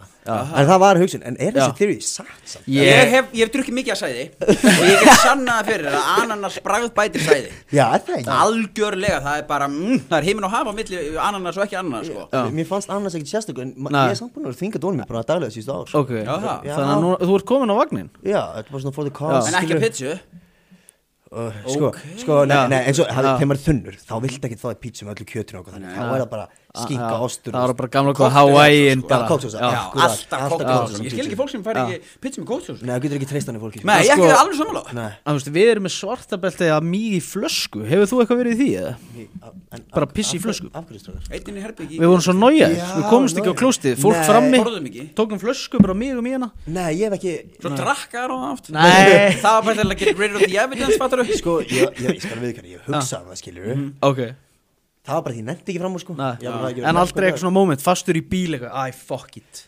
[SPEAKER 3] En það var hugsun, en er
[SPEAKER 2] Já.
[SPEAKER 3] þessi þeirri satt samt?
[SPEAKER 1] Ég hef, ég hef drukkið mikið að sæði og Ég get sannað það fyrir að ananas bragð bætir sæði
[SPEAKER 3] Já, er það ekki?
[SPEAKER 1] Algjörlega, það er bara, mm, það er heimin og hafa milli ananas og ekki ananas sko
[SPEAKER 2] Já.
[SPEAKER 3] Mér fannst annars ekkert sérstökur en ma-
[SPEAKER 2] Nei.
[SPEAKER 3] ég er samt búin að vera þinga dólum mér bara daglega síðustu ár sko.
[SPEAKER 2] Ok,
[SPEAKER 1] Já, það.
[SPEAKER 2] þannig að nú, þú ert komin á vagnin
[SPEAKER 3] Já, þetta var svona for the cause
[SPEAKER 1] En ekki
[SPEAKER 3] skilur.
[SPEAKER 1] að pitsu
[SPEAKER 3] Uh, Sko, sko, nei,
[SPEAKER 2] Já.
[SPEAKER 3] nei, en svo
[SPEAKER 2] Já.
[SPEAKER 3] þegar maður er þunnur þá viltu ekki fáið pítsu með öllu kjötinu og okkur þannig þá er það bara skinka,
[SPEAKER 2] Já,
[SPEAKER 3] ostur
[SPEAKER 2] það
[SPEAKER 3] og-
[SPEAKER 2] var bara gamla góða
[SPEAKER 3] Cocktail,
[SPEAKER 2] Hawaiian
[SPEAKER 3] sko.
[SPEAKER 2] bara.
[SPEAKER 3] Já, kóksósa
[SPEAKER 1] Já,
[SPEAKER 3] akkurat,
[SPEAKER 1] alltaf kóksós
[SPEAKER 3] kóksósa
[SPEAKER 1] Ég skil ekki fólk sem fær ekki pitsu með kóksós
[SPEAKER 3] Nei, þú getur ekki treyst hann í fólki sko.
[SPEAKER 1] Nei, ég
[SPEAKER 2] sko-
[SPEAKER 1] ekki alveg samanlega
[SPEAKER 3] Nei,
[SPEAKER 2] Að, þú veist, Við erum með svartabeltið að mýgi í flösku Hefur þú eitthvað verið í því? Eða?
[SPEAKER 3] en-
[SPEAKER 2] Bara
[SPEAKER 3] af-
[SPEAKER 2] piss í
[SPEAKER 3] af-
[SPEAKER 2] flösku.
[SPEAKER 3] af hverju, strákar?
[SPEAKER 1] Einnig herbyggi,
[SPEAKER 2] Við vorum svo nója,
[SPEAKER 3] Já,
[SPEAKER 2] við komumst ekki á
[SPEAKER 3] nájaðir.
[SPEAKER 2] klóstið Fólk
[SPEAKER 3] Nei.
[SPEAKER 2] frammi,
[SPEAKER 1] borðum ekki
[SPEAKER 2] tókum flösku bara mig og mig hana
[SPEAKER 3] Nei, ég hef ekki Sko,
[SPEAKER 1] Svo drakkaðar og aft
[SPEAKER 2] Nei.
[SPEAKER 1] Það var bara til að get rid of the evidence, fattar þú?
[SPEAKER 3] Sko, ég, ég, ég skal viðkvæða, ég hugsa um það, skilur
[SPEAKER 2] Ok,
[SPEAKER 3] Það var bara því, ég nefndi ekki fram úr, sko
[SPEAKER 2] Mhm. Nei.
[SPEAKER 3] Ég var bara ekki-
[SPEAKER 2] en aldrei eitthvað svona moment, fastur í bíl eitthvað Æ, fuck it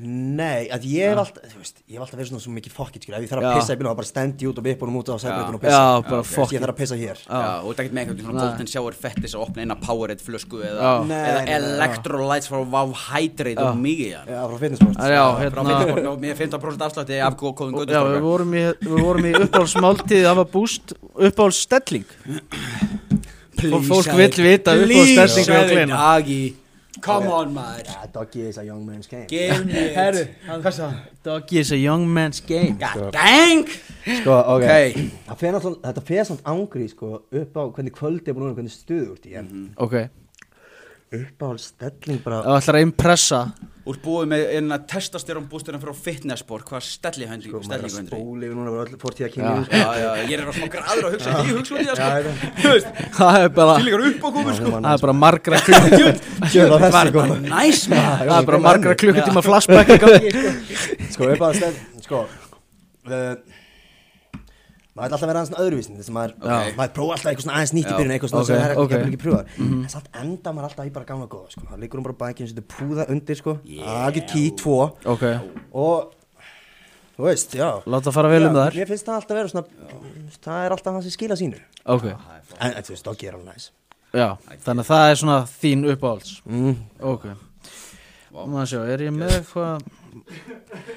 [SPEAKER 3] Nei, að ég hef alltaf, þú veist, ég hef alltaf verið svona svo mikið fokkitt, skilja, ef ég þarf
[SPEAKER 2] Já.
[SPEAKER 3] að pissa í bílum, þá bara stend ég út og vippunum út á sæbreytunum og
[SPEAKER 2] Já,
[SPEAKER 3] pissa.
[SPEAKER 2] já, bara
[SPEAKER 3] Þú veist,
[SPEAKER 2] fuck
[SPEAKER 3] Ég þarf að pissa hér.
[SPEAKER 1] Já, og það getur með einhvern svona
[SPEAKER 2] Nei.
[SPEAKER 1] Bolton Shower fettis að opna eina Powerade flösku eða,
[SPEAKER 2] Já.
[SPEAKER 3] Nei,
[SPEAKER 1] eða
[SPEAKER 3] nei, nei,
[SPEAKER 1] Electrolytes frá Wow Hydrate og mikið já.
[SPEAKER 3] Já, frá fitnessport.
[SPEAKER 2] Já,
[SPEAKER 1] Frá
[SPEAKER 2] hérna
[SPEAKER 1] Bitcoin og með 15% afslátti af kóðum
[SPEAKER 2] Já, við
[SPEAKER 1] göttustrákar
[SPEAKER 2] vorum í, við vorum í uppáhaldsmáltíð Það var búst, uppáhaldsstelling Og fólk vill vita uppáhaldsstelling á
[SPEAKER 1] Please,
[SPEAKER 2] kleina
[SPEAKER 1] Dagi Come on, maður
[SPEAKER 3] Já, Ah, doggy is a young man's game.
[SPEAKER 1] Give me it.
[SPEAKER 2] hvað sá hann? Doggy is a young man's game
[SPEAKER 1] God dang
[SPEAKER 3] Sko, ok.
[SPEAKER 1] Ok.
[SPEAKER 3] Það fer náttúrulega, þetta fer samt ángri, sko, upp á hvernig kvöldi er búin að vera, hvernig stuðu úr því, en
[SPEAKER 2] Ok,
[SPEAKER 1] Mhm.
[SPEAKER 3] uppáhaldsstelling bara,
[SPEAKER 2] það ætlar að impressa
[SPEAKER 1] Úr búið með eina testastyrjum bústurinn frá Fitnessport Hvað stelli höndi
[SPEAKER 3] sko, maður er
[SPEAKER 1] Stelli
[SPEAKER 3] að
[SPEAKER 1] höndi
[SPEAKER 3] spóli og núna bara öll fórtíða kynni,
[SPEAKER 1] Já, já, ég er að smá graður að hugsa Því ég hugsa út í það
[SPEAKER 3] Já, ég
[SPEAKER 1] sko Þú veist,
[SPEAKER 2] Það er bara,
[SPEAKER 1] fylgur upp á komu sko
[SPEAKER 2] það er bara margra klukkutíma
[SPEAKER 3] sko. Sjöðu það þessi,
[SPEAKER 1] Bara
[SPEAKER 3] sko.
[SPEAKER 1] næs maður
[SPEAKER 2] Það er bara margra klukkutíma flashback í gangi sko.
[SPEAKER 3] Sko, uppáhaldsstelling, sko, uh, maður ætla alltaf að vera aðeins öðruvísin þess að maður,
[SPEAKER 1] Ok.
[SPEAKER 3] maður prófa alltaf eitthvað svona aðeins nýtt í
[SPEAKER 1] Já.
[SPEAKER 3] byrjun eitthvað svona
[SPEAKER 2] Ok,
[SPEAKER 3] sem það er
[SPEAKER 2] ok. Mhm.
[SPEAKER 3] okay. ekki pröfar en samt enda maður alltaf í bara gamla góða sko. það liggur hún bara á bækinu, setur púða undir sko. yeah. algjör ký, tvo
[SPEAKER 2] Ok,
[SPEAKER 3] og þú veist, já
[SPEAKER 2] láta fara vel um
[SPEAKER 3] Já,
[SPEAKER 2] það
[SPEAKER 3] mér finnst það alltaf vera svona það er alltaf hann sem skila sínu
[SPEAKER 2] Ok,
[SPEAKER 3] en en þú veist, doggi er alveg næs
[SPEAKER 2] já, þannig að það er svona þín uppáhalds Ok Maður sjá, er ég með eitthvað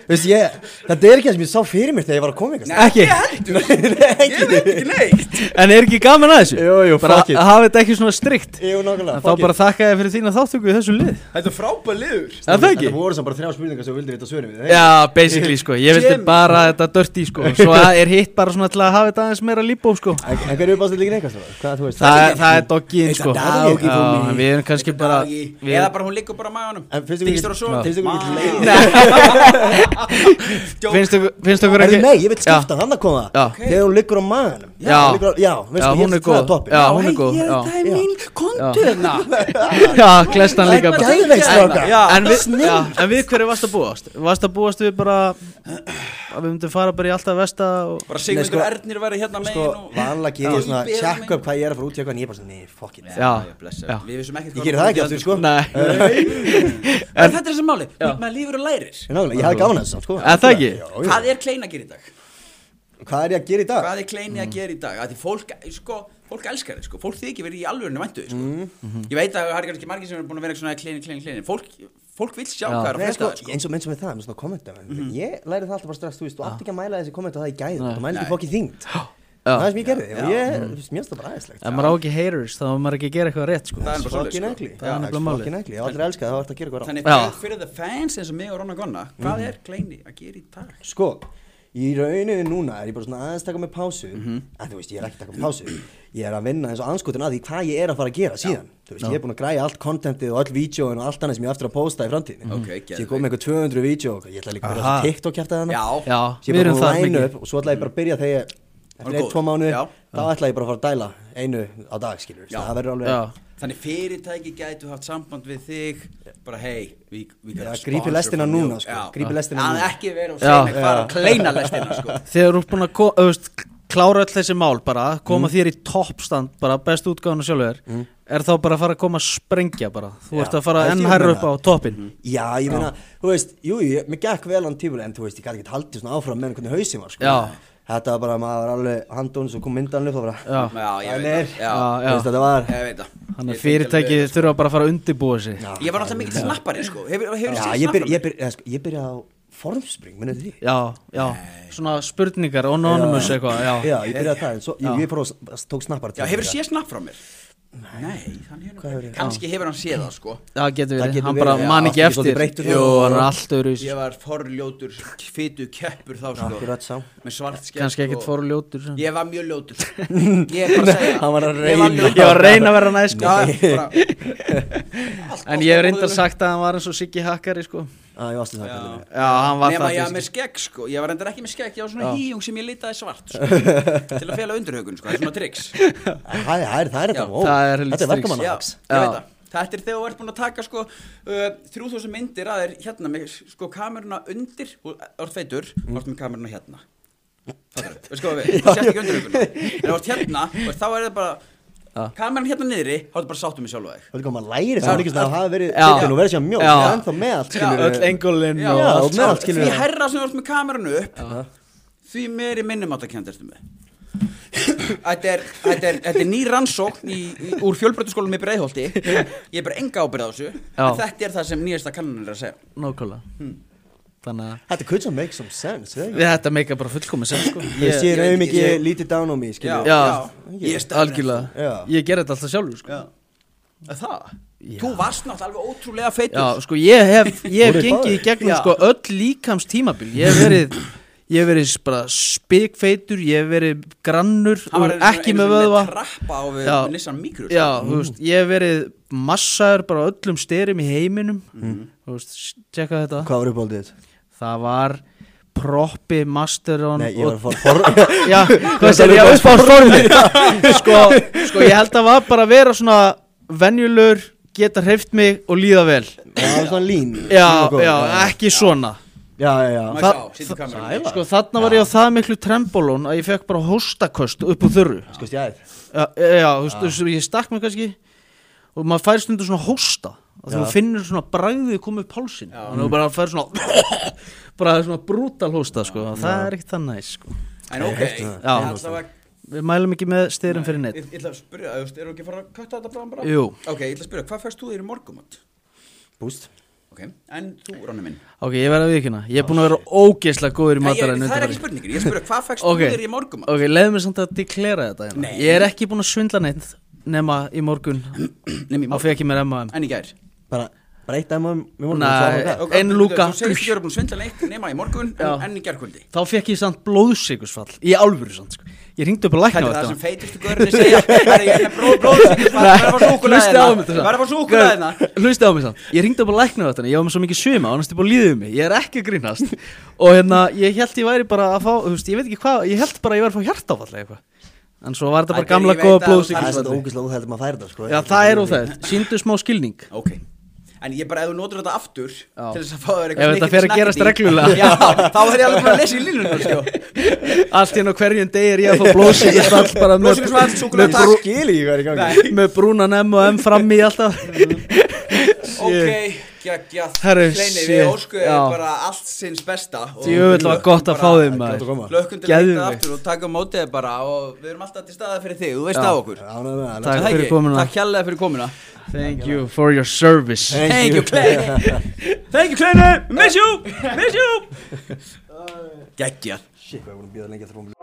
[SPEAKER 3] veist, ég, þetta er ekki það sem ég sá fyrir mér þegar ég var að koma sko. ykkur
[SPEAKER 2] Ekki,
[SPEAKER 1] Ég veit ekki neitt
[SPEAKER 2] en er ekki gaman að þessu?
[SPEAKER 3] Jú, jú,
[SPEAKER 2] Bara
[SPEAKER 3] fuck it.
[SPEAKER 2] að hafa þetta ekki svona strikt
[SPEAKER 3] Jú, nákvæmlega,
[SPEAKER 2] En þá
[SPEAKER 3] fuck it.
[SPEAKER 2] bara þakka þér fyrir þína þáttöku í þessu lið
[SPEAKER 1] Þetta er frábæð liður
[SPEAKER 2] Er það ekki?
[SPEAKER 3] þetta voru sem bara þrjá spurningar sem þú vildi vita svörum við
[SPEAKER 2] Já, basically sko, ég vildi
[SPEAKER 1] Jim.
[SPEAKER 2] bara þetta dirty sko Svo er hitt bara svona til að hafa þetta aðeins meira líbó sko
[SPEAKER 3] en, en hverju uppáhaldsstellingin eitthvað svona? hvað, þú veist,
[SPEAKER 2] Það, það er doggin
[SPEAKER 1] Þetta
[SPEAKER 2] sko
[SPEAKER 1] doggy for
[SPEAKER 2] Já,
[SPEAKER 1] me.
[SPEAKER 2] en Við erum kannski bara við,
[SPEAKER 1] Eða bara hún liggur bara á maganum
[SPEAKER 3] En finnst
[SPEAKER 1] Þykist þér
[SPEAKER 3] ykkur ekki-
[SPEAKER 1] og svo
[SPEAKER 3] Já. finnst ykkur ekki leið?
[SPEAKER 2] Finnst okkur, finnst okkur
[SPEAKER 3] Herri,
[SPEAKER 2] ekki
[SPEAKER 3] nei, ég veit skipta
[SPEAKER 2] Já.
[SPEAKER 3] þannig að koma
[SPEAKER 2] Já.
[SPEAKER 3] Þegar hún liggur á maganum
[SPEAKER 2] Já.
[SPEAKER 3] hún liggur á, já,
[SPEAKER 2] Já,
[SPEAKER 3] veistu,
[SPEAKER 2] hún er góð. Já, hún er góð, já.
[SPEAKER 1] Það er mín konturna
[SPEAKER 2] Já, klestan líka
[SPEAKER 3] bara
[SPEAKER 2] bara
[SPEAKER 3] Gæðveik stráka
[SPEAKER 1] Já.
[SPEAKER 2] En við, já, en við hverju varst að búast? Varst að búast við bara að við myndum fara bara í alltaf vesta og...
[SPEAKER 1] Bara
[SPEAKER 3] Nei, sko-
[SPEAKER 1] Sigmundur Ernir væri hérna
[SPEAKER 3] Sko,
[SPEAKER 1] megin og
[SPEAKER 3] vanlega gerir ég svona
[SPEAKER 1] Já.
[SPEAKER 3] Check up hvað ég er að fara út í eitthvað En ég er bara svona, nei, fuck it
[SPEAKER 2] Já,
[SPEAKER 1] blessa.
[SPEAKER 2] já.
[SPEAKER 1] Við vissum ekki
[SPEAKER 3] Ég gerir það ekki aftur, sko
[SPEAKER 2] Nei,
[SPEAKER 1] En þetta er þessi máli Maður lífur og lærir
[SPEAKER 3] En nákvæmlega, ég hafði gána þessu, samt, sko
[SPEAKER 2] Er það ekki?
[SPEAKER 3] Já,
[SPEAKER 1] Hvað er klein að gera í dag?
[SPEAKER 3] já. Hvað er ég að gera í dag?
[SPEAKER 1] Hvað er klein
[SPEAKER 3] Mm.
[SPEAKER 1] að gera í dag? Af Því fólk, sko, fólk elskar þið, sko Fólk þykir verið í alvörinu væntu, þig,
[SPEAKER 3] Mm.
[SPEAKER 1] sko Ég veit að það er kannski margir sem er búin að vera svona klein, klein, klein Fólk, fólk vil sjá hvað er að
[SPEAKER 3] Nei, sko,
[SPEAKER 1] frétta, sko Mhm.
[SPEAKER 3] eins og eins og með það, með svona kommenta Ég læri það alltaf bara strax, þú veist, þú
[SPEAKER 1] Ah.
[SPEAKER 3] átt ekki að mæla þessi kommenta það í gæð Þú mæla ekki fokkin þyngd Það er sem ég gerði, og ég,
[SPEAKER 1] Mhm.
[SPEAKER 3] þú veist, mér finnst það bara aðeinslegt
[SPEAKER 2] ef maður á ekki haters þá er maður ekki að gera eitthvað rétt sko
[SPEAKER 1] Það er bara svoleiðis,
[SPEAKER 3] Fokkin
[SPEAKER 1] sko.
[SPEAKER 3] ekli,
[SPEAKER 2] Það er nefnilega málið.
[SPEAKER 3] fokkin ekli, ég aldrei elska það, það vart að gera eitthvað rátt
[SPEAKER 1] Þannig
[SPEAKER 2] Já.
[SPEAKER 1] fyrir- fyrir the fans eins og mig og Ronna Gonna
[SPEAKER 3] Mm.
[SPEAKER 1] Hvað er kleini að gera í dag?
[SPEAKER 3] sko, í rauninni núna er ég bara svona aðeins taka með pásu
[SPEAKER 1] Mhm.
[SPEAKER 3] en þú veist, ég er ekki að taka með pásu ég er að vinna eins og anskotin að því hvað ég er að fara að gera síðan, þú veist, ég er búin að græja allt kontentið og all vídjóin og allt annað sem ég á eftir að pósta í framtíðinni,
[SPEAKER 1] Ok,
[SPEAKER 3] Svo ég kom með eitthvað 200 vídjó og ég ætla líka að byrja
[SPEAKER 2] Aha.
[SPEAKER 3] að TikTok kæfta þannig
[SPEAKER 1] Já.
[SPEAKER 2] Já,
[SPEAKER 3] ég
[SPEAKER 2] við
[SPEAKER 3] er bara
[SPEAKER 2] erum
[SPEAKER 3] búin að
[SPEAKER 2] það
[SPEAKER 3] læna
[SPEAKER 2] mikið
[SPEAKER 3] upp og svo ætla ég bara að byrja þegar ég
[SPEAKER 1] Það er
[SPEAKER 3] eftir ein,
[SPEAKER 1] góð.
[SPEAKER 3] tvo mánu,
[SPEAKER 1] Já.
[SPEAKER 3] þá ætla ég bara að fara að dæla einu á dag, skilur,
[SPEAKER 1] Já.
[SPEAKER 3] það verður alveg
[SPEAKER 2] Já.
[SPEAKER 1] Þannig fyrirtæki gætu haft samband við þig Bara hei, við vi
[SPEAKER 3] Já, grípi lestina núna, sko. Grípi lestina
[SPEAKER 1] núna
[SPEAKER 3] núna.
[SPEAKER 1] Ekki vera og segja
[SPEAKER 2] Já.
[SPEAKER 1] mig fara
[SPEAKER 3] Já.
[SPEAKER 1] og kleina lestina sko
[SPEAKER 2] þegar þú ert búin að ko- þú veist, klára öll þessi mál bara koma
[SPEAKER 3] Mm.
[SPEAKER 2] þér í toppstand, bara best útgáðan og sjálfur er þá bara að fara að koma að sprengja bara, þú
[SPEAKER 3] Já,
[SPEAKER 2] ert að fara
[SPEAKER 3] það er Mm.
[SPEAKER 2] enn
[SPEAKER 3] því að
[SPEAKER 2] hærra
[SPEAKER 3] meina.
[SPEAKER 2] upp á toppin
[SPEAKER 3] Já, ég meina, þú veist, jú, ég, mér gekk vel hann tífulega en þú veist, ég gæti ekki haldið svona áfram með hvernig hausin var, sko
[SPEAKER 2] Já.
[SPEAKER 3] Þetta var bara, maður var alveg handón svo kom myndan upp og bara
[SPEAKER 2] Já.
[SPEAKER 1] Já, ég
[SPEAKER 3] Það
[SPEAKER 1] veit
[SPEAKER 3] er-
[SPEAKER 1] það Já,
[SPEAKER 2] Já,
[SPEAKER 3] Þú veist, þetta var
[SPEAKER 1] ég veit það
[SPEAKER 2] þannig
[SPEAKER 1] Ég
[SPEAKER 2] að
[SPEAKER 1] fengi
[SPEAKER 2] fyrirtæki
[SPEAKER 1] alveg-
[SPEAKER 2] þurfa bara að fara að undirbúa sig já,
[SPEAKER 1] Ég var alltaf mikill snappari sko Hefur hefur
[SPEAKER 3] Já,
[SPEAKER 1] séð
[SPEAKER 3] ég byrja,
[SPEAKER 1] snapparinn?
[SPEAKER 3] ég byrja, sko, ég byrja á formspring, minnum því
[SPEAKER 2] já, svona spurningar anonymous
[SPEAKER 3] Já.
[SPEAKER 2] eitthvað, já,
[SPEAKER 3] Já, ég byrjaði það, en svo, ég, ég fór og s- tók snappar
[SPEAKER 1] Já, hefur séð snapp frá mér? Nei, hann hefur Kanski hefur hann séð það sko
[SPEAKER 2] það getur
[SPEAKER 3] Það
[SPEAKER 2] verið,
[SPEAKER 3] getur
[SPEAKER 2] hann
[SPEAKER 3] verið,
[SPEAKER 2] bara
[SPEAKER 3] já,
[SPEAKER 2] man
[SPEAKER 3] allt í
[SPEAKER 2] ekki
[SPEAKER 3] svolítið
[SPEAKER 2] eftir
[SPEAKER 3] breyttur
[SPEAKER 2] jú,
[SPEAKER 3] þá.
[SPEAKER 2] hann er allt öðru
[SPEAKER 1] Ég var forljótur, fytu keppur þá sko
[SPEAKER 3] Akkurat sá.
[SPEAKER 1] Með svart skemmt
[SPEAKER 2] kannski ekkert fóru ljótur sem.
[SPEAKER 1] Ég var mjög ljótur Ég er bara að segja
[SPEAKER 3] Hann var að
[SPEAKER 1] Ég
[SPEAKER 3] reyna.
[SPEAKER 1] mjög-
[SPEAKER 2] ég var að reyna að vera næs sko.
[SPEAKER 1] Já, bara
[SPEAKER 2] en ég hef reyndar sagt að hann var eins og Siggi Hakkari sko.
[SPEAKER 3] Já, ég varstu það, kallið
[SPEAKER 2] já, hann var
[SPEAKER 1] Nefna
[SPEAKER 2] það
[SPEAKER 1] ég
[SPEAKER 2] fyrst.
[SPEAKER 1] var með skegg sko Ég var reyndar ekki með skegg Ég var svona hýjung sem ég litaði svart sko. Til að fela undirhaugun sko Það er svona triks Já,
[SPEAKER 3] Það er það
[SPEAKER 1] Já,
[SPEAKER 3] er þetta, ó,
[SPEAKER 2] það er helvítið
[SPEAKER 3] þetta
[SPEAKER 2] stríks.
[SPEAKER 3] er verkamannalags
[SPEAKER 1] ég veit
[SPEAKER 2] Já.
[SPEAKER 1] það Þetta er þegar þú ert búin að taka sko uh, 3000 myndir að þér hérna með sko kameruna undir Þú ert feitur, þú ert með kameruna hérna Fattarðu? Veistu hvað við, þú sért ekki undirhauguna En þú ert hérna og þá er það bara Kameran hérna niðri, þá ertu bara sáttum í sjálfa þig
[SPEAKER 3] Það er komað að læri það er ekki svona að hafa verið
[SPEAKER 2] Já.
[SPEAKER 3] tekinn og verið sér mjótt,
[SPEAKER 2] Já.
[SPEAKER 3] það er ennþá með allt,
[SPEAKER 1] Já,
[SPEAKER 3] skilur
[SPEAKER 2] öll engulinn
[SPEAKER 1] Já,
[SPEAKER 2] og
[SPEAKER 3] Já,
[SPEAKER 2] allt
[SPEAKER 3] með allt, skilur
[SPEAKER 1] Því
[SPEAKER 3] við.
[SPEAKER 1] herra sem þú ert með kameranu upp Því meiri minnum átt að kemda ertu með Þetta er, þetta er, þetta er ný rannsókn í, í, úr fjölbrötuskólum í Breiðholti Ég er bara enga ábyrð á þessu En þetta er það sem nýjasta kannan er að segja
[SPEAKER 2] Nókulega Þannig að
[SPEAKER 3] Þetta could make some sense, eða ekki?
[SPEAKER 2] við þetta meika bara fullkomis sem sko
[SPEAKER 3] Ég sé
[SPEAKER 1] ég veit ekki,
[SPEAKER 3] raun ekki
[SPEAKER 1] ég-
[SPEAKER 3] lítið down á mig, skilur
[SPEAKER 2] Já.
[SPEAKER 1] Ég er stærri en
[SPEAKER 2] Algjörlega
[SPEAKER 3] Já.
[SPEAKER 2] Ég ger þetta alltaf sjálfur sko
[SPEAKER 1] þú. Er Það? Þú varst náttúrulega alveg ótrúlega feitur
[SPEAKER 2] Já sko ég hef Ég hef
[SPEAKER 3] Voruð
[SPEAKER 2] gengið í
[SPEAKER 3] báðir?
[SPEAKER 2] gegnum
[SPEAKER 1] Já.
[SPEAKER 2] sko öll líkams tímabil Ég hef verið Ég hef verið bara spikfeitur Ég hef verið grannur
[SPEAKER 1] Hann var einu
[SPEAKER 2] og
[SPEAKER 1] sinni-
[SPEAKER 2] Ekki
[SPEAKER 1] einu
[SPEAKER 2] með
[SPEAKER 1] sinni
[SPEAKER 2] vöðva
[SPEAKER 1] Trappa á við
[SPEAKER 2] Já.
[SPEAKER 1] Nissan Micro sko.
[SPEAKER 2] Já þú veist Ég hef verið massaður bara á öllum styrum í heiminum Þú veist Tjekka þetta
[SPEAKER 3] Hvað var uppáldið þitt?
[SPEAKER 2] Það var Proppi Masteron
[SPEAKER 3] Nei, ég var
[SPEAKER 2] og-
[SPEAKER 3] að fara for...
[SPEAKER 2] Já, hvað sér ég upp á stormið sko, sko, ég held að var bara að vera svona venjulur, geta hreift mig og líða vel
[SPEAKER 3] Það var svona lín
[SPEAKER 2] Já,
[SPEAKER 3] Lín og góð,
[SPEAKER 2] já, ekki svona
[SPEAKER 3] Já, já, já
[SPEAKER 1] Má
[SPEAKER 2] Það-
[SPEAKER 1] sjá, sýndu kamerunni.
[SPEAKER 2] Sko, þarna var ég á það miklu trembólón að ég fekk bara hóstaköst upp úr þurru
[SPEAKER 3] Sko stjæð
[SPEAKER 2] Já, já, þú veist, þú veist, ég stakk mig kannski og maður fær stundu svona hósta og þú
[SPEAKER 3] Já.
[SPEAKER 2] finnur svona bragðið koma upp hálsin þannig að þú bara fær svona bara svona brútal hósta, sko það er ekkert það næs, sko
[SPEAKER 1] En ok Ég
[SPEAKER 2] Já.
[SPEAKER 1] ætla að
[SPEAKER 2] Við mælum ekki með styrum fyrir neitt
[SPEAKER 1] Ég ég ætla að spyrja, þú veist, eru ekki að fara að kvæta þetta bráðan bara?
[SPEAKER 2] Jú.
[SPEAKER 1] Ok, ég ætla að spyrja, hvað fæst þú þér í morgumat?
[SPEAKER 3] Búst
[SPEAKER 1] Ok, en þú, Ronni minn
[SPEAKER 2] Ok, ég verði að viðkynna Ég er búin að vera ógeðslega góður í
[SPEAKER 1] Nei, ég,
[SPEAKER 2] mataræðinu
[SPEAKER 1] Það er ekki spurningin, ég spyrja, hvað fæst
[SPEAKER 2] Ok,
[SPEAKER 1] þú þér í morgumat?
[SPEAKER 2] ok, leiðum við samt að deklera þetta hérna
[SPEAKER 1] Nei.
[SPEAKER 2] Ég er ekki búin að svindla neitt Nema í morgun
[SPEAKER 1] Nei,
[SPEAKER 2] Á
[SPEAKER 1] mér
[SPEAKER 2] fekk ég mér M&M
[SPEAKER 1] En í gær
[SPEAKER 3] Bara breyta þeim um Mér vorum
[SPEAKER 2] Nei,
[SPEAKER 3] að svara
[SPEAKER 2] ok.
[SPEAKER 3] það
[SPEAKER 2] Ein lúka.
[SPEAKER 1] Þú segist ekki að vera búin að svindla neitt nema í morgun
[SPEAKER 2] Já.
[SPEAKER 1] en, en í gærkvöldi
[SPEAKER 2] Þá fekk ég samt blóðsikursfall Í alvöru samt sko. Ég ringdi upp að
[SPEAKER 1] Það
[SPEAKER 2] lækna
[SPEAKER 1] er
[SPEAKER 2] á
[SPEAKER 1] það sem
[SPEAKER 2] þetta
[SPEAKER 1] feitustu görðinni segja Það er ég með bróð, bróð, það er bara
[SPEAKER 2] Hlusti
[SPEAKER 1] súkulega
[SPEAKER 2] á um mig
[SPEAKER 1] hérna Það er bara súkulega hérna
[SPEAKER 2] Hlusti á mig samt Ég ringdi upp að lækna á þetta Ég var með svo mikið svima Og hann stið búið að líðið mig Ég er ekki að grínast Og hérna Ég held ég væri bara að fá Þú veist, ég veit ekki hvað Ég held bara að ég væri að fá hjartáfall eða eitthvað En svo var þetta
[SPEAKER 1] Æ,
[SPEAKER 2] bara
[SPEAKER 1] ég
[SPEAKER 2] gamla
[SPEAKER 1] veit
[SPEAKER 2] góða
[SPEAKER 1] að-
[SPEAKER 3] Það er þetta
[SPEAKER 2] blóðsikursfall
[SPEAKER 3] ógæslega óþægt að maður færi það, sko
[SPEAKER 2] Já, það er óþægt Sýndu smá skilning
[SPEAKER 1] Ok En ég bara, ef þú notur þetta aftur
[SPEAKER 2] Já.
[SPEAKER 1] Til þess að fá þér
[SPEAKER 2] Ef
[SPEAKER 1] eitthvað
[SPEAKER 2] þetta
[SPEAKER 1] snikkert
[SPEAKER 2] fer að
[SPEAKER 1] snakket
[SPEAKER 2] gerast
[SPEAKER 1] í-
[SPEAKER 2] reglulega.
[SPEAKER 1] Já, þá er ég alveg bara að lesa í línunum sko.
[SPEAKER 2] Allt hérna á hverjum degi er ég að fá blóðsíkustall bara með,
[SPEAKER 1] Blóðsykursfall, súkkulaði,
[SPEAKER 2] með,
[SPEAKER 1] takk.
[SPEAKER 3] Það skil ég hvað er í gangi
[SPEAKER 1] Nei,
[SPEAKER 2] með brúnan M og M fram í alltaf
[SPEAKER 1] Ok, geggjað
[SPEAKER 2] Herru,
[SPEAKER 1] Hleini,
[SPEAKER 2] shit,
[SPEAKER 1] við óskuðum
[SPEAKER 2] já.
[SPEAKER 1] bara allt sinns besta og
[SPEAKER 2] Því auðvitað var gott að fá
[SPEAKER 1] bara-
[SPEAKER 2] þeim
[SPEAKER 3] gott að koma.
[SPEAKER 2] maður
[SPEAKER 1] Lökkum til að hitta
[SPEAKER 2] Geðveikt.
[SPEAKER 1] aftur og taka á mótið þér bara og við erum alltaf til staða fyrir þig, þú veist
[SPEAKER 2] Já.
[SPEAKER 1] af okkur
[SPEAKER 3] Já, ná, ná,
[SPEAKER 1] Er
[SPEAKER 2] Takk
[SPEAKER 3] ná
[SPEAKER 1] það
[SPEAKER 2] fyrir
[SPEAKER 1] ekki?
[SPEAKER 2] komuna.
[SPEAKER 1] Takk hérlega fyrir komuna
[SPEAKER 2] Thank you for your service
[SPEAKER 1] Thank you, Kleini Thank you, Kleini Miss you, miss you Geggjað
[SPEAKER 3] Shit, hvað er búin að býða lengi eftir að fá mér